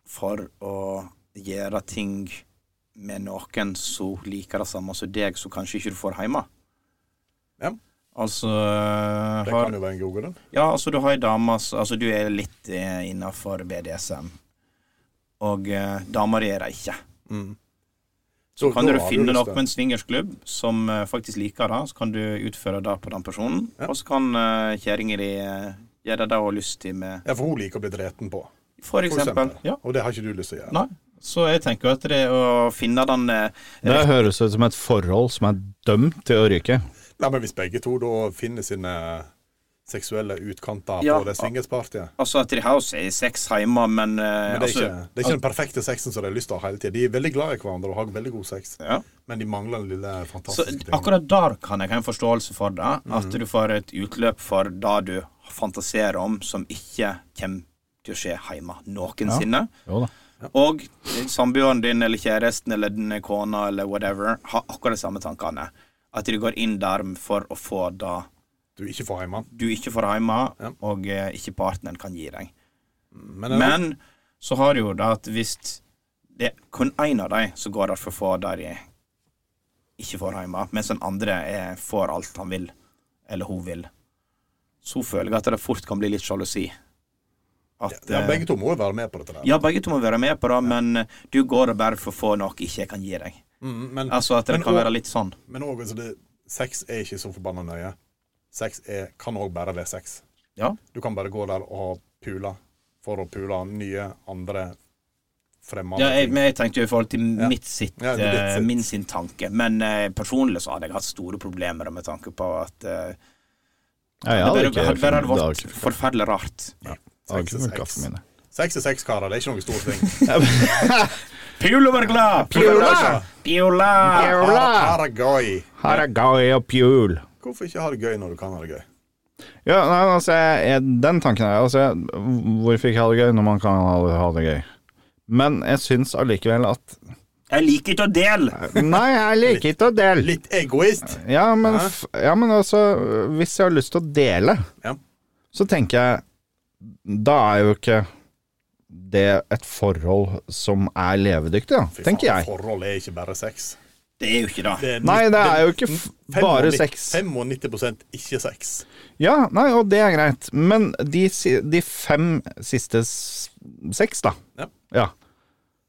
[SPEAKER 4] for å gjøre ting med noen som liker det samme som deg, så kanskje ikke du får hjemme.
[SPEAKER 3] Ja.
[SPEAKER 4] Altså
[SPEAKER 3] Det
[SPEAKER 4] har,
[SPEAKER 3] kan jo være en god grunn.
[SPEAKER 4] Ja, altså du har ei dame s- Altså du er litt eh, innafor BDSM, og eh, dama di er det ikke.
[SPEAKER 3] Så
[SPEAKER 4] Mm. Kan
[SPEAKER 3] da
[SPEAKER 4] du
[SPEAKER 3] har
[SPEAKER 4] finne
[SPEAKER 3] lyst
[SPEAKER 4] noe
[SPEAKER 3] til-
[SPEAKER 4] på en swingersklubb som eh, faktisk liker det, så kan du utføre det på den personen,
[SPEAKER 3] Ja.
[SPEAKER 4] og så kan eh, kjerringa di eh, gjøre det hun har lyst til med
[SPEAKER 3] Ja, for hun liker å bli dreten på,
[SPEAKER 4] For
[SPEAKER 3] for
[SPEAKER 4] eksempel.
[SPEAKER 3] eksempel.
[SPEAKER 4] Ja.
[SPEAKER 3] Og det har ikke du lyst til å gjøre.
[SPEAKER 4] Nei. Så jeg tenker jo at det å finne den eh,
[SPEAKER 5] Det høres ut som et forhold som er dømt til å ryke.
[SPEAKER 3] Nei, men hvis begge to da finner sine seksuelle utkanter
[SPEAKER 4] Ja.
[SPEAKER 3] på det swingerspartiet
[SPEAKER 4] Altså at de har jo se- sex hjemme, men, eh,
[SPEAKER 3] Men det er,
[SPEAKER 4] altså,
[SPEAKER 3] ikke, det er ikke den perfekte sexen som de har lyst til å ha hele tida. De er veldig glad i hverandre og har veldig god sex,
[SPEAKER 4] ja.
[SPEAKER 3] men de mangler den lille
[SPEAKER 4] Så
[SPEAKER 3] fantastiske tingen.
[SPEAKER 4] akkurat der kan jeg ha en forståelse for det.
[SPEAKER 5] Mm.
[SPEAKER 4] At du får et utløp for det du fantaserer om som ikke kommer til å skje hjemme noensinne.
[SPEAKER 5] Jo da.
[SPEAKER 4] Og samboeren din eller kjæresten eller din kona eller whatever har akkurat de samme tankene. At de går inn der for å få det
[SPEAKER 3] Du ikke får hjemme.
[SPEAKER 4] du ikke får hjemme,
[SPEAKER 3] Ja.
[SPEAKER 4] og eh, ikke partneren kan gi deg.
[SPEAKER 3] Men, eh,
[SPEAKER 4] Men så har du jo det at hvis det er kun én av dem som går der for å få det de ikke får hjemme, mens den andre er, får alt han vil, eller hun vil, så føler jeg at det fort kan bli litt sjalusi. At,
[SPEAKER 3] ja,
[SPEAKER 4] eh,
[SPEAKER 3] begge to må jo være med på dette. der.
[SPEAKER 4] ja, begge to må være med på det, men eh, du går der bare for å få noe ikke jeg kan gi deg.
[SPEAKER 3] Mm, men
[SPEAKER 4] Altså at det
[SPEAKER 3] Men
[SPEAKER 4] kan
[SPEAKER 3] og-
[SPEAKER 4] være litt sånn.
[SPEAKER 3] men også, altså, det, sex er ikke så forbanna nøye. Sex er, kan òg bare være sex.
[SPEAKER 4] Ja.
[SPEAKER 3] Du kan bare gå der og ha pula for å pule nye, andre, fremmede
[SPEAKER 4] Ja, jeg,
[SPEAKER 3] ting.
[SPEAKER 4] men jeg tenkte jo i forhold til
[SPEAKER 3] Ja.
[SPEAKER 4] mitt sitt,
[SPEAKER 3] Ja, det er ditt
[SPEAKER 4] eh,
[SPEAKER 3] sitt.
[SPEAKER 4] min sin tanke. Men eh, personlig så hadde jeg hatt store problemer med tanke på at eh,
[SPEAKER 5] Ja, jeg
[SPEAKER 4] det
[SPEAKER 5] hadde
[SPEAKER 4] bare,
[SPEAKER 5] ikke
[SPEAKER 4] bare hadde
[SPEAKER 5] det hadde
[SPEAKER 4] vært
[SPEAKER 5] ikke-
[SPEAKER 4] forferdelig rart.
[SPEAKER 5] det hadde ikke
[SPEAKER 3] Sex er
[SPEAKER 5] funka
[SPEAKER 3] sex.
[SPEAKER 5] for mine.
[SPEAKER 3] Sex er sex, karer. Det er ikke noe stor ting.
[SPEAKER 4] Pula var glad! Pula!
[SPEAKER 3] Ha det- ha det gøy.
[SPEAKER 5] Her er gøy og pjul.
[SPEAKER 3] Hvorfor ikke ha det gøy når du kan ha det gøy?
[SPEAKER 5] Ja, nei, altså, jeg, den tanken er altså, Hvorfor ikke ha det gøy når man kan ha det, ha det gøy? Men jeg syns allikevel at
[SPEAKER 4] Jeg liker ikke å dele!
[SPEAKER 5] Nei, jeg liker ikke å dele.
[SPEAKER 3] Litt egoist.
[SPEAKER 5] Ja men, f- ja, men altså, hvis jeg har lyst til å dele,
[SPEAKER 3] Ja.
[SPEAKER 5] så tenker jeg Da er jo ikke det et forhold som er levedyktig, da,
[SPEAKER 3] Fy
[SPEAKER 5] tenker
[SPEAKER 3] faen,
[SPEAKER 5] jeg.
[SPEAKER 3] Forhold er ikke bare sex.
[SPEAKER 4] Det er jo ikke det.
[SPEAKER 3] Det er
[SPEAKER 5] Nei, det er jo ikke f bare
[SPEAKER 3] 95
[SPEAKER 5] sex.
[SPEAKER 3] 95 ikke sex.
[SPEAKER 5] Ja, nei, og det er greit. Men de, si- de fem siste s- seks, da.
[SPEAKER 3] Ja.
[SPEAKER 5] ja.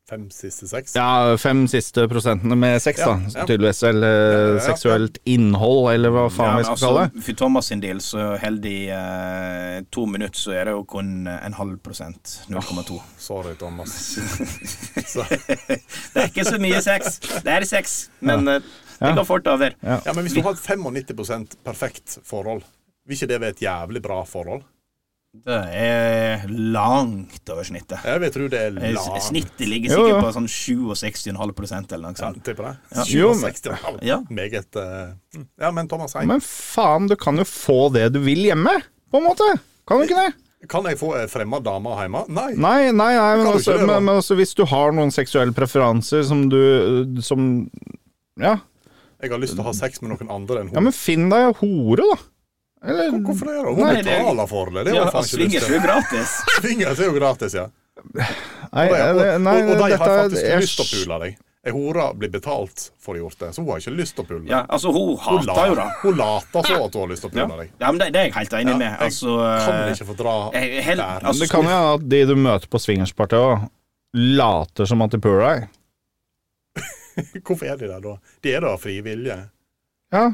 [SPEAKER 3] Fem siste sex.
[SPEAKER 5] Ja, fem siste prosentene med sex,
[SPEAKER 3] Ja,
[SPEAKER 5] da.
[SPEAKER 3] ja.
[SPEAKER 5] Tydeligvis. Eller
[SPEAKER 3] ja, ja.
[SPEAKER 5] seksuelt innhold, eller hva faen
[SPEAKER 4] Ja,
[SPEAKER 5] vi
[SPEAKER 4] men
[SPEAKER 5] skal
[SPEAKER 4] altså,
[SPEAKER 5] kalle det.
[SPEAKER 4] for Thomas sin del, så holder de eh, to minutter, så er det jo kun eh, en halv prosent. 0,2.
[SPEAKER 3] Sorry, Thomas.
[SPEAKER 4] Det er ikke så mye sex. Det er sex, men eh, det går fort over.
[SPEAKER 3] Ja, Men hvis du har et 95 perfekt forhold, vil ikke det være et jævlig bra forhold?
[SPEAKER 4] Det er langt over snittet.
[SPEAKER 3] Jeg vil tro det er
[SPEAKER 4] Eh,
[SPEAKER 3] langt.
[SPEAKER 4] s- Snittet ligger
[SPEAKER 5] Jo, ja.
[SPEAKER 4] sikkert på sånn 67,5 eller noe
[SPEAKER 3] sånn. Ja,
[SPEAKER 4] sånt.
[SPEAKER 3] tipper det.
[SPEAKER 5] Jo, men-
[SPEAKER 3] 67,5.
[SPEAKER 4] Ja.
[SPEAKER 3] Meget eh, Ja, men Thomas Heim,
[SPEAKER 5] Men faen, du kan jo få det du vil hjemme, på en måte. Kan du ikke det?
[SPEAKER 3] kan jeg få ei fremmed dame hjemme? Nei.
[SPEAKER 5] Nei, nei, nei men,
[SPEAKER 3] kan du
[SPEAKER 5] også,
[SPEAKER 3] ikke det, da.
[SPEAKER 5] men, men også hvis du har noen seksuelle preferanser som du Som Ja,
[SPEAKER 3] Jeg har lyst til å ha sex med noen andre enn
[SPEAKER 5] ja
[SPEAKER 3] hun.
[SPEAKER 5] men finn deg en hore, da. Eller
[SPEAKER 3] Hvorfor det? da? Hun
[SPEAKER 5] Nei,
[SPEAKER 4] det-
[SPEAKER 3] betaler for det. Det har
[SPEAKER 4] Ja,
[SPEAKER 3] jeg faen ikke lyst
[SPEAKER 4] Swingers er
[SPEAKER 3] til.
[SPEAKER 4] jo gratis.
[SPEAKER 3] Swingers er jo gratis, ja.
[SPEAKER 5] Nei,
[SPEAKER 3] Og, og,
[SPEAKER 5] det- nei,
[SPEAKER 3] og, og de
[SPEAKER 5] dette
[SPEAKER 3] har
[SPEAKER 5] er-
[SPEAKER 3] faktisk
[SPEAKER 5] jeg-
[SPEAKER 3] lyst til å pule deg. Ei hore blir betalt for å ha gjort det, så hun har ikke lyst til å pule. deg.
[SPEAKER 4] Ja, altså, hun
[SPEAKER 3] Hun,
[SPEAKER 4] hater jo
[SPEAKER 3] la,
[SPEAKER 4] det.
[SPEAKER 3] hun later så at hun har lyst til å
[SPEAKER 4] Ja.
[SPEAKER 3] pule deg.
[SPEAKER 4] ja, men det, det er jeg helt enig
[SPEAKER 3] Ja,
[SPEAKER 4] med.
[SPEAKER 3] jeg
[SPEAKER 4] Altså,
[SPEAKER 3] Kan
[SPEAKER 4] eh,
[SPEAKER 3] ikke få dra
[SPEAKER 4] jeg- jeg- helt-
[SPEAKER 3] der.
[SPEAKER 4] altså,
[SPEAKER 5] Det kan jo hende at de du møter på swingerspartiet òg, later som at de puler deg.
[SPEAKER 4] eh.
[SPEAKER 3] Hvorfor er de der da? De er da av fri vilje.
[SPEAKER 5] Ja,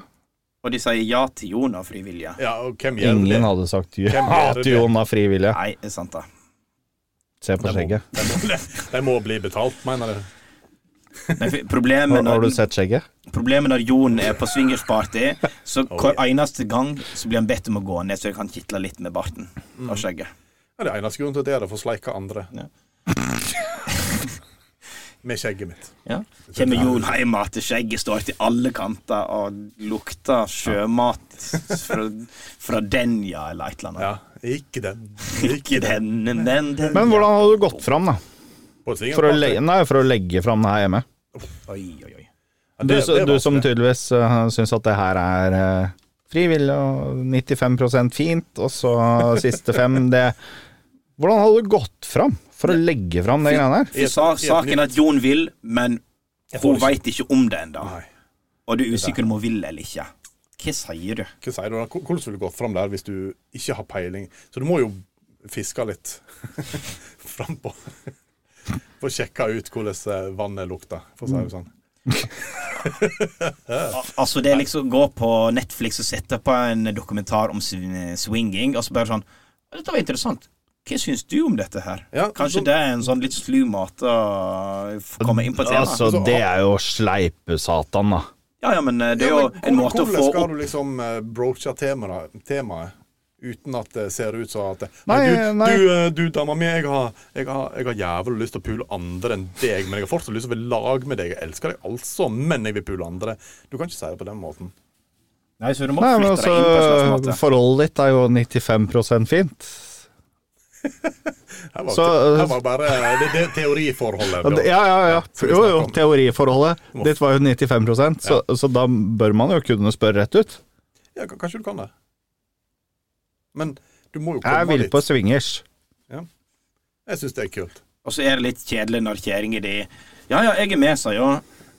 [SPEAKER 4] Og de sier ja til Jon av fri vilje.
[SPEAKER 3] Ja, og hvem gjør
[SPEAKER 5] Ingen
[SPEAKER 3] det?
[SPEAKER 5] hadde sagt
[SPEAKER 3] Hvem
[SPEAKER 5] ja
[SPEAKER 3] gjør det?
[SPEAKER 5] til Jon av frivillige.
[SPEAKER 4] Nei, det er sant det.
[SPEAKER 5] Se på skjegget.
[SPEAKER 3] De må, de må bli betalt, mener du?
[SPEAKER 4] Men f- Problemet
[SPEAKER 5] Har, har
[SPEAKER 4] når,
[SPEAKER 5] du sett skjegget?
[SPEAKER 4] problemet når Jon er på swingersparty, så hver eneste gang så blir han bedt om å gå ned, så jeg kan kitle litt med barten og skjegget.
[SPEAKER 3] Ja, det er eneste grunnen til at jeg er det, for å sleike andre.
[SPEAKER 4] Ja.
[SPEAKER 3] Med skjegget mitt.
[SPEAKER 4] Ja. Kommer Jon hjem igjen til skjegget står til alle kanter og lukter sjømat fra, fra Denja eller et eller annet.
[SPEAKER 3] Ja, ikke den.
[SPEAKER 4] Ikke den, den, den, den.
[SPEAKER 5] Men hvordan hadde du gått fram, da?
[SPEAKER 3] På
[SPEAKER 5] For å,
[SPEAKER 3] et swingerparty.
[SPEAKER 5] legge, nei, for å legge fram det her hjemme?
[SPEAKER 4] Oi, oi, oi.
[SPEAKER 3] Ja,
[SPEAKER 5] Du,
[SPEAKER 3] det-
[SPEAKER 5] s-
[SPEAKER 3] det er
[SPEAKER 5] du som
[SPEAKER 3] vanskelig.
[SPEAKER 5] tydeligvis uh, syns at det her er eh, frivillig og 95 fint, og så siste fem det Hvordan hadde du gått fram for å legge fram det greiene her?
[SPEAKER 3] I
[SPEAKER 4] For
[SPEAKER 3] et-
[SPEAKER 4] sa,
[SPEAKER 3] i et
[SPEAKER 4] saken
[SPEAKER 3] nytt-
[SPEAKER 4] er at Jon vil, men
[SPEAKER 3] Jeg får
[SPEAKER 4] hun
[SPEAKER 3] det ikke.
[SPEAKER 4] veit ikke om det ennå.
[SPEAKER 3] Nei.
[SPEAKER 4] Og du er usikker om hun vil eller ikke. Hva sier du?
[SPEAKER 3] Hva sier du da? Hvor- Hvordan vil du gå fram der hvis du ikke har peiling? Så du må jo fiske litt frampå. For å sjekke ut hvordan eh, vannet lukter, for å si
[SPEAKER 4] Mm.
[SPEAKER 3] det sånn.
[SPEAKER 4] Al- Altså, det er liksom gå på Netflix og sette på en dokumentar om sw- swinging, og så bare sånn Dette var interessant. Hva syns du om dette her?
[SPEAKER 3] Ja, altså-
[SPEAKER 4] Kanskje
[SPEAKER 3] så-
[SPEAKER 4] det er en sånn litt slu måte å f- komme inn på temaet?
[SPEAKER 5] Altså, det er jo sleipe-satan, da.
[SPEAKER 4] Ja, ja, men eh, det er
[SPEAKER 3] Ja,
[SPEAKER 4] jo
[SPEAKER 3] men
[SPEAKER 4] en
[SPEAKER 3] hvor-
[SPEAKER 4] måte å få
[SPEAKER 3] Hvordan skal
[SPEAKER 4] opp
[SPEAKER 3] du liksom eh, broache temaet, temaet uten at det ser ut som at
[SPEAKER 7] Nei,
[SPEAKER 3] du,
[SPEAKER 7] nei.
[SPEAKER 3] Du, eh, du dama mi, jeg har, jeg, har, jeg har jævlig lyst til å pule andre enn deg, men jeg har fortsatt lyst til å være i lag med deg. Jeg elsker deg altså, men jeg vil pule andre. Du kan ikke si det på den måten.
[SPEAKER 4] Nei, så du må
[SPEAKER 5] Nei, men
[SPEAKER 4] flytte deg inn på en slags
[SPEAKER 5] altså,
[SPEAKER 4] måte.
[SPEAKER 5] forholdet ditt er jo 95 fint.
[SPEAKER 3] Her var,
[SPEAKER 5] Så, eh,
[SPEAKER 3] her var bare eh, det, det teoriforholdet.
[SPEAKER 5] Ja,
[SPEAKER 3] Bjørn.
[SPEAKER 5] ja, ja. ja.
[SPEAKER 3] skal vi
[SPEAKER 5] Jo,
[SPEAKER 3] snakke
[SPEAKER 5] jo,
[SPEAKER 3] om-
[SPEAKER 5] teoriforholdet ditt var jo 95 så, så da bør man jo kunne spørre rett ut.
[SPEAKER 3] Ja, k- kanskje du kan det. Men du må jo
[SPEAKER 5] Jeg
[SPEAKER 3] komme
[SPEAKER 5] vil
[SPEAKER 3] dit.
[SPEAKER 5] på swingers.
[SPEAKER 3] Jeg syns det er kult.
[SPEAKER 4] Og så er det litt kjedelig når kjerringa di Ja, ja, jeg er med, sa jo.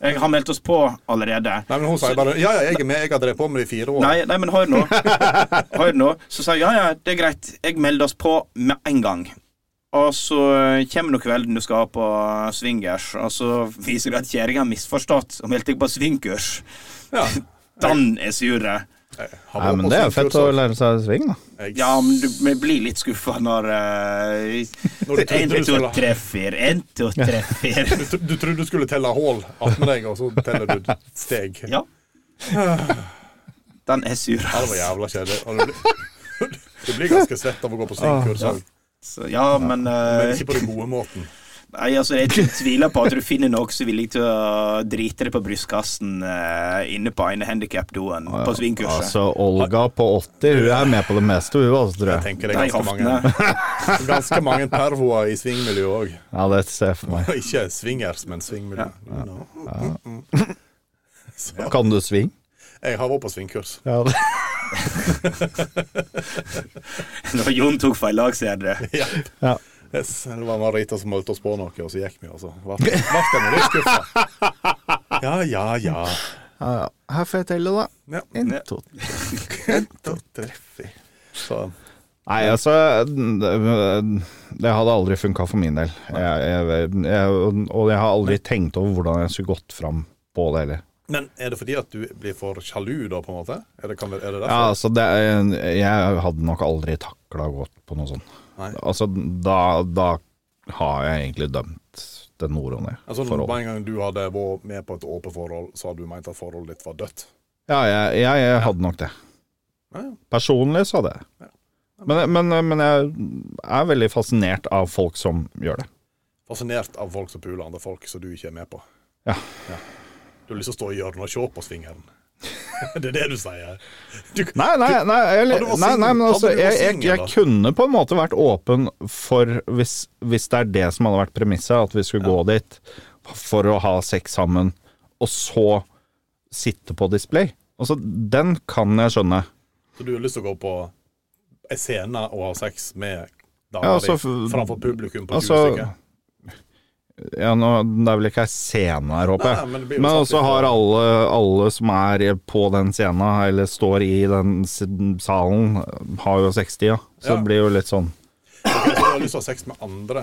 [SPEAKER 4] Jeg har meldt oss på allerede.
[SPEAKER 3] Nei, men Hun sier bare 'ja, ja, jeg er med, jeg har drevet på med det i fire år'.
[SPEAKER 4] Nei, nei, men hør nå. Hør nå. Så sa jeg ja, ja, det er greit. Jeg melder oss på med en gang. Og så eh, kommer nå kvelden du skal på swingers, og så viser det at kjerringa har misforstått og meldte deg på swingkurs.
[SPEAKER 3] Ja.
[SPEAKER 4] Dan er sure.
[SPEAKER 3] Jeg har
[SPEAKER 5] Nei,
[SPEAKER 3] vært
[SPEAKER 5] men
[SPEAKER 3] på
[SPEAKER 5] det er jo
[SPEAKER 3] sånn
[SPEAKER 5] fett
[SPEAKER 3] kurs
[SPEAKER 5] å
[SPEAKER 3] også.
[SPEAKER 5] lære seg sving, da.
[SPEAKER 3] Jeg-
[SPEAKER 4] Ja, men du vi blir litt skuffa når
[SPEAKER 3] Når du trodde
[SPEAKER 4] Én,
[SPEAKER 3] du
[SPEAKER 4] to,
[SPEAKER 3] skulle ha-
[SPEAKER 4] tre, fire. Én, to, tre, fire.
[SPEAKER 3] Du, tr- du trodde du skulle telle hull attmed deg, og så teller du steg. Ja,
[SPEAKER 4] Ja. Den er sur.
[SPEAKER 3] det var jævla kjedelig. Og Du blir- du blir ganske svett av å gå på
[SPEAKER 5] Ah,
[SPEAKER 3] svingkurs.
[SPEAKER 4] Ja.
[SPEAKER 3] også,
[SPEAKER 4] Så, ja, men
[SPEAKER 3] Men
[SPEAKER 4] eh,
[SPEAKER 3] ikke på den gode måten.
[SPEAKER 4] Nei, altså, jeg tviler på at du finner noen som er villig til å drite det på brystkassen eh, inne på ene handikap-doen på svingkurset.
[SPEAKER 5] Altså, Olga på 80, hun er med på det meste, hun altså, tror
[SPEAKER 3] Jeg
[SPEAKER 5] jeg.
[SPEAKER 3] tenker det er
[SPEAKER 4] Nei,
[SPEAKER 3] ganske mange,
[SPEAKER 4] hoftene.
[SPEAKER 3] ganske mange pervoer i svingmiljøet òg.
[SPEAKER 5] Ja, det ser jeg for meg.
[SPEAKER 3] Ikke swingers, men svingmiljø. You know. Så
[SPEAKER 5] Kan du sving?
[SPEAKER 3] jeg har vært på svingkurs.
[SPEAKER 5] Ja, det.
[SPEAKER 4] Når Jon tok feil lag, ser jeg det.
[SPEAKER 3] Ja.
[SPEAKER 5] Ja.
[SPEAKER 3] Yes, det var Marita som holdt oss på noe, og så gikk vi, altså. og så ble ble jeg litt skuffa. Ja, ja, ja.
[SPEAKER 5] Ja, ja. Her får jeg telle, da.
[SPEAKER 3] ja.
[SPEAKER 5] En, to,
[SPEAKER 3] Da treffer jeg. Så
[SPEAKER 5] Nei, altså Det hadde aldri funka for min del. Jeg, jeg, jeg, og jeg har aldri tenkt over hvordan jeg skulle gått fram på det heller.
[SPEAKER 3] Men er det fordi at du blir for sjalu, da, på en måte? Er det, kan, være- er det
[SPEAKER 5] Ja,
[SPEAKER 3] derfor?
[SPEAKER 5] altså det, er- Jeg hadde nok aldri takla godt på noe sånt.
[SPEAKER 3] Nei.
[SPEAKER 5] Altså, da, da har jeg egentlig dømt den noroen jeg
[SPEAKER 3] altså,
[SPEAKER 5] forhold.
[SPEAKER 3] Bare en gang du hadde vært med på et åpent forhold, så hadde du ment at forholdet ditt var dødt.
[SPEAKER 5] Ja, jeg, jeg, jeg hadde nok det.
[SPEAKER 3] Ja, ja.
[SPEAKER 5] Personlig så hadde jeg det. Men, men, men jeg er veldig fascinert av folk som gjør det.
[SPEAKER 3] Fascinert av folk som puler andre folk som du ikke er med på.
[SPEAKER 5] Ja.
[SPEAKER 3] Du har lyst til å stå i hjørnet og se på svingeren. det er det du sier. Du,
[SPEAKER 5] Nei, nei, nei,
[SPEAKER 3] Hadde
[SPEAKER 5] eller,
[SPEAKER 3] du vært
[SPEAKER 5] nei, nei men
[SPEAKER 3] singel-
[SPEAKER 5] altså,
[SPEAKER 3] hadde du vært
[SPEAKER 5] jeg, jeg,
[SPEAKER 3] singel, da?
[SPEAKER 5] jeg kunne på en måte vært åpen for, hvis, hvis det er det som hadde vært premisset, at vi skulle gå dit for å ha sex sammen, og så sitte på display. Altså, den kan jeg skjønne.
[SPEAKER 3] Så du har lyst til å gå på ei scene og ha sex med
[SPEAKER 5] Ja,
[SPEAKER 3] dama
[SPEAKER 5] altså,
[SPEAKER 3] di
[SPEAKER 5] f-
[SPEAKER 3] framfor publikum på 20
[SPEAKER 5] Altså,
[SPEAKER 3] stykker?
[SPEAKER 5] ja, nå, det er vel ikke ei scene her, håper
[SPEAKER 3] Nei,
[SPEAKER 5] jeg.
[SPEAKER 3] men det blir jo
[SPEAKER 5] Men
[SPEAKER 3] satt
[SPEAKER 5] også
[SPEAKER 3] litt-
[SPEAKER 5] har alle, alle som er på den scenen, eller står i den s- salen, har jo 60, ja. Så
[SPEAKER 3] Ja.
[SPEAKER 5] det blir jo litt sånn
[SPEAKER 3] Så Du har lyst til å ha sex med andre.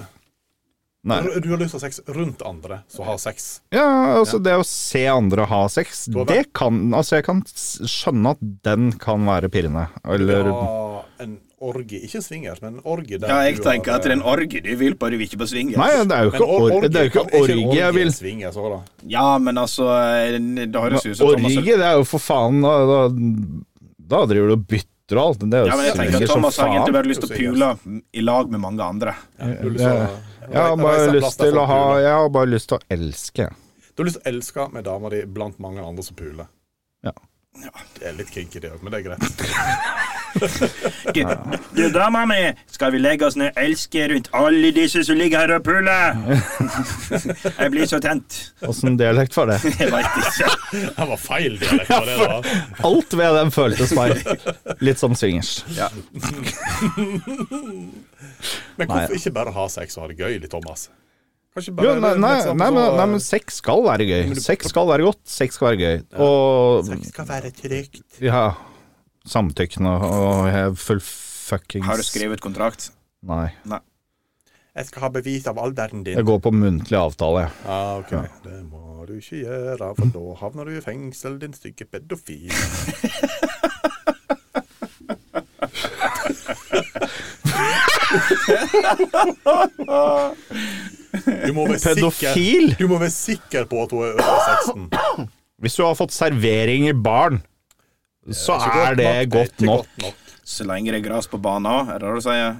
[SPEAKER 5] Nei.
[SPEAKER 3] Du, du har lyst til å ha sex rundt andre som har sex.
[SPEAKER 5] Ja, altså det å se andre ha sex,
[SPEAKER 3] har
[SPEAKER 5] det kan Altså, jeg kan s- skjønne at den kan være pirrende, eller
[SPEAKER 3] Ja, en orgie. Ikke swingers, men en orgie der
[SPEAKER 4] Ja, jeg
[SPEAKER 3] du
[SPEAKER 4] tenker
[SPEAKER 3] har-
[SPEAKER 4] at det er en orgie du vil på, du vil ikke på swingers.
[SPEAKER 5] Nei, det er jo
[SPEAKER 3] Men
[SPEAKER 5] ikke,
[SPEAKER 3] or-
[SPEAKER 5] or det er jo ikke
[SPEAKER 3] kan-
[SPEAKER 5] orgie jeg vil.
[SPEAKER 3] en swingers også, da.
[SPEAKER 4] Ja, men altså eh, Det høres ut som Thomas
[SPEAKER 5] Orgie, det er jo for faen Da, da, da driver du og bytter og alt. Det er
[SPEAKER 4] Ja,
[SPEAKER 5] jo
[SPEAKER 4] men jeg tenker
[SPEAKER 5] svinger
[SPEAKER 4] at
[SPEAKER 5] som
[SPEAKER 4] Thomas har egentlig
[SPEAKER 5] faen.
[SPEAKER 4] bare lyst til å pule i lag med mange andre.
[SPEAKER 3] Du har lyst til å-
[SPEAKER 5] Jeg har bare
[SPEAKER 3] reise en plass
[SPEAKER 5] lyst
[SPEAKER 3] der
[SPEAKER 5] til å
[SPEAKER 3] folk
[SPEAKER 5] ha
[SPEAKER 3] puler.
[SPEAKER 5] Jeg har bare lyst til å elske.
[SPEAKER 3] Du har lyst til å elske med dama di blant mange andre som puler.
[SPEAKER 5] Ja.
[SPEAKER 3] Det er litt kinky, det òg, men det er greit.
[SPEAKER 4] Du, du dama mi, skal vi legge oss ned og elske rundt alle disse som ligger her og puler? Jeg blir så tent.
[SPEAKER 5] Åssen dialekt var det?
[SPEAKER 4] Jeg veit ikke.
[SPEAKER 3] Det var feil dialekt på det, da.
[SPEAKER 5] Alt ved den føltes meg litt som swingers.
[SPEAKER 3] Men
[SPEAKER 5] Nei,
[SPEAKER 3] hvorfor ikke bare ha sex og ha det gøy, litt, Thomas? Kanskje
[SPEAKER 5] Jo,
[SPEAKER 3] bare
[SPEAKER 5] nei, nei,
[SPEAKER 3] liksom
[SPEAKER 5] nei, men,
[SPEAKER 3] så,
[SPEAKER 5] nei, men sex skal være gøy. Sex skal være godt. Sex skal være gøy. Og
[SPEAKER 3] Sex skal være trygt.
[SPEAKER 5] ja Samtykkende og jeg er full fuckings
[SPEAKER 4] Har du skrevet kontrakt?
[SPEAKER 5] Nei.
[SPEAKER 3] Jeg skal ha bevis av alderen din.
[SPEAKER 5] Jeg går på muntlig avtale, jeg.
[SPEAKER 3] Ja, Ah, ok. Det må du ikke gjøre, for da havner du i fengsel, din stygge pedofil. Du må være sikker,
[SPEAKER 5] Pedofil?
[SPEAKER 3] du må være sikker på at hun er over 16.
[SPEAKER 5] Hvis du har fått servering i baren, så er det godt
[SPEAKER 3] ikke
[SPEAKER 5] nok.
[SPEAKER 4] Så lenge det er gress på banen, er det det du sier?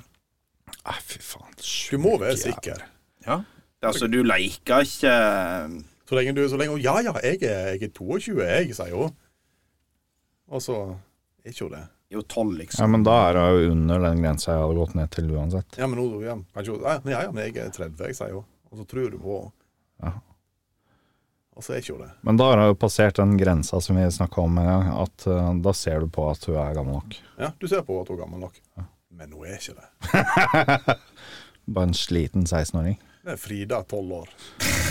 [SPEAKER 5] Nei, fy faen.
[SPEAKER 3] Du må være sikker.
[SPEAKER 4] Ja. Altså, du leker ikke eh,
[SPEAKER 3] Så lenge du så lenge hun, Ja, ja, jeg er, jeg er 22, jeg, sier hun. Og så er ikke hun det.
[SPEAKER 4] Jo, tolv,
[SPEAKER 5] Ja,
[SPEAKER 4] liksom.
[SPEAKER 5] men da er hun jo under den grensa jeg hadde gått ned til uansett.
[SPEAKER 3] Ja, men hun, ja, kanskje hun ja, men Ja, ja, men jeg er 30, jeg, sier hun. Og så tror du på henne.
[SPEAKER 5] Ja.
[SPEAKER 3] Og så er ikke hun det.
[SPEAKER 5] Men da har hun jo passert den grensa som vi snakka om en gang, at eh, da ser du på at hun er gammel nok.
[SPEAKER 3] Ja, du ser på henne at hun er gammel nok. Men hun er ikke det.
[SPEAKER 5] Bare en sliten 16-åring.
[SPEAKER 3] Det er Frida, 12 år.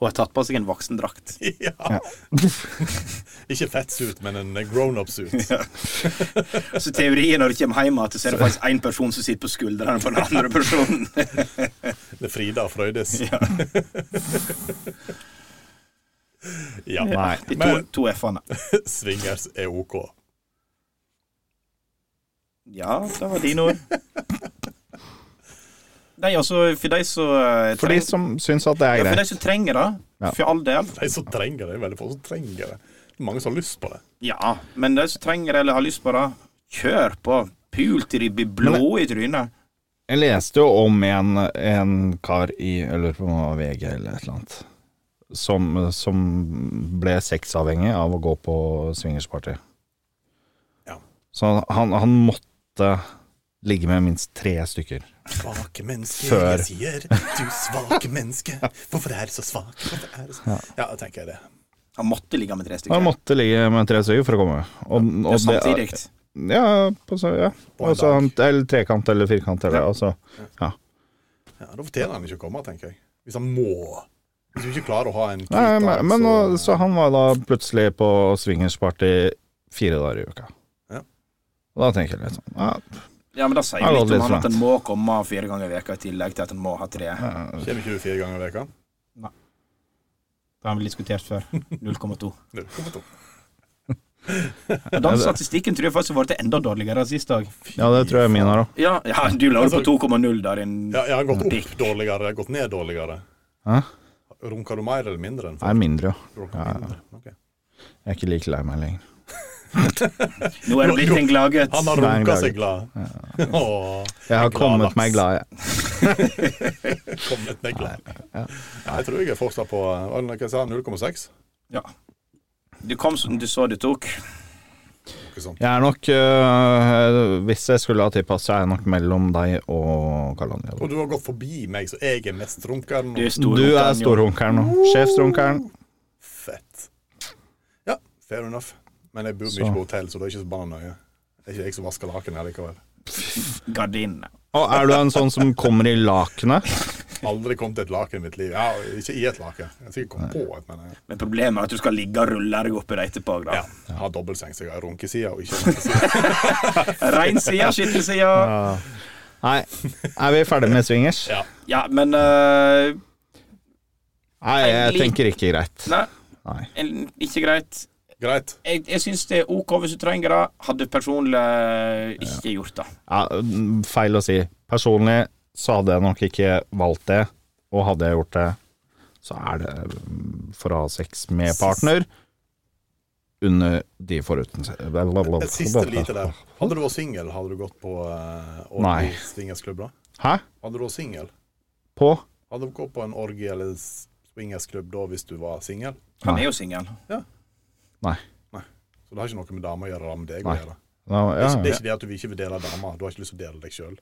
[SPEAKER 4] Hun har tatt på seg en voksendrakt.
[SPEAKER 3] ja. ikke fettsuit, men en grown-up-suit.
[SPEAKER 4] Så teorien når du kommer hjem igjen, så er det faktisk én person som sitter på skuldrene på den andre personen.
[SPEAKER 3] Det er Frida Frøydis. Ja. ja.
[SPEAKER 5] Nei.
[SPEAKER 4] De to,
[SPEAKER 3] Men-
[SPEAKER 4] to F-ene.
[SPEAKER 3] Swingers er OK.
[SPEAKER 4] Ja, det var dine ord. Nei, altså, for de som eh,
[SPEAKER 5] For de
[SPEAKER 4] trenger-
[SPEAKER 5] som syns at det er
[SPEAKER 4] ja, for de
[SPEAKER 5] greit.
[SPEAKER 4] som trenger det,
[SPEAKER 5] Ja.
[SPEAKER 4] for all del.
[SPEAKER 3] De som trenger det, er veldig få som trenger det. Det er mange som har lyst på det.
[SPEAKER 4] Ja, men de som trenger det eller har lyst på det, kjør på. Pul til de blir blå i trynet.
[SPEAKER 5] Jeg leste jo om en, en kar i Jeg lurer på om det var VG eller et eller annet. Som, som ble sexavhengig av å gå på swingersparty.
[SPEAKER 3] Ja.
[SPEAKER 5] Så han, han, han måtte ligge med minst tre stykker.
[SPEAKER 3] Svake mennesker,
[SPEAKER 5] Før.
[SPEAKER 3] jeg sier. Du svake menneske. Hvorfor er du så svak? Hvorfor er du så... Ja. da tenker jeg det.
[SPEAKER 4] Han måtte ligge med tre
[SPEAKER 5] Han
[SPEAKER 4] stykker.
[SPEAKER 5] måtte ligge med tre stykker for å komme. Og,
[SPEAKER 4] Ja,
[SPEAKER 5] og det-
[SPEAKER 4] samtidig.
[SPEAKER 5] Ja, på, så, ja.
[SPEAKER 3] På en
[SPEAKER 5] Altså,
[SPEAKER 3] dag.
[SPEAKER 5] han- eller trekant eller firkant eller altså.
[SPEAKER 3] Ja, Da fortjener han ikke å komme, tenker jeg. Hvis han må. Hvis du ikke klarer å ha en
[SPEAKER 5] Nei,
[SPEAKER 3] kvittan,
[SPEAKER 5] men, men nå-
[SPEAKER 3] så
[SPEAKER 5] så han var da plutselig på swingersparty fire dager i uka.
[SPEAKER 3] Ja.
[SPEAKER 5] Og da tenker jeg litt sånn ja,
[SPEAKER 4] Ja, men da sier
[SPEAKER 5] Han
[SPEAKER 4] jo litt
[SPEAKER 5] lå
[SPEAKER 4] om
[SPEAKER 5] litt
[SPEAKER 4] han at
[SPEAKER 5] langt.
[SPEAKER 4] han må komme fire ganger i veka i tillegg til at han må ha tre.
[SPEAKER 3] Kommer ikke du fire ganger i veka?
[SPEAKER 4] Det har vi diskutert før. 0,2.
[SPEAKER 3] Du, hvorfor to?
[SPEAKER 4] Og Den statistikken tror jeg faktisk har blitt enda dårligere sist dag.
[SPEAKER 5] ja, det tror jeg min har òg.
[SPEAKER 4] Ja, Altså- ja, du la det på 2,0 der, din
[SPEAKER 3] Ja, jeg har gått opp
[SPEAKER 4] Dick.
[SPEAKER 3] dårligere, jeg har gått ned dårligere.
[SPEAKER 5] Hæ?
[SPEAKER 3] Runker du mer eller mindre enn
[SPEAKER 5] Jeg er mindre, jo.
[SPEAKER 3] Runker du mindre? Ok.
[SPEAKER 5] Jeg er ikke like lei meg lenger.
[SPEAKER 4] Nå er det blitt en glaget.
[SPEAKER 3] Han har
[SPEAKER 5] Nei, jeg
[SPEAKER 3] runka
[SPEAKER 5] klager.
[SPEAKER 3] seg glad. Åh,
[SPEAKER 5] Jeg har
[SPEAKER 3] glad
[SPEAKER 5] kommet
[SPEAKER 3] laks.
[SPEAKER 5] meg glad, jeg.
[SPEAKER 3] kommet meg glad. Ja, Jeg tror jeg er fortsatt på hva var det jeg sa, 0,6.
[SPEAKER 4] Ja. Du kom som du så du tok.
[SPEAKER 3] Noe sånt.
[SPEAKER 5] Jeg er nok øh, Hvis jeg skulle ha tippa, så er jeg nok mellom deg og Karl André.
[SPEAKER 3] Og du har gått forbi meg, så jeg er mest runkeren.
[SPEAKER 4] Du er stor.
[SPEAKER 5] Du er storrunkeren nå. Sjefsrunkeren.
[SPEAKER 3] Fett. Ja, fair enough. Men jeg bor
[SPEAKER 5] Så.
[SPEAKER 3] mye på hotell, så det er ikke så banna nøye. Det er ikke jeg som vasker lakenet likevel.
[SPEAKER 4] Gardinene.
[SPEAKER 5] Og er du en sånn som kommer i lakenet?
[SPEAKER 3] Aldri kommet til et laken i mitt liv. Ja, ikke i et laken. Jeg har sikkert kommet på et, men jeg
[SPEAKER 4] Men problemet er at du skal ligge og rulle deg oppi det etterpå. Da.
[SPEAKER 3] ja, jeg har dobbeltseng, så jeg har runkesida og ikke runkesida.
[SPEAKER 4] Rein side, skitten side.
[SPEAKER 5] Nei, er vi ferdige med swingers?
[SPEAKER 3] Ja.
[SPEAKER 4] Ja, men eh,
[SPEAKER 5] Nei, jeg tenker ikke greit.
[SPEAKER 4] Nei,
[SPEAKER 5] Nei.
[SPEAKER 4] en- ikke greit.
[SPEAKER 3] Greit.
[SPEAKER 4] Jeg, jeg syns det er OK hvis du trenger det. Hadde personlig eh, ikke gjort det.
[SPEAKER 5] Ja, mm, feil å si. Personlig så hadde jeg nok ikke valgt det, og hadde jeg gjort det, så er det mm, for å ha sex med partner under de foruten
[SPEAKER 3] Et siste lite der. Hadde du vært singel, hadde du gått på uh,
[SPEAKER 5] Nei.
[SPEAKER 3] swingersklubb da?
[SPEAKER 5] Hæ?
[SPEAKER 3] Hadde du vært singel?
[SPEAKER 5] På?
[SPEAKER 3] Hadde du gått på en orgie eller s- swingersklubb da hvis du var singel?
[SPEAKER 4] Han
[SPEAKER 5] Nei.
[SPEAKER 4] er jo singel.
[SPEAKER 5] Nei.
[SPEAKER 3] Så det har ikke noe med damer å gjøre, det har med deg å
[SPEAKER 5] Nei.
[SPEAKER 3] gjøre.
[SPEAKER 5] Ja,
[SPEAKER 3] Det er,
[SPEAKER 5] ja.
[SPEAKER 3] ikke, det er ikke det at du vil ikke vil dele damer, du har ikke lyst til å dele deg sjøl.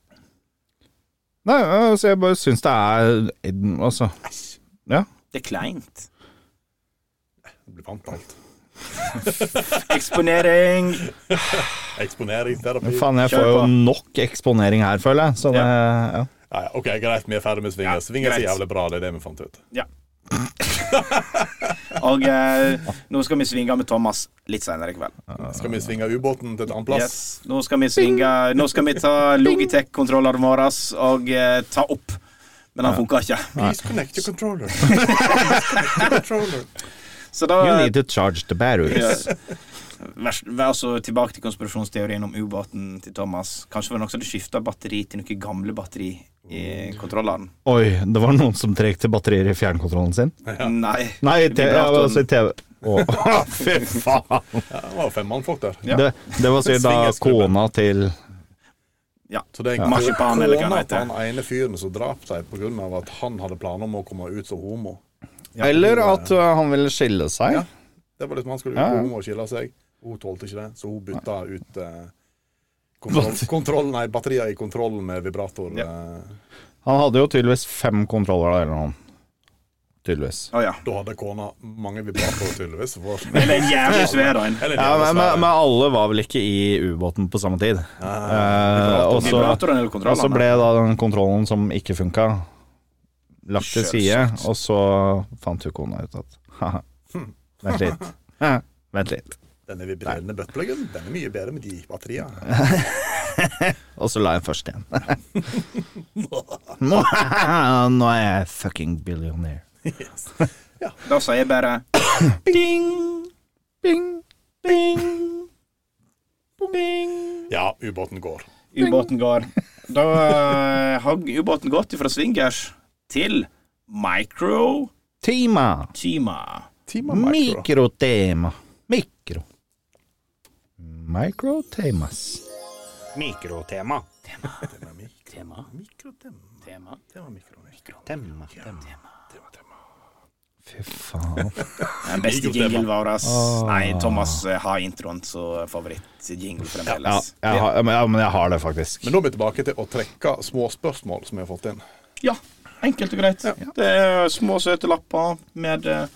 [SPEAKER 5] Nei, altså, jeg bare syns det er Altså,
[SPEAKER 4] Det er kleint.
[SPEAKER 3] Du blir vant til alt.
[SPEAKER 4] Eksponering.
[SPEAKER 3] Eksponeringsterapi.
[SPEAKER 5] faen, jeg
[SPEAKER 4] Kjør
[SPEAKER 5] får jo
[SPEAKER 4] på.
[SPEAKER 5] nok eksponering her, føler jeg, så det Ja.
[SPEAKER 3] Ja, ja, OK, greit, vi er ferdig med svinger.
[SPEAKER 4] Ja,
[SPEAKER 3] svinger er så
[SPEAKER 4] greit.
[SPEAKER 3] jævlig bra, det er det vi fant ut.
[SPEAKER 4] Og eh, nå skal vi svinge med Thomas litt senere i kveld.
[SPEAKER 3] Skal vi svinge ubåten til et annet plass?
[SPEAKER 4] Yes. Nå skal vi svinge Nå skal vi ta Logitech-kontrolleren vår og eh, ta opp. Men han funka ikke.
[SPEAKER 3] Please connect your controller. Please connect your controller.
[SPEAKER 4] Så da
[SPEAKER 5] You need to charge the batteries.
[SPEAKER 4] Ja. Vær, vær altså tilbake til konspirasjonsteorien om ubåten til Thomas. Kanskje var det noen som hadde skifta batteri til noe gamle batteri i kontrolleren.
[SPEAKER 5] Oi, det var noen som trekte batterier i fjernkontrollen sin.
[SPEAKER 4] Nei.
[SPEAKER 5] Nei, i te- ja,
[SPEAKER 4] Vibratoren.
[SPEAKER 5] altså i TV. Å, fy faen!
[SPEAKER 3] Ja, det var fem mannfolk der.
[SPEAKER 4] Ja.
[SPEAKER 5] Det, det var sikkert da
[SPEAKER 3] Svingeskrubben.
[SPEAKER 5] kona til
[SPEAKER 3] Så det er
[SPEAKER 4] Ja. Marsipan, eller hva
[SPEAKER 3] kona
[SPEAKER 4] han heter.
[SPEAKER 3] til han ene fyren som drap seg pga. at han hadde planer om å komme ut som homo.
[SPEAKER 5] Eller at uh, han ville skille seg.
[SPEAKER 3] Ja. Det var liksom Han skulle ut
[SPEAKER 5] Ja, ja.
[SPEAKER 3] som homo og skille seg. Hun tålte ikke det, så hun bytta ut eh, kontroll, kontroll, nei, batterier i kontrollen med vibrator. eh,
[SPEAKER 5] Han hadde jo tydeligvis fem kontroller da, eller noe. Tydeligvis.
[SPEAKER 4] Å ja.
[SPEAKER 3] Da hadde kona mange vibratorer, tydeligvis. For,
[SPEAKER 4] Eller en jævlig svær en.
[SPEAKER 3] Eller
[SPEAKER 5] Ja, men, men,
[SPEAKER 3] men,
[SPEAKER 5] men alle var vel ikke i ubåten på samme tid. Eh, og så-
[SPEAKER 4] Vibratoren eller
[SPEAKER 5] og så
[SPEAKER 4] kontrolleren?
[SPEAKER 5] ble da den kontrollen som ikke funka, lagt til side, og så fant jo kona ut at haha, vent litt. Ja, Vent litt.
[SPEAKER 3] Denne vibrerende buttpluggen den er mye bedre med de batteriene.
[SPEAKER 5] Og så la jeg først igjen. Nå, nå er jeg fucking billionaire.
[SPEAKER 4] Da sier jeg bare
[SPEAKER 5] Bing, bing, bing, bing.
[SPEAKER 3] Ja, ubåten går.
[SPEAKER 4] ubåten går. Da eh, har ubåten gått fra swingers til micro-tima.
[SPEAKER 5] Tema.
[SPEAKER 3] Team of Micro.
[SPEAKER 5] Mikrotema. Mikro. Microtemas.
[SPEAKER 8] Mikrotema.
[SPEAKER 4] Tema. Tema.
[SPEAKER 8] Tema.
[SPEAKER 5] Fy faen.
[SPEAKER 4] Den beste jingle vår. ass.
[SPEAKER 5] Ah.
[SPEAKER 4] Nei, Thomas eh, har introen som favorittjingle
[SPEAKER 5] Ja,
[SPEAKER 4] fremdeles.
[SPEAKER 5] jeg har, ja, men- ja, men jeg har det faktisk.
[SPEAKER 3] Men da er vi tilbake til å trekke små spørsmål som vi har fått inn.
[SPEAKER 4] Ja, enkelt og greit. Det er små, søte lapper med eh,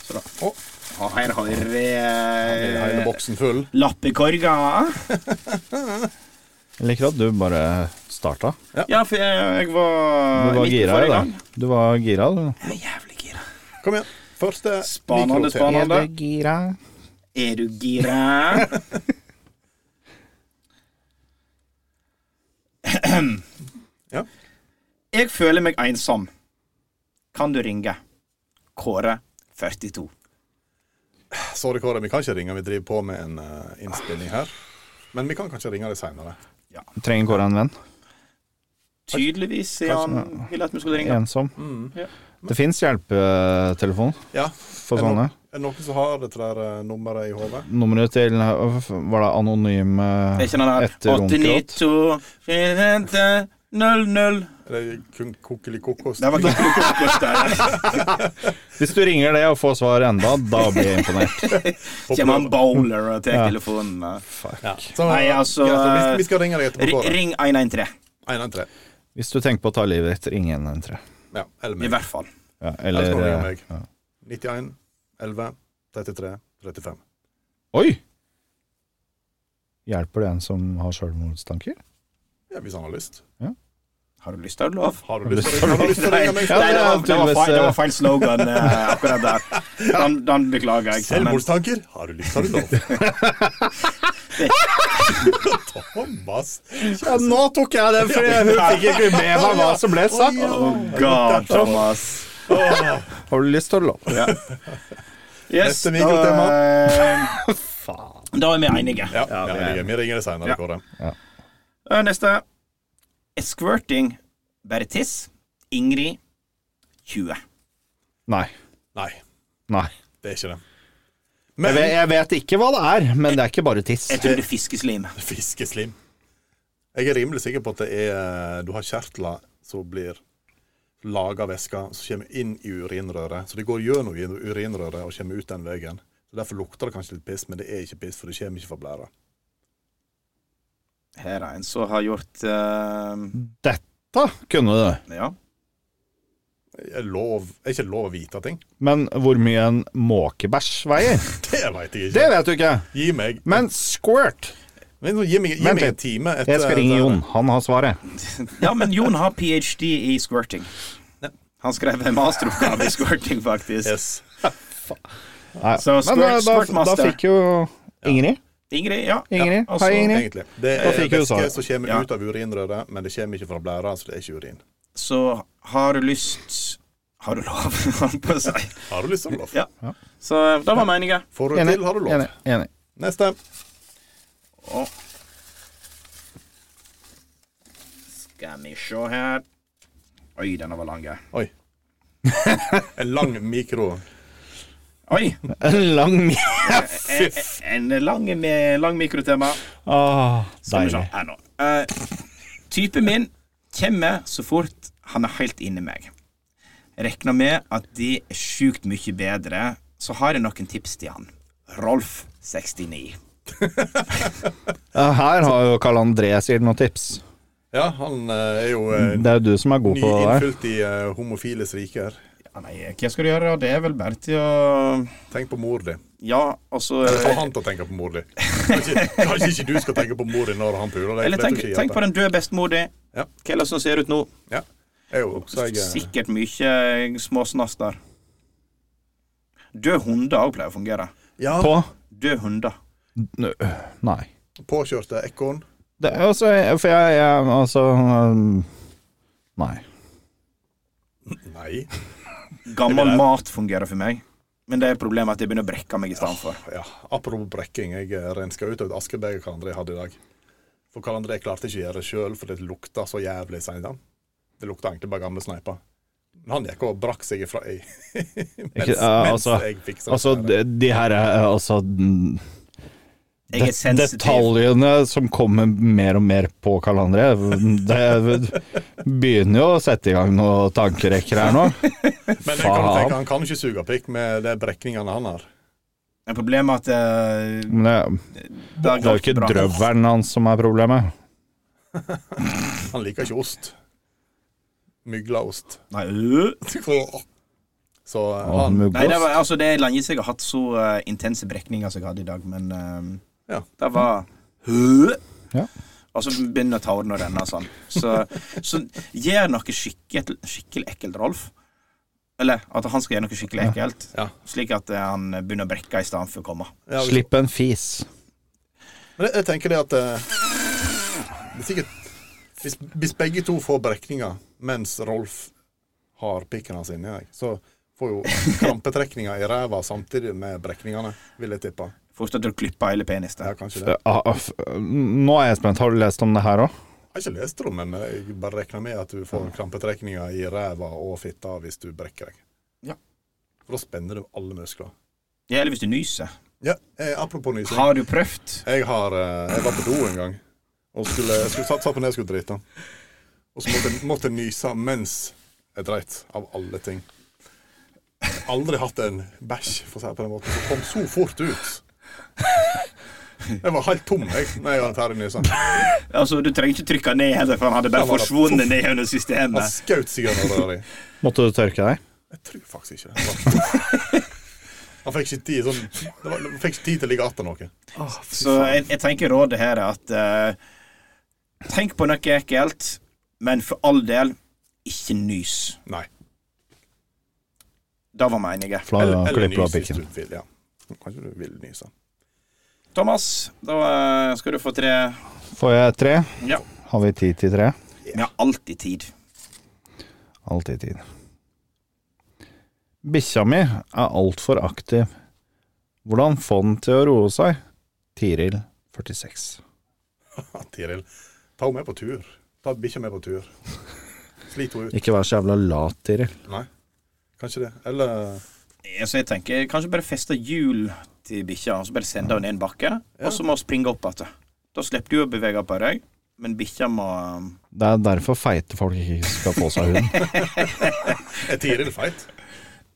[SPEAKER 4] Så da. Å, her har eh,
[SPEAKER 3] Er hele
[SPEAKER 4] vi
[SPEAKER 3] boksen full?
[SPEAKER 4] lappekorga.
[SPEAKER 5] Jeg liker at du bare starta.
[SPEAKER 4] Ja, for jeg, jeg var
[SPEAKER 5] Du var
[SPEAKER 4] midt i
[SPEAKER 5] gira i dag.
[SPEAKER 4] forrige gang.
[SPEAKER 5] Du var gira, du.
[SPEAKER 4] Jeg er jævlig gira.
[SPEAKER 3] Kom igjen. Første
[SPEAKER 4] Spanende,
[SPEAKER 3] mikrotema.
[SPEAKER 4] spanende. Amanda?
[SPEAKER 5] gira?
[SPEAKER 4] Er du gira?
[SPEAKER 3] Ja.
[SPEAKER 4] Jeg føler meg ensom. Kan du ringe? Kåre 42.
[SPEAKER 3] Sorry, Kåre, vi kan ikke ringe. Vi driver på med en eh, innspilling her. Men vi kan kanskje ringe deg seinere.
[SPEAKER 5] Trenger Kåre en venn?
[SPEAKER 4] Tydeligvis sier han ville at vi skulle ringe.
[SPEAKER 5] Ensom?
[SPEAKER 4] Ja.
[SPEAKER 5] Det fins hjelpetelefon
[SPEAKER 3] Ja.
[SPEAKER 5] for
[SPEAKER 3] Er det
[SPEAKER 5] sånne.
[SPEAKER 3] Er det noen som har dette der eh, nummeret i hodet?
[SPEAKER 5] Nummeret til Var det anonym
[SPEAKER 4] Er ikke den
[SPEAKER 5] etter runkråt?
[SPEAKER 4] der 892
[SPEAKER 3] Er det kun Kokeli Kokos?
[SPEAKER 4] Det var ikke noe kokos der.
[SPEAKER 5] Hvis du ringer det og får svar enda, da blir jeg imponert.
[SPEAKER 4] Kommer han bowler og tar telefonen.
[SPEAKER 3] Ja. Så,
[SPEAKER 4] Nei, altså,
[SPEAKER 3] greit, så vi, vi skal ringe deg etterpå,
[SPEAKER 4] Ri-
[SPEAKER 3] Kåre.
[SPEAKER 4] Ring 113,
[SPEAKER 3] 113.
[SPEAKER 5] Hvis du tenker på å ta livet ditt, ring 113.
[SPEAKER 3] Ja, eller
[SPEAKER 4] i
[SPEAKER 3] meg.
[SPEAKER 4] hvert fall.
[SPEAKER 5] Ja,
[SPEAKER 3] Eller
[SPEAKER 5] eller
[SPEAKER 3] så må du ringe
[SPEAKER 5] eh,
[SPEAKER 3] meg. 91 11 33 35.
[SPEAKER 5] Oi! Hjelper det en som har selvmordstanker?
[SPEAKER 3] Ja, hvis han har lyst.
[SPEAKER 4] Har du lyst, har du lov.
[SPEAKER 3] Har du lyst til å ringe- har du lyst til å
[SPEAKER 4] Nei,
[SPEAKER 3] ringe
[SPEAKER 4] nei,
[SPEAKER 3] meg?
[SPEAKER 4] det, var, det, var
[SPEAKER 5] tydeligvis,
[SPEAKER 4] feil, det
[SPEAKER 5] eh,
[SPEAKER 4] var feil slogan eh, akkurat der. Den, den beklager jeg. men-
[SPEAKER 3] Selvmordstanker? Har du lyst, har du lov. Thomas.
[SPEAKER 5] Ja, nå tok jeg det, for hun fikk ikke med meg hva som ble sagt.
[SPEAKER 4] Oh God, Thomas.
[SPEAKER 5] Har du lyst til å låne?
[SPEAKER 4] Yes,
[SPEAKER 3] Neste mikrotema.
[SPEAKER 4] da, da er vi enige.
[SPEAKER 3] Ja, ja, vi ringer- vi ringer deg seinere,
[SPEAKER 4] Ja.
[SPEAKER 3] Kåre.
[SPEAKER 4] Eh, Neste. Er Squirting bare tiss? Ingrid 20.
[SPEAKER 5] Nei.
[SPEAKER 3] Nei,
[SPEAKER 5] Nei.
[SPEAKER 3] det er ikke det.
[SPEAKER 5] Jeg
[SPEAKER 3] Men
[SPEAKER 5] vet, jeg vet ikke hva det er, men det er ikke bare tiss.
[SPEAKER 4] Jeg tror det er fiskeslim.
[SPEAKER 3] fiskeslim Jeg er rimelig sikker på at det er eh, Du har kjertler som blir laga væske, som kommer inn i urinrøret. Så det går gjennom i urinrøret og kommer ut den veien. Så Derfor lukter det kanskje litt piss, men det er ikke piss, for det kommer ikke fra blæra.
[SPEAKER 4] Her er en som har gjort eh,
[SPEAKER 5] Dette kunne du.
[SPEAKER 4] Ja.
[SPEAKER 3] Er, lov, er ikke lov å vite ting?
[SPEAKER 5] Men hvor mye en måkebæsj veier,
[SPEAKER 3] Det veit jeg
[SPEAKER 5] det
[SPEAKER 3] ikke.
[SPEAKER 5] vet du ikke.
[SPEAKER 3] Gi meg
[SPEAKER 5] Men squirt Eh,
[SPEAKER 3] Men nå, gi meg,
[SPEAKER 5] Vent
[SPEAKER 3] gi meg
[SPEAKER 5] litt.
[SPEAKER 3] en time etter
[SPEAKER 5] Jeg skal ringe
[SPEAKER 3] etter-
[SPEAKER 5] Jon. Han har svaret.
[SPEAKER 4] Ja, men Jon har ph.d. i squirting. Han skrev en masteroppgave i squirting, faktisk.
[SPEAKER 3] Yes.
[SPEAKER 5] Nei.
[SPEAKER 4] Så
[SPEAKER 5] Men eh,
[SPEAKER 4] squirt,
[SPEAKER 5] da,
[SPEAKER 4] squirt
[SPEAKER 5] da, da fikk jo Ingrid.
[SPEAKER 4] Ingrid, ja.
[SPEAKER 5] Ingrid.
[SPEAKER 4] altså,
[SPEAKER 5] Hei, Ingrid.
[SPEAKER 3] Egentlig. Det
[SPEAKER 5] Da
[SPEAKER 3] er
[SPEAKER 5] fikk hun
[SPEAKER 3] væske
[SPEAKER 5] svaret.
[SPEAKER 3] som kommer
[SPEAKER 4] Ja.
[SPEAKER 3] ut av urinrøret, men det kommer ikke fra blæra, så det er ikke urin.
[SPEAKER 4] Så har du lyst Har du lov, holdt på å si.
[SPEAKER 3] Har du lyst til lov?
[SPEAKER 4] Ja. Så da var meninga.
[SPEAKER 3] Får du
[SPEAKER 5] Enig.
[SPEAKER 3] til, har du lov.
[SPEAKER 5] Enig. Enig.
[SPEAKER 3] Neste.
[SPEAKER 4] Skal vi se her Oi, denne var lang. ja.
[SPEAKER 3] Oi. En lang mikro.
[SPEAKER 4] Oi!
[SPEAKER 5] En lang mi-
[SPEAKER 4] En, en lang, mi- lang mikrotema.
[SPEAKER 5] Åh,
[SPEAKER 4] Skal vi se
[SPEAKER 5] Deilig.
[SPEAKER 4] her nå. Eh, typen min kommer så fort han er helt inni meg. Regner med at de er sjukt mye bedre, så har jeg noen tips til han. Rolf 69.
[SPEAKER 5] Ja, Her har jo Karl André sikkert noen tips.
[SPEAKER 3] Ja, han eh, er jo eh,
[SPEAKER 5] Det er jo du som er god på det der.
[SPEAKER 3] nyinnfylt i eh, homofiles riker.
[SPEAKER 4] Ja, nei, hva skal du gjøre? Det er vel bare til å
[SPEAKER 3] Tenk på mor di.
[SPEAKER 4] Ja, altså
[SPEAKER 3] Få han til å tenke på mor di. Kanskje, kanskje ikke du skal tenke på mor di når han puler deg.
[SPEAKER 4] Eller
[SPEAKER 3] for det
[SPEAKER 4] tenk,
[SPEAKER 3] tror ikke
[SPEAKER 4] tenk på den
[SPEAKER 3] hjelper.
[SPEAKER 4] døde bestemor di.
[SPEAKER 3] Ja.
[SPEAKER 4] Hva ellers som ser ut nå?
[SPEAKER 3] Ja. Jeg er jo så jeg, eh,
[SPEAKER 4] Sikkert mye eh, småsnass der. Døde hunder òg pleier å fungere.
[SPEAKER 3] ja,
[SPEAKER 5] På?
[SPEAKER 4] Døde hunder.
[SPEAKER 5] Nei.
[SPEAKER 3] påkjørte ekorn.
[SPEAKER 5] Det er altså For jeg, jeg Altså um, Nei.
[SPEAKER 3] Nei.
[SPEAKER 4] Gammel mat fungerer for meg, men det er problemet at jeg begynner å brekke meg i stedet for.
[SPEAKER 3] Ja, apropos brekking, jeg eh, renska ut av et askebeger hva André hadde i dag. For hva André klarte ikke å gjøre det sjøl, for det lukta så jævlig seint. Det lukta egentlig bare gamle sneiper. Men han gikk og brakk seg ifra i mens,
[SPEAKER 5] Ikke, ja,
[SPEAKER 3] mens
[SPEAKER 5] altså-
[SPEAKER 3] jeg fiksa
[SPEAKER 5] Altså,
[SPEAKER 3] det.
[SPEAKER 5] de, de her er Altså mm,
[SPEAKER 4] Jeg er
[SPEAKER 5] det-
[SPEAKER 4] sensitiv.
[SPEAKER 5] Detaljene som kommer mer og mer på Karl André, det begynner jo å sette i gang noen tankerekker her nå.
[SPEAKER 3] Men jeg kan jo
[SPEAKER 5] faen.
[SPEAKER 3] tenke, han kan jo ikke suge pikk med de brekningene han har.
[SPEAKER 4] Men Problemet er at eh,
[SPEAKER 5] Men det,
[SPEAKER 4] det har
[SPEAKER 5] det er jo
[SPEAKER 4] gått
[SPEAKER 5] ikke
[SPEAKER 4] bra.
[SPEAKER 5] drøvelen hans som er problemet.
[SPEAKER 3] Han liker ikke ost. Myglaost.
[SPEAKER 4] Nei, øh.
[SPEAKER 3] Så eh,
[SPEAKER 5] Og
[SPEAKER 3] han
[SPEAKER 4] Nei, det,
[SPEAKER 5] muggost.
[SPEAKER 4] var, altså, det er lenge siden jeg har hatt så eh, intense brekninger som jeg hadde i dag, men eh,
[SPEAKER 3] Ja.
[SPEAKER 4] det var Hø!
[SPEAKER 5] Ja.
[SPEAKER 4] Og så begynner tårene å renne sånn. Så, så gjør noe skikkelig, skikkelig ekkelt, Rolf. Eller at han skal gjøre noe skikkelig ekkelt,
[SPEAKER 3] Ja.
[SPEAKER 4] slik at eh, han begynner å brekke i stedet for å komme.
[SPEAKER 3] ja, vi-
[SPEAKER 5] Slipp en fis.
[SPEAKER 3] Men jeg, jeg tenker det at eh, det er sikkert, hvis, hvis begge to får brekninger mens Rolf har pikken hans inni deg, så får jo krampetrekninga i ræva samtidig med brekningene, vil jeg tippe.
[SPEAKER 4] Fortsatt å klippe hele penis
[SPEAKER 3] Ja,
[SPEAKER 4] der.
[SPEAKER 3] kanskje det.
[SPEAKER 5] Ja, ah, f- Nå er jeg spent. Har du lest om det her òg?
[SPEAKER 3] Jeg har ikke lest det, men jeg bare regner med at du får krampetrekninger i ræva og fitta hvis du brekker deg.
[SPEAKER 4] Ja.
[SPEAKER 3] For da spenner du alle muskler.
[SPEAKER 4] Ja, eller hvis du nyser.
[SPEAKER 3] Ja, eh, apropos nysing.
[SPEAKER 4] Har du prøvd?
[SPEAKER 3] Jeg, har, eh, jeg var på do en gang og skulle, jeg skulle satt, satt meg ned og skulle drite. Og så måtte, jeg- måtte jeg nyse mens jeg dreit, av alle ting. Jeg har aldri hatt en bæsj for å si det på den måten, som kom så fort ut. Jeg var helt tom jeg, når jeg var ferdig nysa.
[SPEAKER 4] Altså, Du trenger ikke trykke ned heller, for han hadde bare
[SPEAKER 3] Ja, var det-
[SPEAKER 4] forsvunnet ned under
[SPEAKER 3] Han
[SPEAKER 4] systemet.
[SPEAKER 3] skjøt seg gjennom røret.
[SPEAKER 5] Måtte du tørke deg?
[SPEAKER 3] Jeg tror faktisk ikke det. Han fikk ikke tid, sånn, det var, han fikk ikke tid til å ligge atter noe.
[SPEAKER 4] Så jeg, jeg tenker rådet her er at eh, Tenk på noe ekkelt, men for all del, ikke nys.
[SPEAKER 3] Nei.
[SPEAKER 4] Det var meningen.
[SPEAKER 5] For da klipper du av
[SPEAKER 3] nys hvis
[SPEAKER 5] pikken.
[SPEAKER 3] du vil. Ja. Kanskje du vil nyse.
[SPEAKER 4] Thomas, da eh, skal du få tre.
[SPEAKER 5] Får jeg tre?
[SPEAKER 4] Ja.
[SPEAKER 5] Har vi tid til tre?
[SPEAKER 4] Vi har alltid tid.
[SPEAKER 5] Alltid tid. Bikkja mi er altfor aktiv. Hvordan få den til å roe seg? Tiril, 46.
[SPEAKER 3] Ja, Tiril, ta henne med på tur. Ta bikkja med på tur. Slit henne ut.
[SPEAKER 5] Ikke vær så jævla lat, Tiril.
[SPEAKER 3] Nei, kanskje det. Eller
[SPEAKER 4] Ja, Så jeg tenker kanskje bare feste hjul til bikkja, og så bare sende henne ned en bakke, og så må hun springe opp igjen. Da slipper du å bevege på deg, men bikkja må
[SPEAKER 5] Det er derfor feite folk ikke skal få seg hund.
[SPEAKER 3] Er Tiril feit?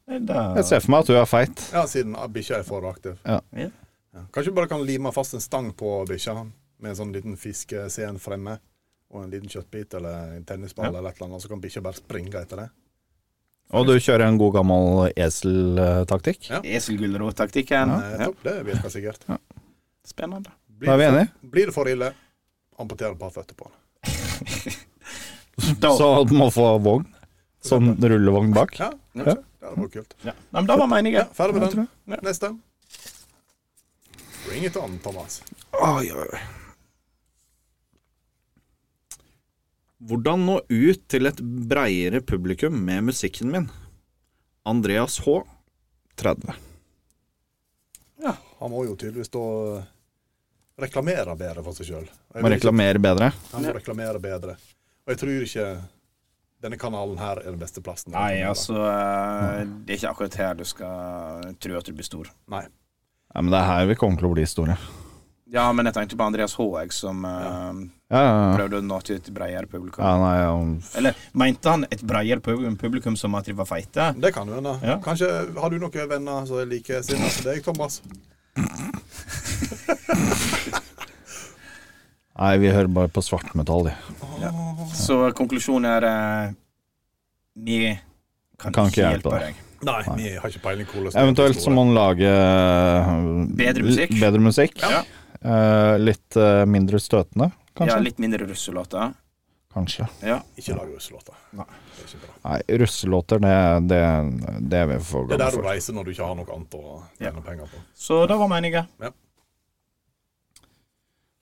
[SPEAKER 5] Jeg ser for meg at du er feit.
[SPEAKER 3] Ja, siden bikkja er for aktiv.
[SPEAKER 5] Ja.
[SPEAKER 4] Ja.
[SPEAKER 3] Ja. Kanskje du bare kan lime fast en stang på bikkja, med en sånn liten fiskesen fremme, og en liten kjøttbit eller en tennisball eller et eller annet, så kan bikkja bare springe etter det.
[SPEAKER 5] Og du kjører en god gammel eseltaktikk.
[SPEAKER 4] Eselgulrottaktikken.
[SPEAKER 3] Eh, topp, det virker sikkert.
[SPEAKER 4] Spennende.
[SPEAKER 3] Blir
[SPEAKER 5] Da er vi
[SPEAKER 3] det for-
[SPEAKER 5] enige?
[SPEAKER 3] Blir det for ille, amputerer bare føttene på han.
[SPEAKER 4] Da,
[SPEAKER 5] Så du må få vogn. Sånn rullevogn bak.
[SPEAKER 3] Ja, kanskje. Ja, det var kult.
[SPEAKER 4] ja. Nei, men da var meningen.
[SPEAKER 3] Ja, ferdig med den. Neste. Bring it on, Thomas.
[SPEAKER 5] Oi, oi, oi. Hvordan nå ut til et breiere publikum med musikken min? Andreas H. 30.
[SPEAKER 3] Han må jo tydeligvis da eh, reklamere bedre for seg sjøl.
[SPEAKER 5] Må reklamere bedre.
[SPEAKER 3] Han må reklamere bedre. Og jeg tror ikke denne kanalen her er den beste plassen. å
[SPEAKER 4] Nei,
[SPEAKER 3] reklamere.
[SPEAKER 4] altså eh, Det er ikke akkurat her du skal tro at du blir stor.
[SPEAKER 3] Nei.
[SPEAKER 5] Ja, men det er her vi kommer til å bli store.
[SPEAKER 4] Ja, men jeg tenkte på Andreas Håeg, som eh,
[SPEAKER 5] Ja, ja, ja.
[SPEAKER 4] prøvde å nå til et bredere publikum.
[SPEAKER 5] ja nei, ja.
[SPEAKER 4] Eller mente han et bredere pub- publikum som at de var feite?
[SPEAKER 3] Det kan jo hende.
[SPEAKER 4] Ja.
[SPEAKER 3] Kanskje har du noen venner som er likesinna som deg, Thomas?
[SPEAKER 5] nei, vi hører bare på svartmetall, vi.
[SPEAKER 4] Så konklusjonen er eh, Vi kan,
[SPEAKER 5] Kan
[SPEAKER 4] ikke hjelpe, deg.
[SPEAKER 3] Nei, vi har ikke peiling hvordan det er
[SPEAKER 5] Eventuelt
[SPEAKER 3] store.
[SPEAKER 5] så må man lage eh,
[SPEAKER 4] Bedre musikk.
[SPEAKER 5] l- Bedre musikk.
[SPEAKER 4] Ja.
[SPEAKER 5] Eh, litt eh, mindre støtende,
[SPEAKER 4] Ja,
[SPEAKER 5] kanskje.
[SPEAKER 4] litt mindre russelåter.
[SPEAKER 5] Kanskje.
[SPEAKER 4] Ja.
[SPEAKER 3] Ikke lag russelåter.
[SPEAKER 4] Nei.
[SPEAKER 3] Det er ikke bra.
[SPEAKER 5] Nei, russelåter, det, det, det er vi for
[SPEAKER 3] Det er
[SPEAKER 5] gamle
[SPEAKER 3] der du
[SPEAKER 5] for.
[SPEAKER 3] reiser når du ikke har noe annet å
[SPEAKER 4] Ja.
[SPEAKER 3] tjene penger på.
[SPEAKER 4] Så det var meningen.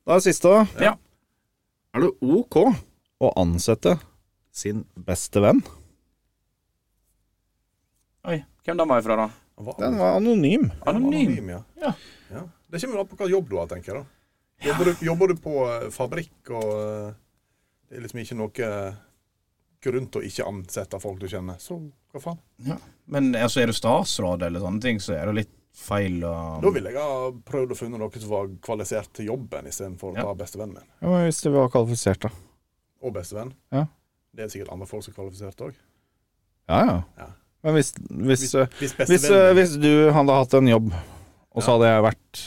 [SPEAKER 5] Da er siste, da.
[SPEAKER 4] Ja.
[SPEAKER 5] Er det OK å ansette sin beste venn?
[SPEAKER 4] Oi, hvem den var ifra, da?
[SPEAKER 3] Hva?
[SPEAKER 5] Den var anonym.
[SPEAKER 4] Anonym.
[SPEAKER 3] ja.
[SPEAKER 4] Ja.
[SPEAKER 3] ja. Det kommer jo an på hva jobb du har, tenker jeg. da Jobber, du, jobber du på eh, fabrikk og eh, det er liksom ikke noe grunn til å ikke ansette folk du kjenner, så hva faen?
[SPEAKER 4] Men altså, er du statsråd eller sånne ting, så er det litt feil å
[SPEAKER 3] Da ville jeg ha prøvd å finne noen som var kvalifisert til jobben, istedenfor å
[SPEAKER 4] Ja.
[SPEAKER 3] ta bestevennen min.
[SPEAKER 5] Ja, men hvis de var kvalifisert, da.
[SPEAKER 3] Og bestevenn.
[SPEAKER 5] Ja.
[SPEAKER 3] Det er sikkert andre folk som er kvalifisert òg.
[SPEAKER 5] Ja, ja.
[SPEAKER 3] Ja.
[SPEAKER 5] Men hvis, hvis,
[SPEAKER 3] Hvis,
[SPEAKER 5] eh,
[SPEAKER 3] hvis
[SPEAKER 5] hvis,
[SPEAKER 3] bestevennen
[SPEAKER 5] eh,
[SPEAKER 3] min-
[SPEAKER 5] hvis du hadde hatt en jobb, og så hadde jeg vært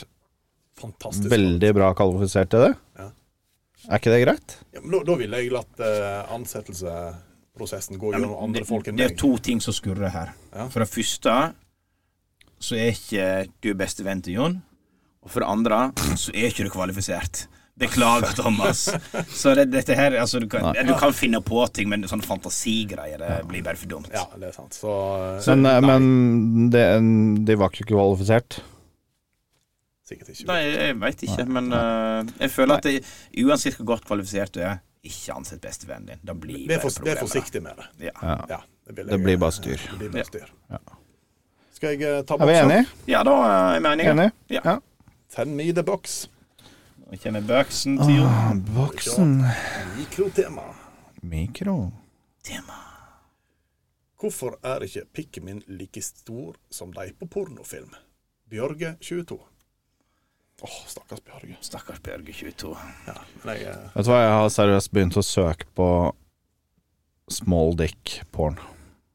[SPEAKER 3] Fantastisk.
[SPEAKER 5] veldig bra kvalifisert til det,
[SPEAKER 3] Ja.
[SPEAKER 5] er ikke det greit?
[SPEAKER 3] Ja, men da, da ville jeg latt eh, ansettelseprosessen gå gjennom andre
[SPEAKER 4] det,
[SPEAKER 3] folk enn
[SPEAKER 4] det er
[SPEAKER 3] meg.
[SPEAKER 4] to ting som skurrer her.
[SPEAKER 3] Ja.
[SPEAKER 4] For det første så er ikke du beste venn til Jon. Og for det andre så er ikke du kvalifisert. Beklager, Thomas. Så det, dette her altså, du, kan, du kan finne på ting, men sånne fantasigreier det blir bare for dumt.
[SPEAKER 3] Ja, det er sant. Så, eh,
[SPEAKER 5] Men, eh,
[SPEAKER 3] nei,
[SPEAKER 5] men det, de var ikke kvalifisert.
[SPEAKER 3] sikkert ikke.
[SPEAKER 4] Nei, jeg veit ikke, men eh, jeg føler at det, uansett hvor godt kvalifisert du er, ikke ansett bestevennen din. Da blir
[SPEAKER 3] Vær,
[SPEAKER 4] bare
[SPEAKER 3] for, vær
[SPEAKER 4] problemer.
[SPEAKER 3] forsiktig med det.
[SPEAKER 4] Ja.
[SPEAKER 3] Ja, det, vil
[SPEAKER 5] Det
[SPEAKER 3] jeg-
[SPEAKER 5] blir bare styr.
[SPEAKER 3] Det
[SPEAKER 4] Ja.
[SPEAKER 3] blir bare styr. Skal jeg eh, ta
[SPEAKER 5] Er vi
[SPEAKER 3] boksen?
[SPEAKER 5] enige?
[SPEAKER 4] ja, da eh, er vi enige.
[SPEAKER 5] Enig?
[SPEAKER 4] Ja.
[SPEAKER 3] Send me the box.
[SPEAKER 4] Nå kjenner jeg bøksen til Jon.
[SPEAKER 5] Ah. Boksen.
[SPEAKER 3] Mikrotema.
[SPEAKER 5] Mikro.
[SPEAKER 3] Hvorfor er ikke pikken min like stor som de på pornofilm? Bjørge 22. Åh, stakkars Bjørge.
[SPEAKER 4] Stakkars Bjørge 22.
[SPEAKER 3] Ja, men jeg, eh,
[SPEAKER 5] Vet du hva, jeg har seriøst begynt å søke på small dick porn.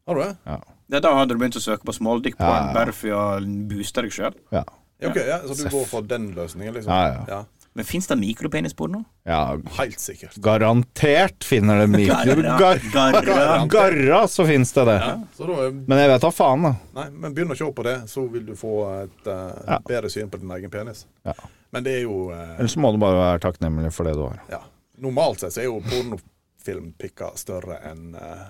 [SPEAKER 3] har du det?
[SPEAKER 4] Ja, da hadde du begynt å søke på smaldick på
[SPEAKER 5] Ja, ja.
[SPEAKER 4] en bare for å booste deg sjøl.
[SPEAKER 5] Ja.
[SPEAKER 3] Ja, ok, ja, så du
[SPEAKER 5] Seff.
[SPEAKER 3] går for den løsningen, liksom?
[SPEAKER 5] Ja, ja.
[SPEAKER 4] Men fins det mikropenisporno?
[SPEAKER 5] ja
[SPEAKER 3] Helt sikkert.
[SPEAKER 5] garantert finner det mikro.
[SPEAKER 4] Garra,
[SPEAKER 5] Gar
[SPEAKER 4] garra.
[SPEAKER 5] garra, så finnes det det.
[SPEAKER 3] Så da eh,
[SPEAKER 5] Men jeg vet da faen, da.
[SPEAKER 3] Nei, men begynn å se på det, så vil du få et eh,
[SPEAKER 5] Ja.
[SPEAKER 3] bedre syn på din egen penis.
[SPEAKER 5] Ja.
[SPEAKER 3] Men det er jo eh,
[SPEAKER 5] Ellers må du bare være takknemlig for det du har.
[SPEAKER 3] ja. Normalt sett så er jo pornofilmpikka større enn eh,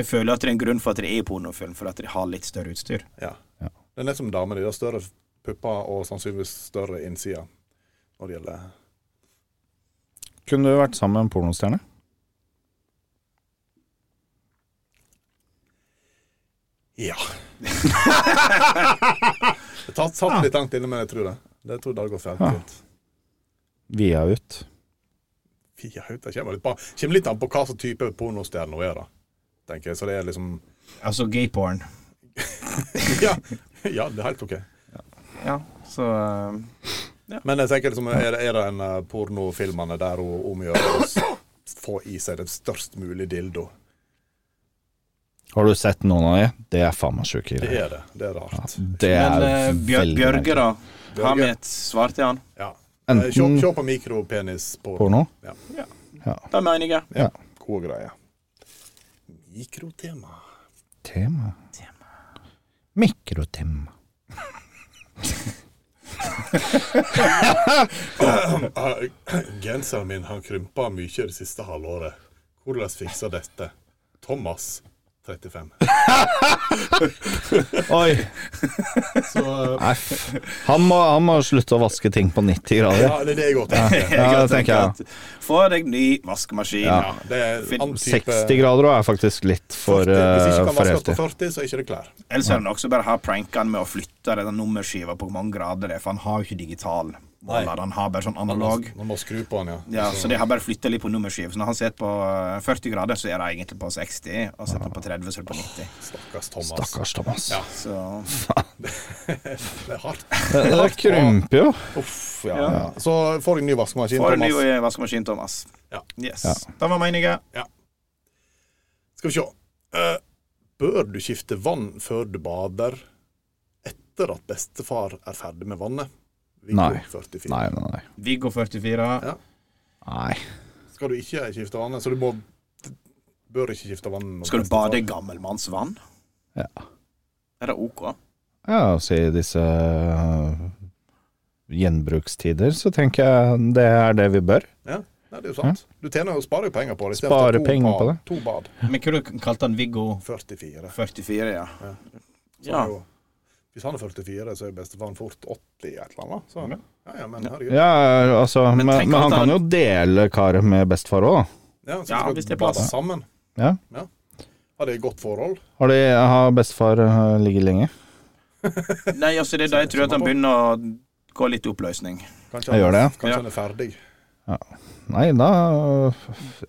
[SPEAKER 4] Jeg føler at det er en grunn for at det er i pornofilm, for at de har litt større utstyr.
[SPEAKER 3] ja.
[SPEAKER 5] Ja.
[SPEAKER 3] Det er nett som damer. De har større pupper og sannsynligvis større innside når det gjelder
[SPEAKER 5] Kunne du vært sammen med en pornostjerne?
[SPEAKER 3] Ja. det tatt, satt litt langt inne, men jeg tror det. Det tror jeg det går
[SPEAKER 5] Ja.
[SPEAKER 3] fint.
[SPEAKER 5] Via ut.
[SPEAKER 3] Fia ut, det kommer litt på. Kommer litt an på hva slags type pornostjerne hun er, da. Tenker jeg. Så det er liksom
[SPEAKER 4] Altså gayporn.
[SPEAKER 3] Ja, ja det er helt OK.
[SPEAKER 4] Ja, så eh,
[SPEAKER 3] Men jeg tenker liksom, er det, er det en eh, pornofilmene der hun omgjør å s- få i seg den størst mulig dildo?
[SPEAKER 5] Har du sett noen av de? Det er faen meg sjuke
[SPEAKER 3] Det
[SPEAKER 5] greier.
[SPEAKER 3] er det. Det er rart.
[SPEAKER 5] Det er
[SPEAKER 4] Men eh, Bjør
[SPEAKER 5] veldig merkelig.
[SPEAKER 4] Bjørge, da? Har
[SPEAKER 3] Bjørge.
[SPEAKER 4] vi et svar til han?
[SPEAKER 3] Ja. Eh, Se
[SPEAKER 5] Enten
[SPEAKER 3] se på mikropenis på
[SPEAKER 5] porno
[SPEAKER 3] Ja.
[SPEAKER 4] Det mener jeg.
[SPEAKER 3] Gode greier. Mikrotema.
[SPEAKER 5] Tema. Mikrotema.
[SPEAKER 3] Genseren min har krympa mye det siste halvåret. Hvordan fikser dette? Thomas 35.
[SPEAKER 5] Oi.
[SPEAKER 3] Så eh,
[SPEAKER 5] Nei, f- han må, han må slutte å vaske ting på 90 grader.
[SPEAKER 3] ja, det er det jeg òg tenker.
[SPEAKER 5] Ja, det tenker jeg.
[SPEAKER 4] Få deg ny vaskemaskin.
[SPEAKER 3] Ja, det er en annen type
[SPEAKER 5] 60 grader også er faktisk litt for,
[SPEAKER 3] 40. Hvis ikke
[SPEAKER 5] eh, for
[SPEAKER 3] kan vaskes
[SPEAKER 5] heftig.
[SPEAKER 3] på 40, så er ikke det klær.
[SPEAKER 4] Ellers er det nok også bare å ha prankene med å flytte denne nummerskiva på hvor mange grader det er, for han har jo ikke digital måler, han har bare sånn analog.
[SPEAKER 3] Nå må skru på den, ja.
[SPEAKER 4] Ja, så de har bare flytta litt på nummerskiva. Så når han sitter på eh, 40 grader, så er det egentlig på 60, og sitter han på 30, så er det på 90.
[SPEAKER 3] Stakkars Thomas.
[SPEAKER 5] Stakkars Thomas.
[SPEAKER 3] Ja.
[SPEAKER 4] Så
[SPEAKER 3] Det er hardt.
[SPEAKER 5] Det, det krymper jo.
[SPEAKER 3] Uff, ja. ja. Så får jeg ny vaskemaskin.
[SPEAKER 4] får en
[SPEAKER 3] Thomas.
[SPEAKER 4] ny eh, vaskemaskin, Thomas.
[SPEAKER 3] Ja.
[SPEAKER 4] Yes. Da var meninga.
[SPEAKER 3] Skal vi se. Eh, bør du skifte vann før du bader etter at bestefar er ferdig med vannet? Viggo
[SPEAKER 5] Nei.
[SPEAKER 3] 44.
[SPEAKER 5] Nei, nei, nei.
[SPEAKER 4] Viggo 44.
[SPEAKER 5] nei.
[SPEAKER 3] Skal du ikke skifte vannet, så du må Bør ikke skifte vann. når
[SPEAKER 4] Skal du
[SPEAKER 3] bestefar-
[SPEAKER 4] bade i gammelmannsvann?
[SPEAKER 5] Ja.
[SPEAKER 4] Er det OK?
[SPEAKER 5] Ja, altså i disse eh, gjenbrukstider så tenker jeg det er det vi bør.
[SPEAKER 3] Ja, Nei, det er jo sant. Du tjener jo sparer jo penger på det. i stedet
[SPEAKER 5] Sparer
[SPEAKER 3] for to
[SPEAKER 5] penger
[SPEAKER 3] bad-
[SPEAKER 5] på det.
[SPEAKER 3] To bad.
[SPEAKER 4] Men hva kalte han Viggo
[SPEAKER 3] 44.
[SPEAKER 4] 44, ja.
[SPEAKER 3] Så er jo, hvis han er 44, så er bestefaren fort 80 et eller annet. Så, ja. Ja, men herregud.
[SPEAKER 5] Ja, altså, men,
[SPEAKER 4] tenk
[SPEAKER 5] men
[SPEAKER 4] at
[SPEAKER 5] han
[SPEAKER 4] han-
[SPEAKER 5] kan jo dele karet med bestefar òg, da.
[SPEAKER 3] Ja, så
[SPEAKER 4] Ja,
[SPEAKER 3] skal
[SPEAKER 4] hvis det er
[SPEAKER 3] bade
[SPEAKER 4] plass.
[SPEAKER 3] Sammen.
[SPEAKER 5] Ja.
[SPEAKER 3] Har de et godt forhold?
[SPEAKER 5] Har, de, har bestefar eh, ligget lenge?
[SPEAKER 4] Nei, altså det er da jeg tror at han begynner å gå litt i oppløsning.
[SPEAKER 5] Jeg
[SPEAKER 3] Kanskje han-
[SPEAKER 5] gjør det,
[SPEAKER 3] Kanskje
[SPEAKER 4] Ja.
[SPEAKER 3] han er ferdig.
[SPEAKER 5] Nei, da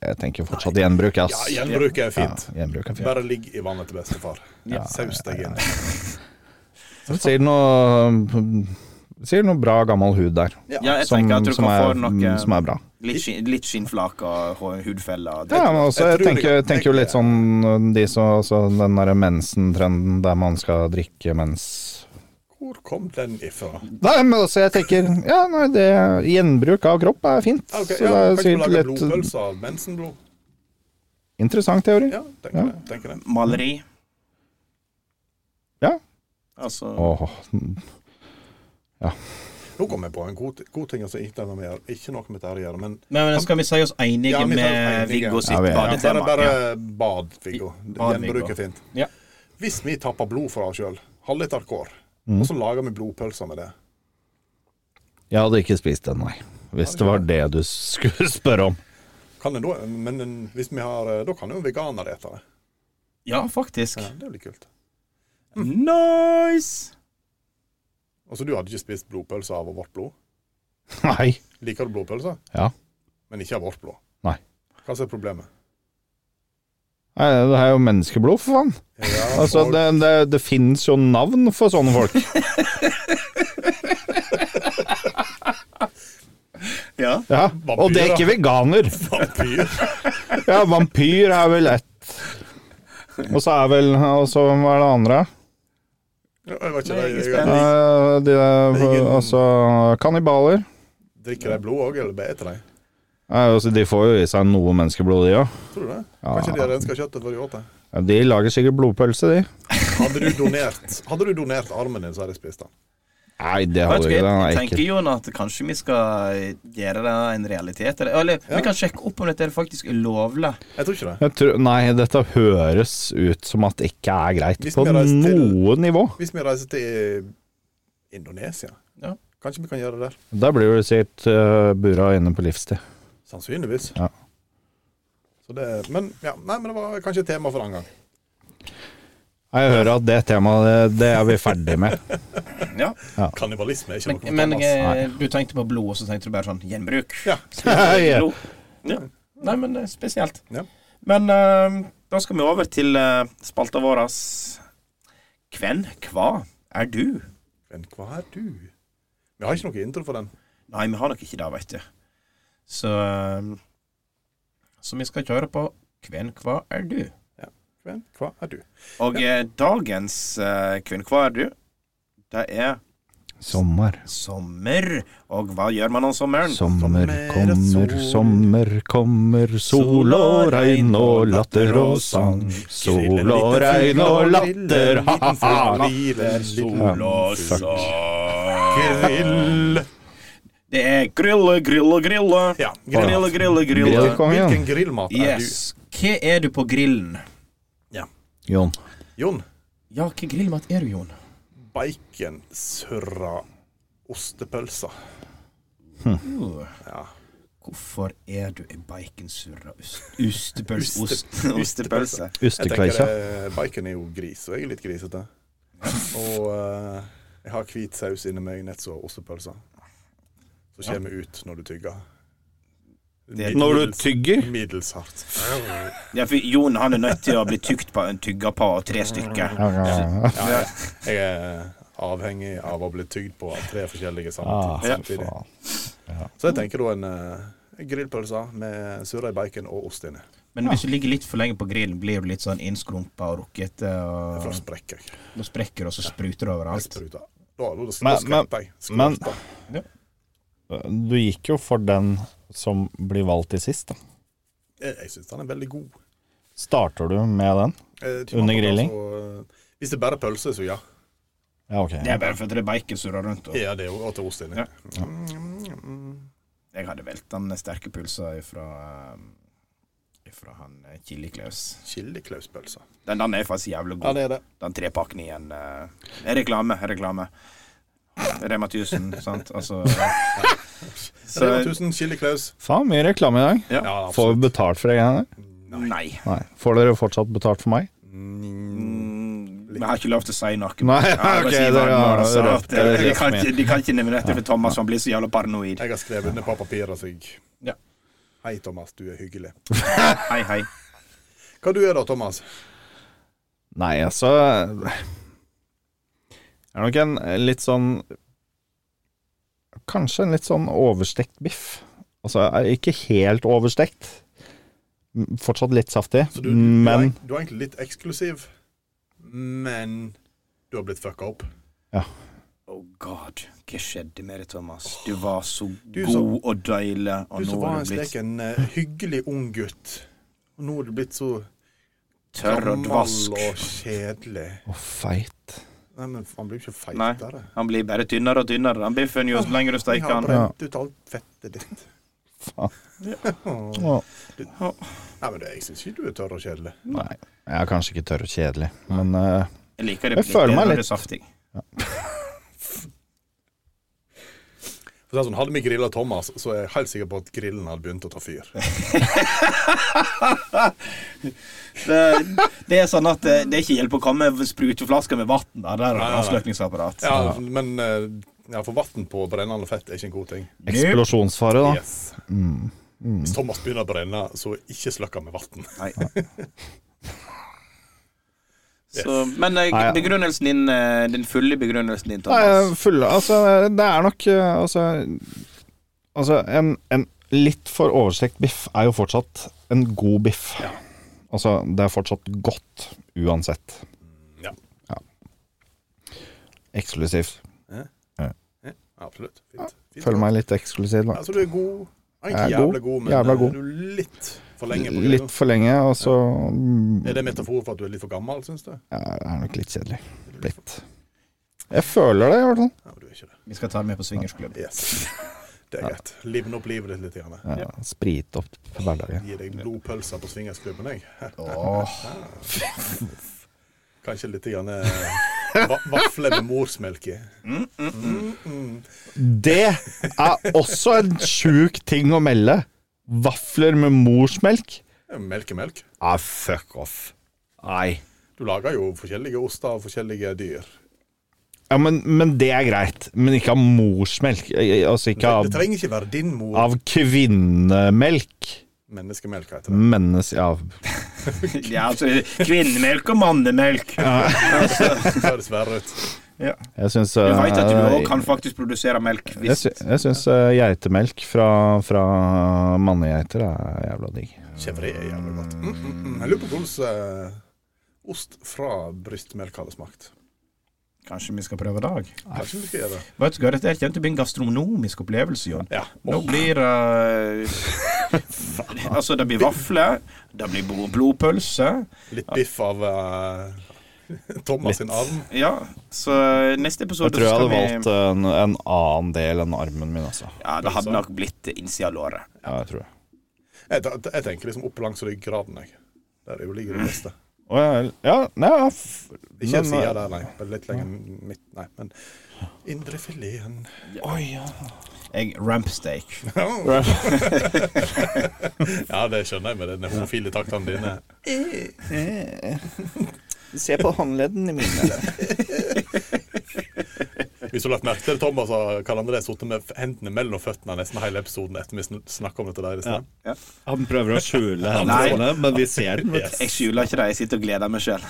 [SPEAKER 5] Jeg tenker fortsatt gjenbruk, ass.
[SPEAKER 3] Ja, gjenbruk er
[SPEAKER 5] Ja,
[SPEAKER 3] fint.
[SPEAKER 5] gjenbruk er fint.
[SPEAKER 3] Bare ligg i vannet til bestefar.
[SPEAKER 4] Ja.
[SPEAKER 3] Saus deg inn.
[SPEAKER 5] Sier det noe mm, Sier det noe bra gammel hud der,
[SPEAKER 4] Ja, jeg
[SPEAKER 5] som,
[SPEAKER 4] tenker at du
[SPEAKER 5] som,
[SPEAKER 4] kan få
[SPEAKER 5] er, mm,
[SPEAKER 4] noe
[SPEAKER 5] som er bra.
[SPEAKER 4] litt, skinn, litt skinnflak og hå- hudfeller. og det-
[SPEAKER 5] Ja, men også,
[SPEAKER 3] jeg
[SPEAKER 5] jeg
[SPEAKER 3] tror
[SPEAKER 5] tenker,
[SPEAKER 3] det-
[SPEAKER 5] tenker jo litt sånn de som altså, Den derre mensen-trenden der man skal drikke mens
[SPEAKER 3] Hvor kom den ifra?
[SPEAKER 5] Nei, men altså, jeg tenker Ja, nei, det Gjenbruk av kropp er fint.
[SPEAKER 3] Ok,
[SPEAKER 5] så det
[SPEAKER 3] ja,
[SPEAKER 5] er
[SPEAKER 3] Kanskje du
[SPEAKER 5] sikkert
[SPEAKER 3] lager
[SPEAKER 5] litt
[SPEAKER 3] blodpølse av mensenblod?
[SPEAKER 5] interessant teori.
[SPEAKER 3] Ja, tenker det. tenker det.
[SPEAKER 4] Maleri.
[SPEAKER 5] Ja.
[SPEAKER 4] Altså
[SPEAKER 5] Åh,
[SPEAKER 3] Nå kom jeg på en god, god ting som ikke, har noe med- ikke noe med dette å gjøre, men
[SPEAKER 4] Men, men skal vi si oss enige
[SPEAKER 3] Ja, vi sier oss
[SPEAKER 4] med
[SPEAKER 3] enige.
[SPEAKER 4] Viggo sitt
[SPEAKER 5] Ja, vi er-
[SPEAKER 3] bare,
[SPEAKER 4] badetema?
[SPEAKER 3] bare
[SPEAKER 4] Ja.
[SPEAKER 3] bad, Viggo.
[SPEAKER 4] Bad,
[SPEAKER 3] Gjenbruk er fint.
[SPEAKER 4] Ja.
[SPEAKER 3] Hvis vi tapper blod for oss sjøl, halvliter kår,
[SPEAKER 4] Mm.
[SPEAKER 3] og så lager vi blodpølser med det
[SPEAKER 5] jeg hadde ikke spist den, nei. Hvis det var det du skulle spørre om.
[SPEAKER 3] kan det da, men en- hvis vi har, eh, Da kan jo veganere ete det.
[SPEAKER 4] ja, faktisk.
[SPEAKER 3] Det er jo litt kult.
[SPEAKER 4] Nice!
[SPEAKER 3] Altså, Du hadde ikke spist blodpølse av vårt blod?
[SPEAKER 5] Nei.
[SPEAKER 3] Liker du blodpølse?
[SPEAKER 5] Ja.
[SPEAKER 3] Men ikke av vårt blod?
[SPEAKER 5] Nei.
[SPEAKER 3] Hva som er problemet?
[SPEAKER 5] nei det er jo menneskeblod, for faen.
[SPEAKER 3] Ja,
[SPEAKER 5] Altså,
[SPEAKER 3] folk-
[SPEAKER 5] det, det, det fins jo navn for sånne folk.
[SPEAKER 4] Ja.
[SPEAKER 5] Ja. Og det er ikke veganer.
[SPEAKER 3] Vampyr.
[SPEAKER 5] Ja, vampyr er vel ett. Og så er vel Og så hva er det andre?
[SPEAKER 3] Ja, Jeg vet ikke,
[SPEAKER 4] Nei, jeg er
[SPEAKER 3] jeg, jeg,
[SPEAKER 4] spent.
[SPEAKER 5] Eh, de der,
[SPEAKER 3] Ingen-
[SPEAKER 5] altså Kannibaler.
[SPEAKER 3] drikker de blod òg, eller bare eter de?
[SPEAKER 5] Eh, altså, de får jo i seg noe menneskeblod, de òg.
[SPEAKER 3] Tror du det? Kanskje de har renska kjøttet før de åt det?
[SPEAKER 5] Ja, De lager sikkert blodpølse, de.
[SPEAKER 3] Hadde du donert, hadde du donert armen din, så hadde jeg spist den.
[SPEAKER 5] Nei, det
[SPEAKER 4] Vet
[SPEAKER 5] hadde
[SPEAKER 4] du
[SPEAKER 5] vi
[SPEAKER 4] hva,
[SPEAKER 5] ikke. Den er
[SPEAKER 4] Jeg
[SPEAKER 5] ekkel.
[SPEAKER 4] tenker Jon at kanskje vi skal gjøre det en realitet. Eller, eller vi kan sjekke opp om dette faktisk er lovlig.
[SPEAKER 3] Jeg tror ikke det.
[SPEAKER 5] Jeg tror, nei, dette høres ut som at det ikke er greit
[SPEAKER 3] Hvis
[SPEAKER 5] på
[SPEAKER 3] vi reiser til-
[SPEAKER 5] noe nivå.
[SPEAKER 3] Hvis vi reiser til eh, Indonesia,
[SPEAKER 4] Ja.
[SPEAKER 3] kanskje vi kan gjøre det der?
[SPEAKER 5] Da blir du sikkert eh, bura inne på livstid.
[SPEAKER 3] Sannsynligvis.
[SPEAKER 5] Ja.
[SPEAKER 3] Så det, men, ja, nei, men det var kanskje et tema for den gang.
[SPEAKER 5] Nei, Jeg hører at det temaet, det, det er vi ferdig med.
[SPEAKER 4] Ja.
[SPEAKER 3] Kannibalisme er ikke noe
[SPEAKER 4] Men, men
[SPEAKER 3] for Thomas.
[SPEAKER 4] eh, du tenkte på blod, og så tenkte du bare sånn gjenbruk.
[SPEAKER 3] Ja.
[SPEAKER 5] Ja.
[SPEAKER 4] Blod. Ja. Nei, men det er spesielt.
[SPEAKER 3] Ja.
[SPEAKER 4] Men eh, da skal vi over til eh, spalta vår. Hvem, hva er du?
[SPEAKER 3] Men hva er du? Vi har ikke noe intro for den.
[SPEAKER 4] Nei, vi har nok ikke det, veit du. Så eh, Så vi skal kjøre på Hvem, hva er du?
[SPEAKER 3] Men hva er du?
[SPEAKER 4] Og eh, dagens eh, Hvem, hva er du? Det er
[SPEAKER 5] Sommer,
[SPEAKER 4] sommer. Og hva gjør man om sommeren?
[SPEAKER 5] sommer kommer, sommer kommer. Sol og regn og latter og sang. Sol og regn og latter, ha-ha-ha.
[SPEAKER 3] Livet,
[SPEAKER 4] Sol og sol.
[SPEAKER 3] Grill.
[SPEAKER 4] Det er grille, grille, grille.
[SPEAKER 3] Ja, grill.
[SPEAKER 4] Grille, grille, grille.
[SPEAKER 5] Grillkongen.
[SPEAKER 3] Hvilken grillmat er du?
[SPEAKER 4] Yes. Hva er du på grillen?
[SPEAKER 5] Jon.
[SPEAKER 3] Jon,
[SPEAKER 4] Ja, hva grillmat er du, Jon?
[SPEAKER 3] bacon, surra, ostepølser.
[SPEAKER 4] Uh,
[SPEAKER 3] Ja.
[SPEAKER 4] hvorfor er du en baconsurra ostepølse? Ost,
[SPEAKER 3] Oste-
[SPEAKER 4] ostepølse.
[SPEAKER 3] Jeg tenker
[SPEAKER 5] Ustekleisa.
[SPEAKER 3] eh, bacon er jo gris, og jeg er litt grisete. Og eh, jeg har hvit saus inni meg, nett som ostepølser. Som kommer ut når du tygger.
[SPEAKER 4] Det-
[SPEAKER 3] Mid-
[SPEAKER 5] Når du
[SPEAKER 3] middels-
[SPEAKER 5] tygger?
[SPEAKER 3] Middels hardt.
[SPEAKER 4] Ja, for Jon han er nødt til å bli tygd på, tygga på av tre stykker.
[SPEAKER 3] Ja, jeg, jeg er avhengig av å bli tygd på av tre forskjellige
[SPEAKER 5] Ah,
[SPEAKER 3] samtidig. samtidig.
[SPEAKER 5] faen.
[SPEAKER 3] Så jeg tenker da en eh, grillpølse med surra i bacon og ost inni.
[SPEAKER 4] Men hvis du ligger litt for lenge på grillen, blir du litt sånn innskrumpa og rukkete.
[SPEAKER 3] For
[SPEAKER 4] Og
[SPEAKER 3] da sprekker jeg.
[SPEAKER 4] da sprekker det, og så skruter det
[SPEAKER 3] Jeg
[SPEAKER 4] overalt.
[SPEAKER 3] spruter. Da, da, da
[SPEAKER 5] Men-
[SPEAKER 3] skvetter jeg.
[SPEAKER 5] men-
[SPEAKER 3] Skvetter.
[SPEAKER 5] Du gikk jo for den som blir valgt til sist, da.
[SPEAKER 3] Jeg, jeg syns den er veldig god.
[SPEAKER 5] Starter du med den?
[SPEAKER 3] Eh, tomater,
[SPEAKER 5] Under grilling?
[SPEAKER 3] altså, eh, hvis det er bare pølse, så ja.
[SPEAKER 5] Ja, ok.
[SPEAKER 4] Det er bare fordi det er baconsurra rundt. Og
[SPEAKER 3] Ja, det er jo til ost inni.
[SPEAKER 4] Ja. jeg hadde veltende sterke pulser ifra eh, Ifra han eh, Chili Claus.
[SPEAKER 3] Chiliklauspølse.
[SPEAKER 4] Den, den er faktisk jævlig god.
[SPEAKER 3] Ja, det er det.
[SPEAKER 4] den trepakken i en eh, Reklame, reklame. Rema 1000, sant? Altså
[SPEAKER 3] Så, det var
[SPEAKER 4] så,
[SPEAKER 3] 1000 chiliklaus.
[SPEAKER 5] Faen, mye reklame i dag.
[SPEAKER 4] Ja.
[SPEAKER 3] Ja,
[SPEAKER 5] Får vi betalt for det greiene der?
[SPEAKER 4] Nei.
[SPEAKER 5] Nei. Får dere fortsatt betalt for meg?
[SPEAKER 4] Mm, Vi har ikke lov til å si noe.
[SPEAKER 5] Nei,
[SPEAKER 4] Ja,
[SPEAKER 5] ok,
[SPEAKER 4] arbeidsgiveren
[SPEAKER 5] da har
[SPEAKER 4] vår sa
[SPEAKER 5] jeg
[SPEAKER 4] at,
[SPEAKER 5] røpt det
[SPEAKER 4] eh, de,
[SPEAKER 5] rett
[SPEAKER 4] kan
[SPEAKER 5] med.
[SPEAKER 4] ikke, de kan ikke nevne dette for Thomas, han blir så jævla paranoid.
[SPEAKER 3] Jeg har skrevet under på papiret, så jeg
[SPEAKER 4] Ja.
[SPEAKER 3] Hei, Thomas, du er hyggelig.
[SPEAKER 4] Hei, hei.
[SPEAKER 3] Hva du er da, Thomas?
[SPEAKER 5] Nei, altså Jeg er nok en litt sånn Kanskje en litt sånn overstekt biff. Altså ikke helt overstekt. M- Fortsatt litt saftig,
[SPEAKER 3] Så du,
[SPEAKER 5] men
[SPEAKER 3] du, er, du er egentlig litt eksklusiv, men du har blitt fucka opp.
[SPEAKER 4] Oh god, hva skjedde med deg, Thomas? Du var så
[SPEAKER 3] Du
[SPEAKER 4] god
[SPEAKER 3] som-
[SPEAKER 4] og deilig,
[SPEAKER 3] Du
[SPEAKER 4] og nå
[SPEAKER 3] som var
[SPEAKER 4] har
[SPEAKER 3] en
[SPEAKER 4] du blitt
[SPEAKER 3] slik en eh, hyggelig ung gutt. Og nå er du blitt så
[SPEAKER 4] tørr og dvask.
[SPEAKER 3] og kjedelig.
[SPEAKER 5] Å, feit.
[SPEAKER 3] Nei, men han blir jo ikke
[SPEAKER 4] Nei.
[SPEAKER 3] feitere.
[SPEAKER 4] Han blir bare tynnere og tynnere, den biffen, jo lenger du
[SPEAKER 3] Jeg
[SPEAKER 4] steker
[SPEAKER 3] har
[SPEAKER 4] han.
[SPEAKER 3] brent ut alt fettet ditt.
[SPEAKER 5] Faen.
[SPEAKER 3] Åh.
[SPEAKER 5] Å,
[SPEAKER 3] Nei, men det, jeg syns ikke du er tørr og kjedelig.
[SPEAKER 5] nei. Jeg er kanskje ikke tørr og kjedelig, men eh,
[SPEAKER 4] Jeg liker det
[SPEAKER 5] Jeg føler meg
[SPEAKER 4] bedre når
[SPEAKER 5] litt-
[SPEAKER 4] det er saftig.
[SPEAKER 3] For det er sånn, Hadde vi grilla Thomas, så er jeg helt sikker på at grillen hadde begynt å ta fyr.
[SPEAKER 4] Det, det er sånn at eh, det er ikke hjelp å komme med spruteflasker med vann. da. Der er det avslutningsapparat.
[SPEAKER 3] Ja, Men eh, ja, for vann på brennende fett er ikke en god ting.
[SPEAKER 5] eksplosjonsfare, da.
[SPEAKER 3] Yes.
[SPEAKER 5] Mm.
[SPEAKER 3] Hvis Thomas begynner å brenne, så ikke sløkk han med vann.
[SPEAKER 4] Nei. Så, men
[SPEAKER 5] Nei,
[SPEAKER 4] eh,
[SPEAKER 5] ja.
[SPEAKER 4] begrunnelsen din, eh, den fulle begrunnelsen din,
[SPEAKER 5] Nei, jeg er
[SPEAKER 4] Thomas
[SPEAKER 5] full Altså, det er nok eh, Altså, altså en, en litt for overstekt biff er jo fortsatt en god biff. Altså, det er fortsatt godt uansett.
[SPEAKER 3] Ja.
[SPEAKER 5] Mm, Ja. Eksklusivt.
[SPEAKER 3] Absolutt. Fint. Fint.
[SPEAKER 5] Føler meg litt eksklusiv, da.
[SPEAKER 3] Altså, du er god.
[SPEAKER 5] Jeg
[SPEAKER 3] Egentlig
[SPEAKER 5] er god.
[SPEAKER 3] jævla god, men
[SPEAKER 5] Jævla
[SPEAKER 3] eh,
[SPEAKER 5] god.
[SPEAKER 3] du er litt for lenge på
[SPEAKER 5] Litt
[SPEAKER 3] grillen.
[SPEAKER 5] for lenge, og så mm,
[SPEAKER 3] Er det en metafor for at du er litt for gammel, syns du?
[SPEAKER 5] ja, det er nok litt kjedelig. Blitt. Jeg føler det, i hvert fall.
[SPEAKER 3] Ja, du er ikke det.
[SPEAKER 4] Vi skal ta det med på swingersklubb.
[SPEAKER 3] Yes. Det er greit. Livne opp livet ditt litt. Grann.
[SPEAKER 5] Ja, Sprite opp på hverdagen.
[SPEAKER 3] Gi deg blodpølser på swingersklubben, jeg.
[SPEAKER 4] Åh,
[SPEAKER 3] Kanskje litt grann, eh, va vafler med morsmelk i.
[SPEAKER 5] Det er også en sjuk ting å melde. Vafler med morsmelk.
[SPEAKER 3] Ja, Melk er melk.
[SPEAKER 5] Ah, fuck off. Nei.
[SPEAKER 3] Du lager jo forskjellige oster av forskjellige dyr.
[SPEAKER 5] Ja, men, men det er greit. Men ikke av morsmelk. Eh, eh, Altså ikke
[SPEAKER 3] Det
[SPEAKER 5] av,
[SPEAKER 3] trenger ikke være din mor.
[SPEAKER 5] av kvinnemelk.
[SPEAKER 3] Menneskemelk heter det.
[SPEAKER 5] Menneske... Ja.
[SPEAKER 4] ja, altså, kvinnemelk og mannemelk.
[SPEAKER 3] Det høres verre ut.
[SPEAKER 4] Ja.
[SPEAKER 5] Jeg syns
[SPEAKER 4] Du veit at du òg kan
[SPEAKER 5] Jeg
[SPEAKER 4] faktisk produsere melk hvis
[SPEAKER 5] sy- jeg syns eh, geitemelk fra, fra mannegeiter er jævla digg.
[SPEAKER 3] Chèvre er jævlig godt. Mm, mm, mm. Jeg lurer på hvordan eh, ost fra brystmelk hadde smakt.
[SPEAKER 4] Kanskje vi skal prøve i dag?
[SPEAKER 3] Kanskje vi skal gjøre det.
[SPEAKER 4] Vet du hva, dette her kommer til å bli en gastronomisk opplevelse, Jon.
[SPEAKER 3] Ja.
[SPEAKER 4] Nå blir det Altså, det blir vafler, det blir blodpølse
[SPEAKER 3] Litt biff av eh, Thomas sin arm.
[SPEAKER 4] Ja, så neste episode
[SPEAKER 5] Jeg tror jeg
[SPEAKER 4] så
[SPEAKER 5] hadde
[SPEAKER 4] skal
[SPEAKER 5] valgt eh, en, en annen del enn armen min, altså.
[SPEAKER 4] vi Ja, det hadde nok blitt innsida av låret.
[SPEAKER 5] Ja, jeg tror det.
[SPEAKER 3] Jeg, ta- jeg tenker liksom opp langs ryggraden, jeg. Der jo ligger det beste.
[SPEAKER 5] Å, ja, ja, nei, ja, f-
[SPEAKER 3] Ikke
[SPEAKER 5] men, eh,
[SPEAKER 3] sida der, nei. Bare Litt lenger midt, nei. Men indrefileten
[SPEAKER 4] Jeg rampsteak.
[SPEAKER 3] Ja, det skjønner jeg med den homofile taktene dine.
[SPEAKER 8] Se på håndleddene mine.
[SPEAKER 3] Hvis du har lagt merke til det, Thomas og Karl André sittet med hendene mellom føttene nesten hele episoden etter vi sn- snakket om dette der i sted.
[SPEAKER 8] Han prøver å skjule
[SPEAKER 4] Nei.
[SPEAKER 8] hendene, men vi ser den. Vet du.
[SPEAKER 4] Jeg skjuler ikke det, jeg sitter og gleder meg sjøl.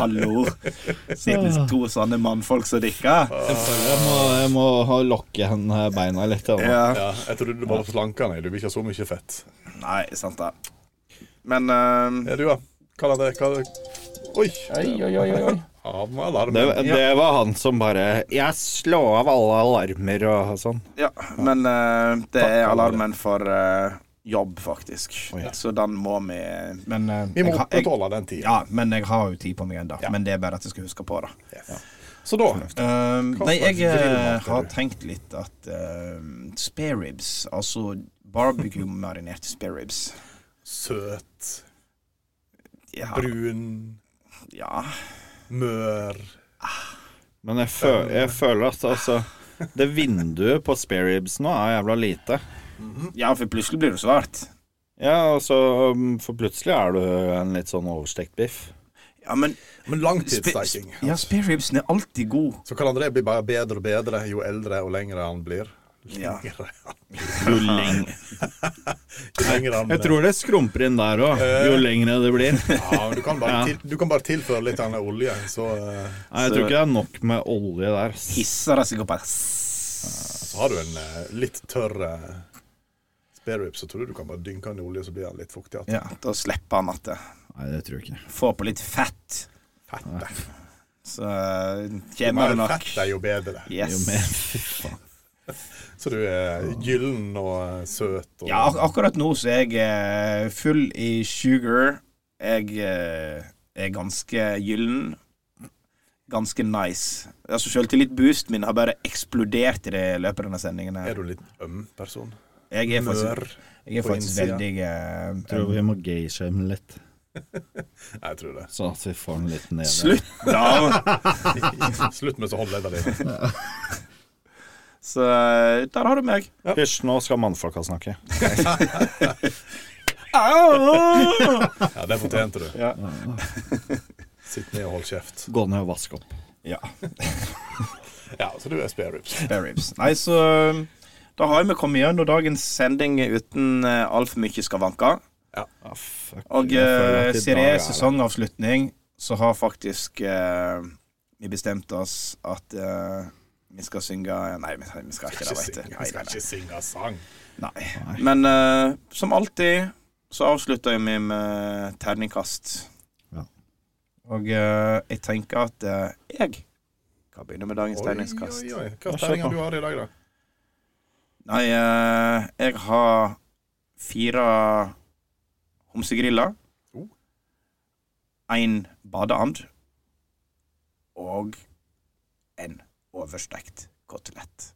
[SPEAKER 4] Hallo.
[SPEAKER 3] Ah.
[SPEAKER 4] Sitter to sånne mannfolk som dikker.
[SPEAKER 8] Jeg, føler jeg må, jeg må ha lokke henne beina litt. da.
[SPEAKER 4] Ja.
[SPEAKER 3] Ja, jeg trodde du bare slanka deg, du vil ikke ha så mye fett.
[SPEAKER 4] Nei, sant det. Men eh,
[SPEAKER 3] Ja, du, ja. Karl André, hva Oi! Havnealarm.
[SPEAKER 5] Det, det var han som bare Jeg slår av alle alarmer og sånn.
[SPEAKER 4] Ja, men eh, det er alarmen for eh, jobb, faktisk. Så den må vi Men eh,
[SPEAKER 3] Vi
[SPEAKER 4] jeg har-
[SPEAKER 3] må
[SPEAKER 4] jeg-
[SPEAKER 3] opprettholde den tida.
[SPEAKER 4] Ja, men jeg har jo tid på meg ennå. Men det er bare at jeg skal huske på det.
[SPEAKER 3] Så da
[SPEAKER 4] Ehm, nei,
[SPEAKER 3] slags
[SPEAKER 4] jeg eh,
[SPEAKER 3] grillmat er
[SPEAKER 4] har
[SPEAKER 3] du?
[SPEAKER 4] tenkt litt at um, spareribs, altså barbecue-marinerte spareribs
[SPEAKER 3] Søt,
[SPEAKER 4] ja,
[SPEAKER 3] brun,
[SPEAKER 4] ja.
[SPEAKER 3] mør
[SPEAKER 5] Men jeg, fø, jeg føler at altså Det vinduet på spareribs nå er jævla lite.
[SPEAKER 4] ja, for plutselig blir det svart.
[SPEAKER 5] Ja, altså um, For plutselig er du en litt sånn overstekt biff.
[SPEAKER 4] Ja, men
[SPEAKER 3] Men langtidssteking.
[SPEAKER 4] spe- ja, spareribsen er alltid god.
[SPEAKER 3] Så Karl André blir bare bedre og bedre jo eldre og lengre han blir.
[SPEAKER 4] Ja.
[SPEAKER 3] Lengre.
[SPEAKER 5] Jo, leng,
[SPEAKER 3] Jo lengre han
[SPEAKER 5] jeg tror det skrumper inn der òg, jo lengre det blir.
[SPEAKER 3] Ja, men du kan bare,
[SPEAKER 5] Ja.
[SPEAKER 3] til, du kan bare tilføre litt av den olje, så, eh,
[SPEAKER 5] Nei, jeg tror ikke det er nok med olje der. ass.
[SPEAKER 4] Hisser det seg opp her.
[SPEAKER 3] så har du en eh, litt tørr eh, spare rib, så tror du du kan bare dynke den i olje, så blir den litt fuktig. igjen.
[SPEAKER 4] Ja, da slipper han at det
[SPEAKER 5] Nei, det tror jeg ikke.
[SPEAKER 4] Få på litt fett.
[SPEAKER 3] Fett, eh.
[SPEAKER 4] Så
[SPEAKER 3] Jo
[SPEAKER 4] kommer
[SPEAKER 3] mer
[SPEAKER 4] det nok.
[SPEAKER 3] fett er jo bedre.
[SPEAKER 5] Jo
[SPEAKER 4] Yes.
[SPEAKER 5] mer, fy faen.
[SPEAKER 3] Så du er gyllen og eh, søt og
[SPEAKER 4] Ja, altså- ak akkurat nå så er jeg eh, full i sugar. Jeg eh, er ganske gyllen. Ganske nice. Altså Sjøltillit-boost min har bare eksplodert i det i løpet av denne sendingen.
[SPEAKER 3] Er
[SPEAKER 4] her
[SPEAKER 3] du en litt øm person?
[SPEAKER 4] Jeg er faktisk,
[SPEAKER 3] Mør?
[SPEAKER 4] jeg er
[SPEAKER 3] på
[SPEAKER 4] faktisk
[SPEAKER 3] innsida?
[SPEAKER 4] veldig eh,
[SPEAKER 5] Tror vi må gayshame litt,
[SPEAKER 3] Nei, jeg tror det.
[SPEAKER 5] sånn at vi får den litt ned.
[SPEAKER 4] Slutt, da!
[SPEAKER 3] Slutt med disse håndleddene dine.
[SPEAKER 4] Så eh, der har du meg.
[SPEAKER 5] Hysj, nå skal mannfolka snakke.
[SPEAKER 3] Ja, det fortjente du.
[SPEAKER 4] Ja.
[SPEAKER 3] Sitt ned og hold kjeft.
[SPEAKER 5] Gå ned og vask opp.
[SPEAKER 4] Ja.
[SPEAKER 3] Ja, så du er spare ribs.
[SPEAKER 4] Spare ribs. Nei, så eh, da har vi kommet gjennom dagens sending uten eh, altfor mye skavanker.
[SPEAKER 5] Ja, Ah, fuck.
[SPEAKER 4] Og eh,
[SPEAKER 5] Jeg føler at i
[SPEAKER 4] ser
[SPEAKER 5] dag er
[SPEAKER 4] jeg
[SPEAKER 5] det-
[SPEAKER 4] sesongavslutning, så har faktisk eh, vi bestemt oss at eh, vi skal synge Nei, vi, vi skal ikke det,
[SPEAKER 3] Ikke
[SPEAKER 4] vet du.
[SPEAKER 3] synge-
[SPEAKER 4] Nei,
[SPEAKER 3] skal
[SPEAKER 4] nei,
[SPEAKER 3] ikke synge sang.
[SPEAKER 4] nei. nei. Men eh, som alltid så avslutter vi med terningkast.
[SPEAKER 5] Ja.
[SPEAKER 4] Og eh, jeg tenker at eh, jeg kan begynne med dagens terningskast.
[SPEAKER 3] oi. Hva terninger du har i dag, da?
[SPEAKER 4] Nei, eh, jeg har fire homsegriller.
[SPEAKER 3] Oh.
[SPEAKER 4] Én badeand. Og en overstekt kotelett.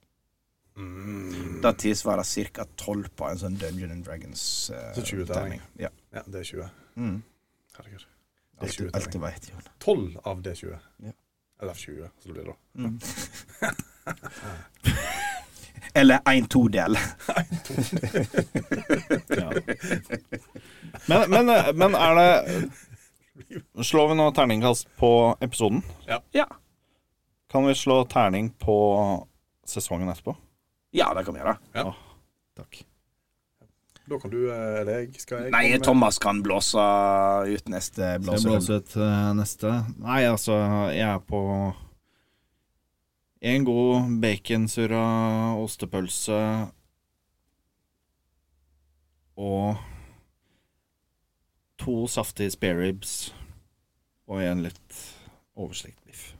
[SPEAKER 4] Det tilsvarer ca. tolv på en sånn Dungeon and Dragons eh,
[SPEAKER 3] Så 20 terning.
[SPEAKER 4] Ja.
[SPEAKER 3] Ja, det er 20.
[SPEAKER 4] Mm.
[SPEAKER 3] Herregud. Det er
[SPEAKER 4] Alt,
[SPEAKER 3] 20
[SPEAKER 4] alt
[SPEAKER 3] terning.
[SPEAKER 4] jeg vet, Jon.
[SPEAKER 3] 12 av D20.
[SPEAKER 4] Ja.
[SPEAKER 3] Eller 20, så det blir da.
[SPEAKER 4] Mm. Eller en todel.
[SPEAKER 5] Men, men, eh, men er det Slår vi nå terningkast på episoden?
[SPEAKER 4] Ja.
[SPEAKER 5] Kan vi slå terning på sesongen etterpå?
[SPEAKER 4] ja, det kan vi gjøre.
[SPEAKER 5] Takk.
[SPEAKER 3] Da kan du, eh, eller jeg, skal jeg
[SPEAKER 4] Nei,
[SPEAKER 3] komme med-
[SPEAKER 4] Thomas kan blåse ut neste
[SPEAKER 5] Jeg
[SPEAKER 4] blåserunde.
[SPEAKER 5] blåser ut eh, neste. Nei, altså, jeg er på en god baconsurra ostepølse og to saftige spareribs og en litt overstekt biff.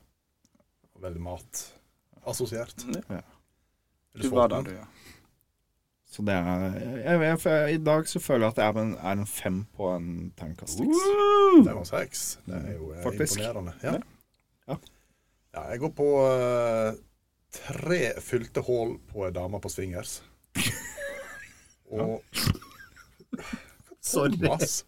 [SPEAKER 3] Veldig mat assosiert.
[SPEAKER 4] Ja.
[SPEAKER 3] Er
[SPEAKER 4] Du
[SPEAKER 3] du
[SPEAKER 4] var
[SPEAKER 3] sulten?
[SPEAKER 4] der, du, ja.
[SPEAKER 5] Så det er jeg, jeg, jeg, I dag så føler jeg at jeg er en, er en fem på en terningkastings.
[SPEAKER 3] Det var seks. Det er jo eh,
[SPEAKER 5] Faktisk.
[SPEAKER 3] imponerende. Ja.
[SPEAKER 5] Ja.
[SPEAKER 3] ja, jeg går på eh, tre fylte hull på ei dame på swingers. Og
[SPEAKER 9] Sorry.
[SPEAKER 3] mass.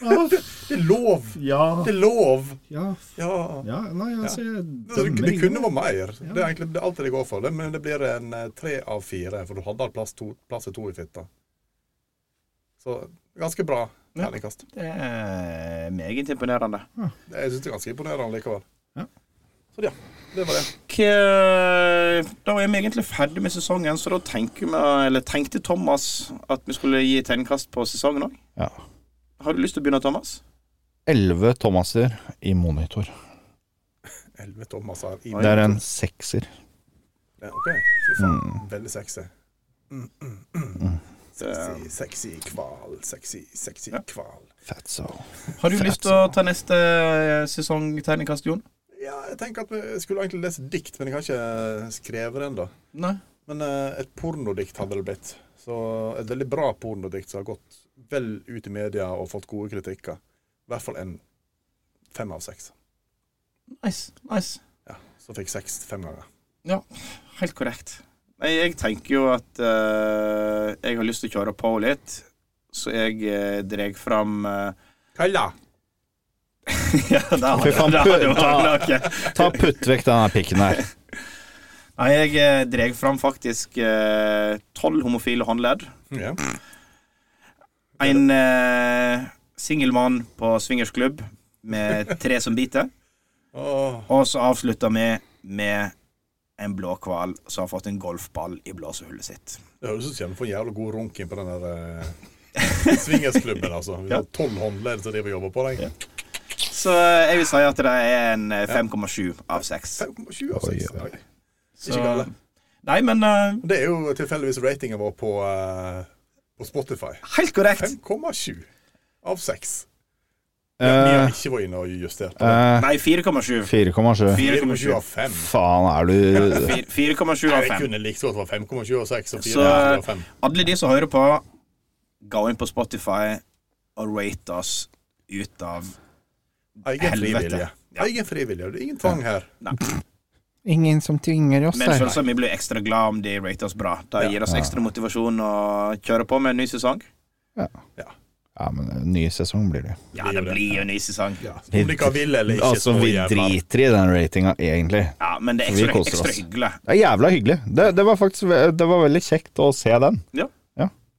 [SPEAKER 3] Det er lov!
[SPEAKER 9] Ja.
[SPEAKER 3] Det er lov!
[SPEAKER 5] Ja,
[SPEAKER 3] Ja.
[SPEAKER 5] ja, nei, altså, jeg
[SPEAKER 3] Det,
[SPEAKER 5] dømmer
[SPEAKER 3] det
[SPEAKER 5] ingen.
[SPEAKER 3] kunne vært mer. Det er egentlig det er alltid det går for. Det, men det blir en eh, tre av fire, for du hadde hatt plass, to, plass til to i fitta. Så ganske bra
[SPEAKER 4] Ja.
[SPEAKER 3] terningkast.
[SPEAKER 4] Det er meget imponerende.
[SPEAKER 3] Jeg syns det er ganske imponerende likevel.
[SPEAKER 5] Ja.
[SPEAKER 3] Så ja, det var det.
[SPEAKER 4] K- eh, Da er vi egentlig ferdig med sesongen, så da tenker vi, eller tenkte Thomas at vi skulle gi terningkast på sesongen òg.
[SPEAKER 8] Ja.
[SPEAKER 4] Har du lyst til å begynne, Thomas?
[SPEAKER 8] Elleve Thomaser i monitor.
[SPEAKER 3] Elleve Thomaser i
[SPEAKER 8] Det er en Mm. sekser.
[SPEAKER 3] Ja, ok. Fy faen. Veldig sexy. Mm, mm, mm. Sexy, sexy kval, sexy, sexy
[SPEAKER 4] Ja.
[SPEAKER 3] kval.
[SPEAKER 8] Fatso.
[SPEAKER 4] Har du lyst til å ta neste eh, sesong terningkast, Jon?
[SPEAKER 3] Ja, jeg tenker at vi skulle egentlig lese dikt, men jeg har ikke skrevet det ennå.
[SPEAKER 4] Nei.
[SPEAKER 3] Men eh, et pornodikt hadde det blitt. Så Et veldig bra pornodikt som har gått vel ut i media og fått gode kritikker. I hvert fall en fem av seks.
[SPEAKER 4] Nice. nice.
[SPEAKER 3] Ja, så fikk seks fem ganger.
[SPEAKER 4] Helt korrekt. Nei, jeg tenker jo at eh, jeg har lyst til å kjøre på litt, så jeg uh, drar fram eh,
[SPEAKER 3] Kalla!
[SPEAKER 4] Ja, der har
[SPEAKER 8] Fy
[SPEAKER 4] du
[SPEAKER 8] faen,
[SPEAKER 4] der har du håndlaget.
[SPEAKER 8] Ta Putt vekk den her pikken her.
[SPEAKER 4] Nei, jeg eh, dreg fram faktisk eh, tolv homofile håndledd.
[SPEAKER 8] Mm.
[SPEAKER 3] Ja.
[SPEAKER 4] En eh, singel mann på swingersklubb med tre som biter.
[SPEAKER 3] Åh,
[SPEAKER 4] Og så avslutta vi med en blåhval som har fått en golfball i blåsehullet sitt.
[SPEAKER 3] det høres ut som jeg får en jævla god runk inn på den der eh, swingersklubben, altså. Vi har tolv håndledd som driver og jobber på den.
[SPEAKER 4] Så eh, jeg vil si at det er en eh, 5,7 av 6.
[SPEAKER 3] 5,7 av 6.
[SPEAKER 8] Oi, oi.
[SPEAKER 3] Ikke gale.
[SPEAKER 4] Nei, men eh,
[SPEAKER 3] Det er jo tilfeldigvis ratingen vår på, eh, på Spotify.
[SPEAKER 4] helt korrekt.
[SPEAKER 3] 5,7 av 6. Vi har
[SPEAKER 8] Eh,
[SPEAKER 3] ikke vært inne og justert. på det.
[SPEAKER 8] eh,
[SPEAKER 4] Nei, 4,7.
[SPEAKER 8] 4,7.
[SPEAKER 3] 4,7 av 5.
[SPEAKER 8] Faen, er du
[SPEAKER 4] 4,7 av
[SPEAKER 3] Jeg
[SPEAKER 4] 5.
[SPEAKER 3] kunne likt godt å være 5,7 av 6 og 4,7
[SPEAKER 4] Så
[SPEAKER 3] av 5.
[SPEAKER 4] alle de som hører på, gå inn på Spotify og rate oss ut av
[SPEAKER 8] eh,
[SPEAKER 3] Egen
[SPEAKER 4] helvete.
[SPEAKER 3] frivillige.
[SPEAKER 4] Ja.
[SPEAKER 3] Egen frivillige. Det er ingen tvang her.
[SPEAKER 8] Ingen som tvinger oss
[SPEAKER 4] Men selvsagt, vi blir ekstra glad om de rater oss bra. Det gir oss ekstra motivasjon å kjøre på med en ny sesong.
[SPEAKER 8] Ja, men eh, ny sesong blir det.
[SPEAKER 4] Ja, det blir jo en ny sesong.
[SPEAKER 3] Om de ikke vil eller ikke.
[SPEAKER 8] Altså,
[SPEAKER 3] så
[SPEAKER 8] vi
[SPEAKER 3] jævla-
[SPEAKER 8] driter i den ratinga, egentlig.
[SPEAKER 4] Ja, men det er
[SPEAKER 8] Vi
[SPEAKER 4] ekstra,
[SPEAKER 8] koser oss.
[SPEAKER 4] ekstra hyggelig.
[SPEAKER 8] Det er jævla hyggelig. Det, det var faktisk ve- Det var veldig kjekt å se den.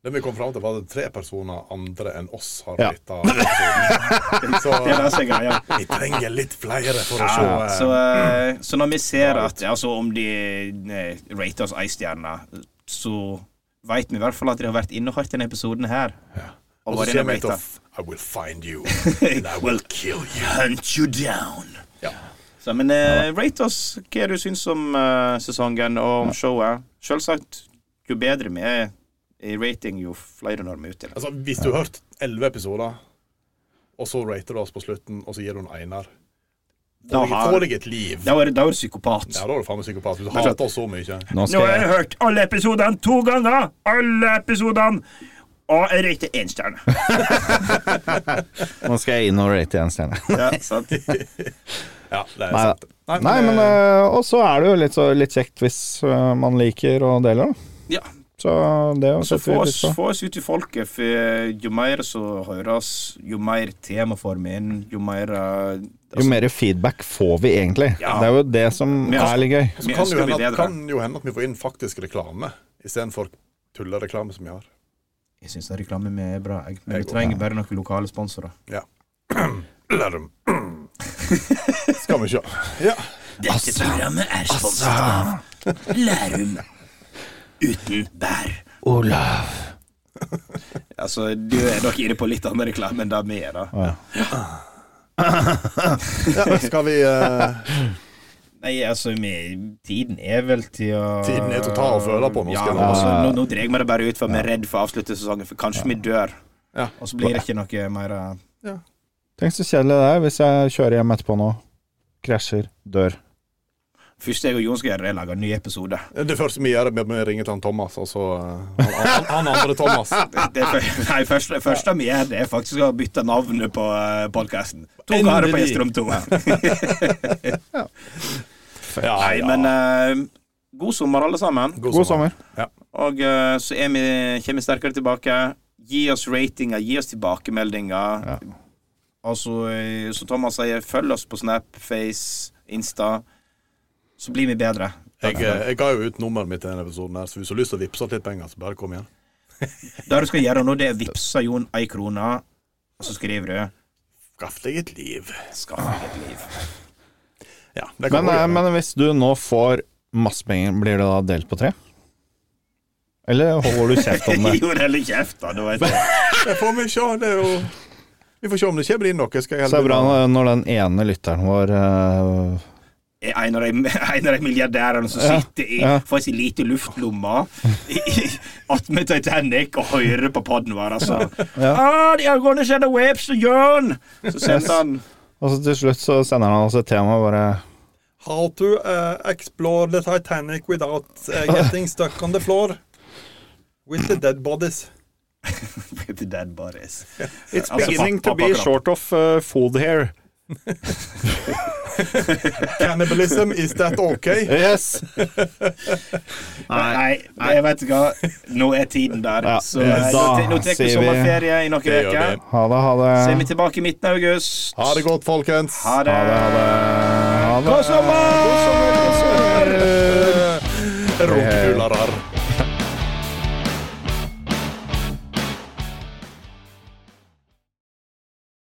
[SPEAKER 3] Det vi kom fram til, var at tre personer andre enn oss har
[SPEAKER 8] Ja.
[SPEAKER 3] blitt av episoden.
[SPEAKER 4] Det er det
[SPEAKER 3] Så
[SPEAKER 4] som er greia.
[SPEAKER 3] vi trenger litt flere for å se.
[SPEAKER 4] Ja,
[SPEAKER 3] eh,
[SPEAKER 4] så, eh, så når vi ser at altså, om de eh, rater oss ei stjerne, så veit vi i hvert fall at de har vært inne og hørt denne episoden her. Og
[SPEAKER 3] Og
[SPEAKER 4] vært
[SPEAKER 3] så
[SPEAKER 4] inne
[SPEAKER 3] kommer
[SPEAKER 4] og
[SPEAKER 3] jeg til å
[SPEAKER 4] ratet.
[SPEAKER 3] f- I will find you, and I will kill you.
[SPEAKER 4] Hunt you down.
[SPEAKER 3] Ja.
[SPEAKER 4] Så, men eh, rate oss hva du syns om eh, sesongen og om showet. Selvsagt, jo bedre vi er i rating, jo flere når vi er ute til.
[SPEAKER 3] Altså, hvis du har hørt elleve episoder, og så rater du oss på slutten, og så gir du en einer
[SPEAKER 4] Da
[SPEAKER 3] Få deg-
[SPEAKER 4] har-
[SPEAKER 3] Få deg et liv.
[SPEAKER 4] Da er du da er du psykopat.
[SPEAKER 3] Ja, da er du faen meg psykopat. Hvis du hater oss så mye.
[SPEAKER 8] Nå skal jeg
[SPEAKER 4] hørt alle episodene to ganger! Alle episodene! Og jeg røykte én stjerne.
[SPEAKER 8] Nå skal jeg inn og rate igjen, Stjerne.
[SPEAKER 4] Ja, sant.
[SPEAKER 3] Ja, det er
[SPEAKER 8] Nei da.
[SPEAKER 3] sant.
[SPEAKER 8] Nei, men eh, Og så er det jo litt, så, litt kjekt hvis eh, man liker og deler, da.
[SPEAKER 4] Ja.
[SPEAKER 8] Så det
[SPEAKER 4] Så
[SPEAKER 8] setter
[SPEAKER 4] få
[SPEAKER 8] vi
[SPEAKER 4] oss,
[SPEAKER 8] pris på.
[SPEAKER 4] få oss ut i folket, for eh, jo mer som høres, jo mer tema får vi inn, jo mer eh,
[SPEAKER 8] Jo mer feedback får vi egentlig.
[SPEAKER 4] Ja.
[SPEAKER 8] Det er jo det som
[SPEAKER 4] Men altså-
[SPEAKER 8] er litt gøy.
[SPEAKER 4] Vi
[SPEAKER 3] Så kan det
[SPEAKER 4] ønsker å
[SPEAKER 3] jo
[SPEAKER 4] bli
[SPEAKER 3] hende at,
[SPEAKER 4] bedre.
[SPEAKER 3] kan jo hende at vi får inn faktisk reklame istedenfor tullereklame som vi har.
[SPEAKER 4] Jeg syns reklame med er bra, jeg. Men
[SPEAKER 3] Jeg
[SPEAKER 4] vi trenger bare noen lokale sponsorer.
[SPEAKER 3] Lærdom. Skal vi sjå. Ja.
[SPEAKER 2] Dette programmet er sponset av Lærum uten bær.
[SPEAKER 8] Olav.
[SPEAKER 4] Altså, du er nok inne på litt annen reklame enn det vi er, da.
[SPEAKER 3] ja. Skal vi eh,
[SPEAKER 4] Nei, altså, vi, tiden er vel til å
[SPEAKER 3] Tiden er til å ta og føle på nå,
[SPEAKER 4] Ja,
[SPEAKER 3] skal jeg-
[SPEAKER 4] altså, nå, nå drar vi det bare ut, for vi er redd for å avslutte sesongen, for kanskje vi dør.
[SPEAKER 3] Ja.
[SPEAKER 4] Og så blir det ikke noe mer eh,
[SPEAKER 8] Tenk så kjedelig det er hvis jeg kjører hjem etterpå nå. Krasjer. Dør.
[SPEAKER 4] Først jeg og Jon skal gjøre det, lage en ny episode.
[SPEAKER 3] Det første vi gjør, er å ringe til han Thomas, og så eh, han, han, han andre Thomas.
[SPEAKER 4] Det er fø- nei, første, første vi gjør, det er faktisk å bytte navnet på podkasten. To karer på Gjesterom 2.
[SPEAKER 3] Ja,
[SPEAKER 4] Nei,
[SPEAKER 3] ja.
[SPEAKER 4] men eh, god sommer, alle sammen.
[SPEAKER 5] God sommer.
[SPEAKER 4] Og eh, så er vi, kommer vi sterkere tilbake. Gi oss ratinger, gi oss tilbakemeldinger. Altså, eh, som Thomas sier, følg oss på Snap, Face, Insta. Så blir vi bedre.
[SPEAKER 3] Jeg, eh, jeg ga jo ut nummeret mitt i denne episoden, her, så hvis du har lyst til å vippse oss litt penger, så bare kom igjen.
[SPEAKER 4] Det du skal gjøre nå, det er vippse Jon ei krone, og så skriver du
[SPEAKER 3] Skaff deg et liv.
[SPEAKER 4] Skaff deg et liv.
[SPEAKER 3] Ja, det kan
[SPEAKER 5] Men,
[SPEAKER 3] vi
[SPEAKER 5] eh,
[SPEAKER 3] gjøre.
[SPEAKER 5] men hvis du nå får masse penger, blir det da delt på tre? Eller holder du kjeft om det?
[SPEAKER 4] Jo, det er litt kjeft, da. Du vet det.
[SPEAKER 3] Det får vi se. Det er jo Vi får se om det kommer inn noe. Skal jeg
[SPEAKER 5] Så det er bra når den ene lytteren vår eh,
[SPEAKER 4] Er En av de, en av de milliardærene som sitter i
[SPEAKER 5] ja.
[SPEAKER 4] får sin lite luftlomme attmed Titanic og hører på podden vår, altså. Ah, de har gått og sett Webs og Jørn! Så sendte han
[SPEAKER 5] Og så altså til slutt så sender han oss et tema og bare
[SPEAKER 10] How to uh, explore the Titanic without uh, getting stuck on the floor with the dead bodies.
[SPEAKER 4] With the dead bodies.
[SPEAKER 5] It's
[SPEAKER 4] Altså, beginning to be pappakratt.
[SPEAKER 5] short of eh, food here.
[SPEAKER 3] Cannibalism, is that okay?
[SPEAKER 5] Yes!
[SPEAKER 4] Nei, jeg vet ikke hva. Nå er tiden der.
[SPEAKER 5] Ja,
[SPEAKER 4] Så
[SPEAKER 5] da
[SPEAKER 4] eh, nå te- nå tar
[SPEAKER 5] sier
[SPEAKER 4] vi
[SPEAKER 5] vi-
[SPEAKER 4] sommerferie i noen
[SPEAKER 3] Det gjør
[SPEAKER 4] uker.
[SPEAKER 3] vi.
[SPEAKER 5] Ha det, ha
[SPEAKER 4] Så er
[SPEAKER 5] det.
[SPEAKER 4] vi tilbake i midten av august.
[SPEAKER 3] Ha det godt, folkens.
[SPEAKER 4] Ha det.
[SPEAKER 5] Ha det.
[SPEAKER 4] God sommer! Eh.
[SPEAKER 3] Rumpehullere.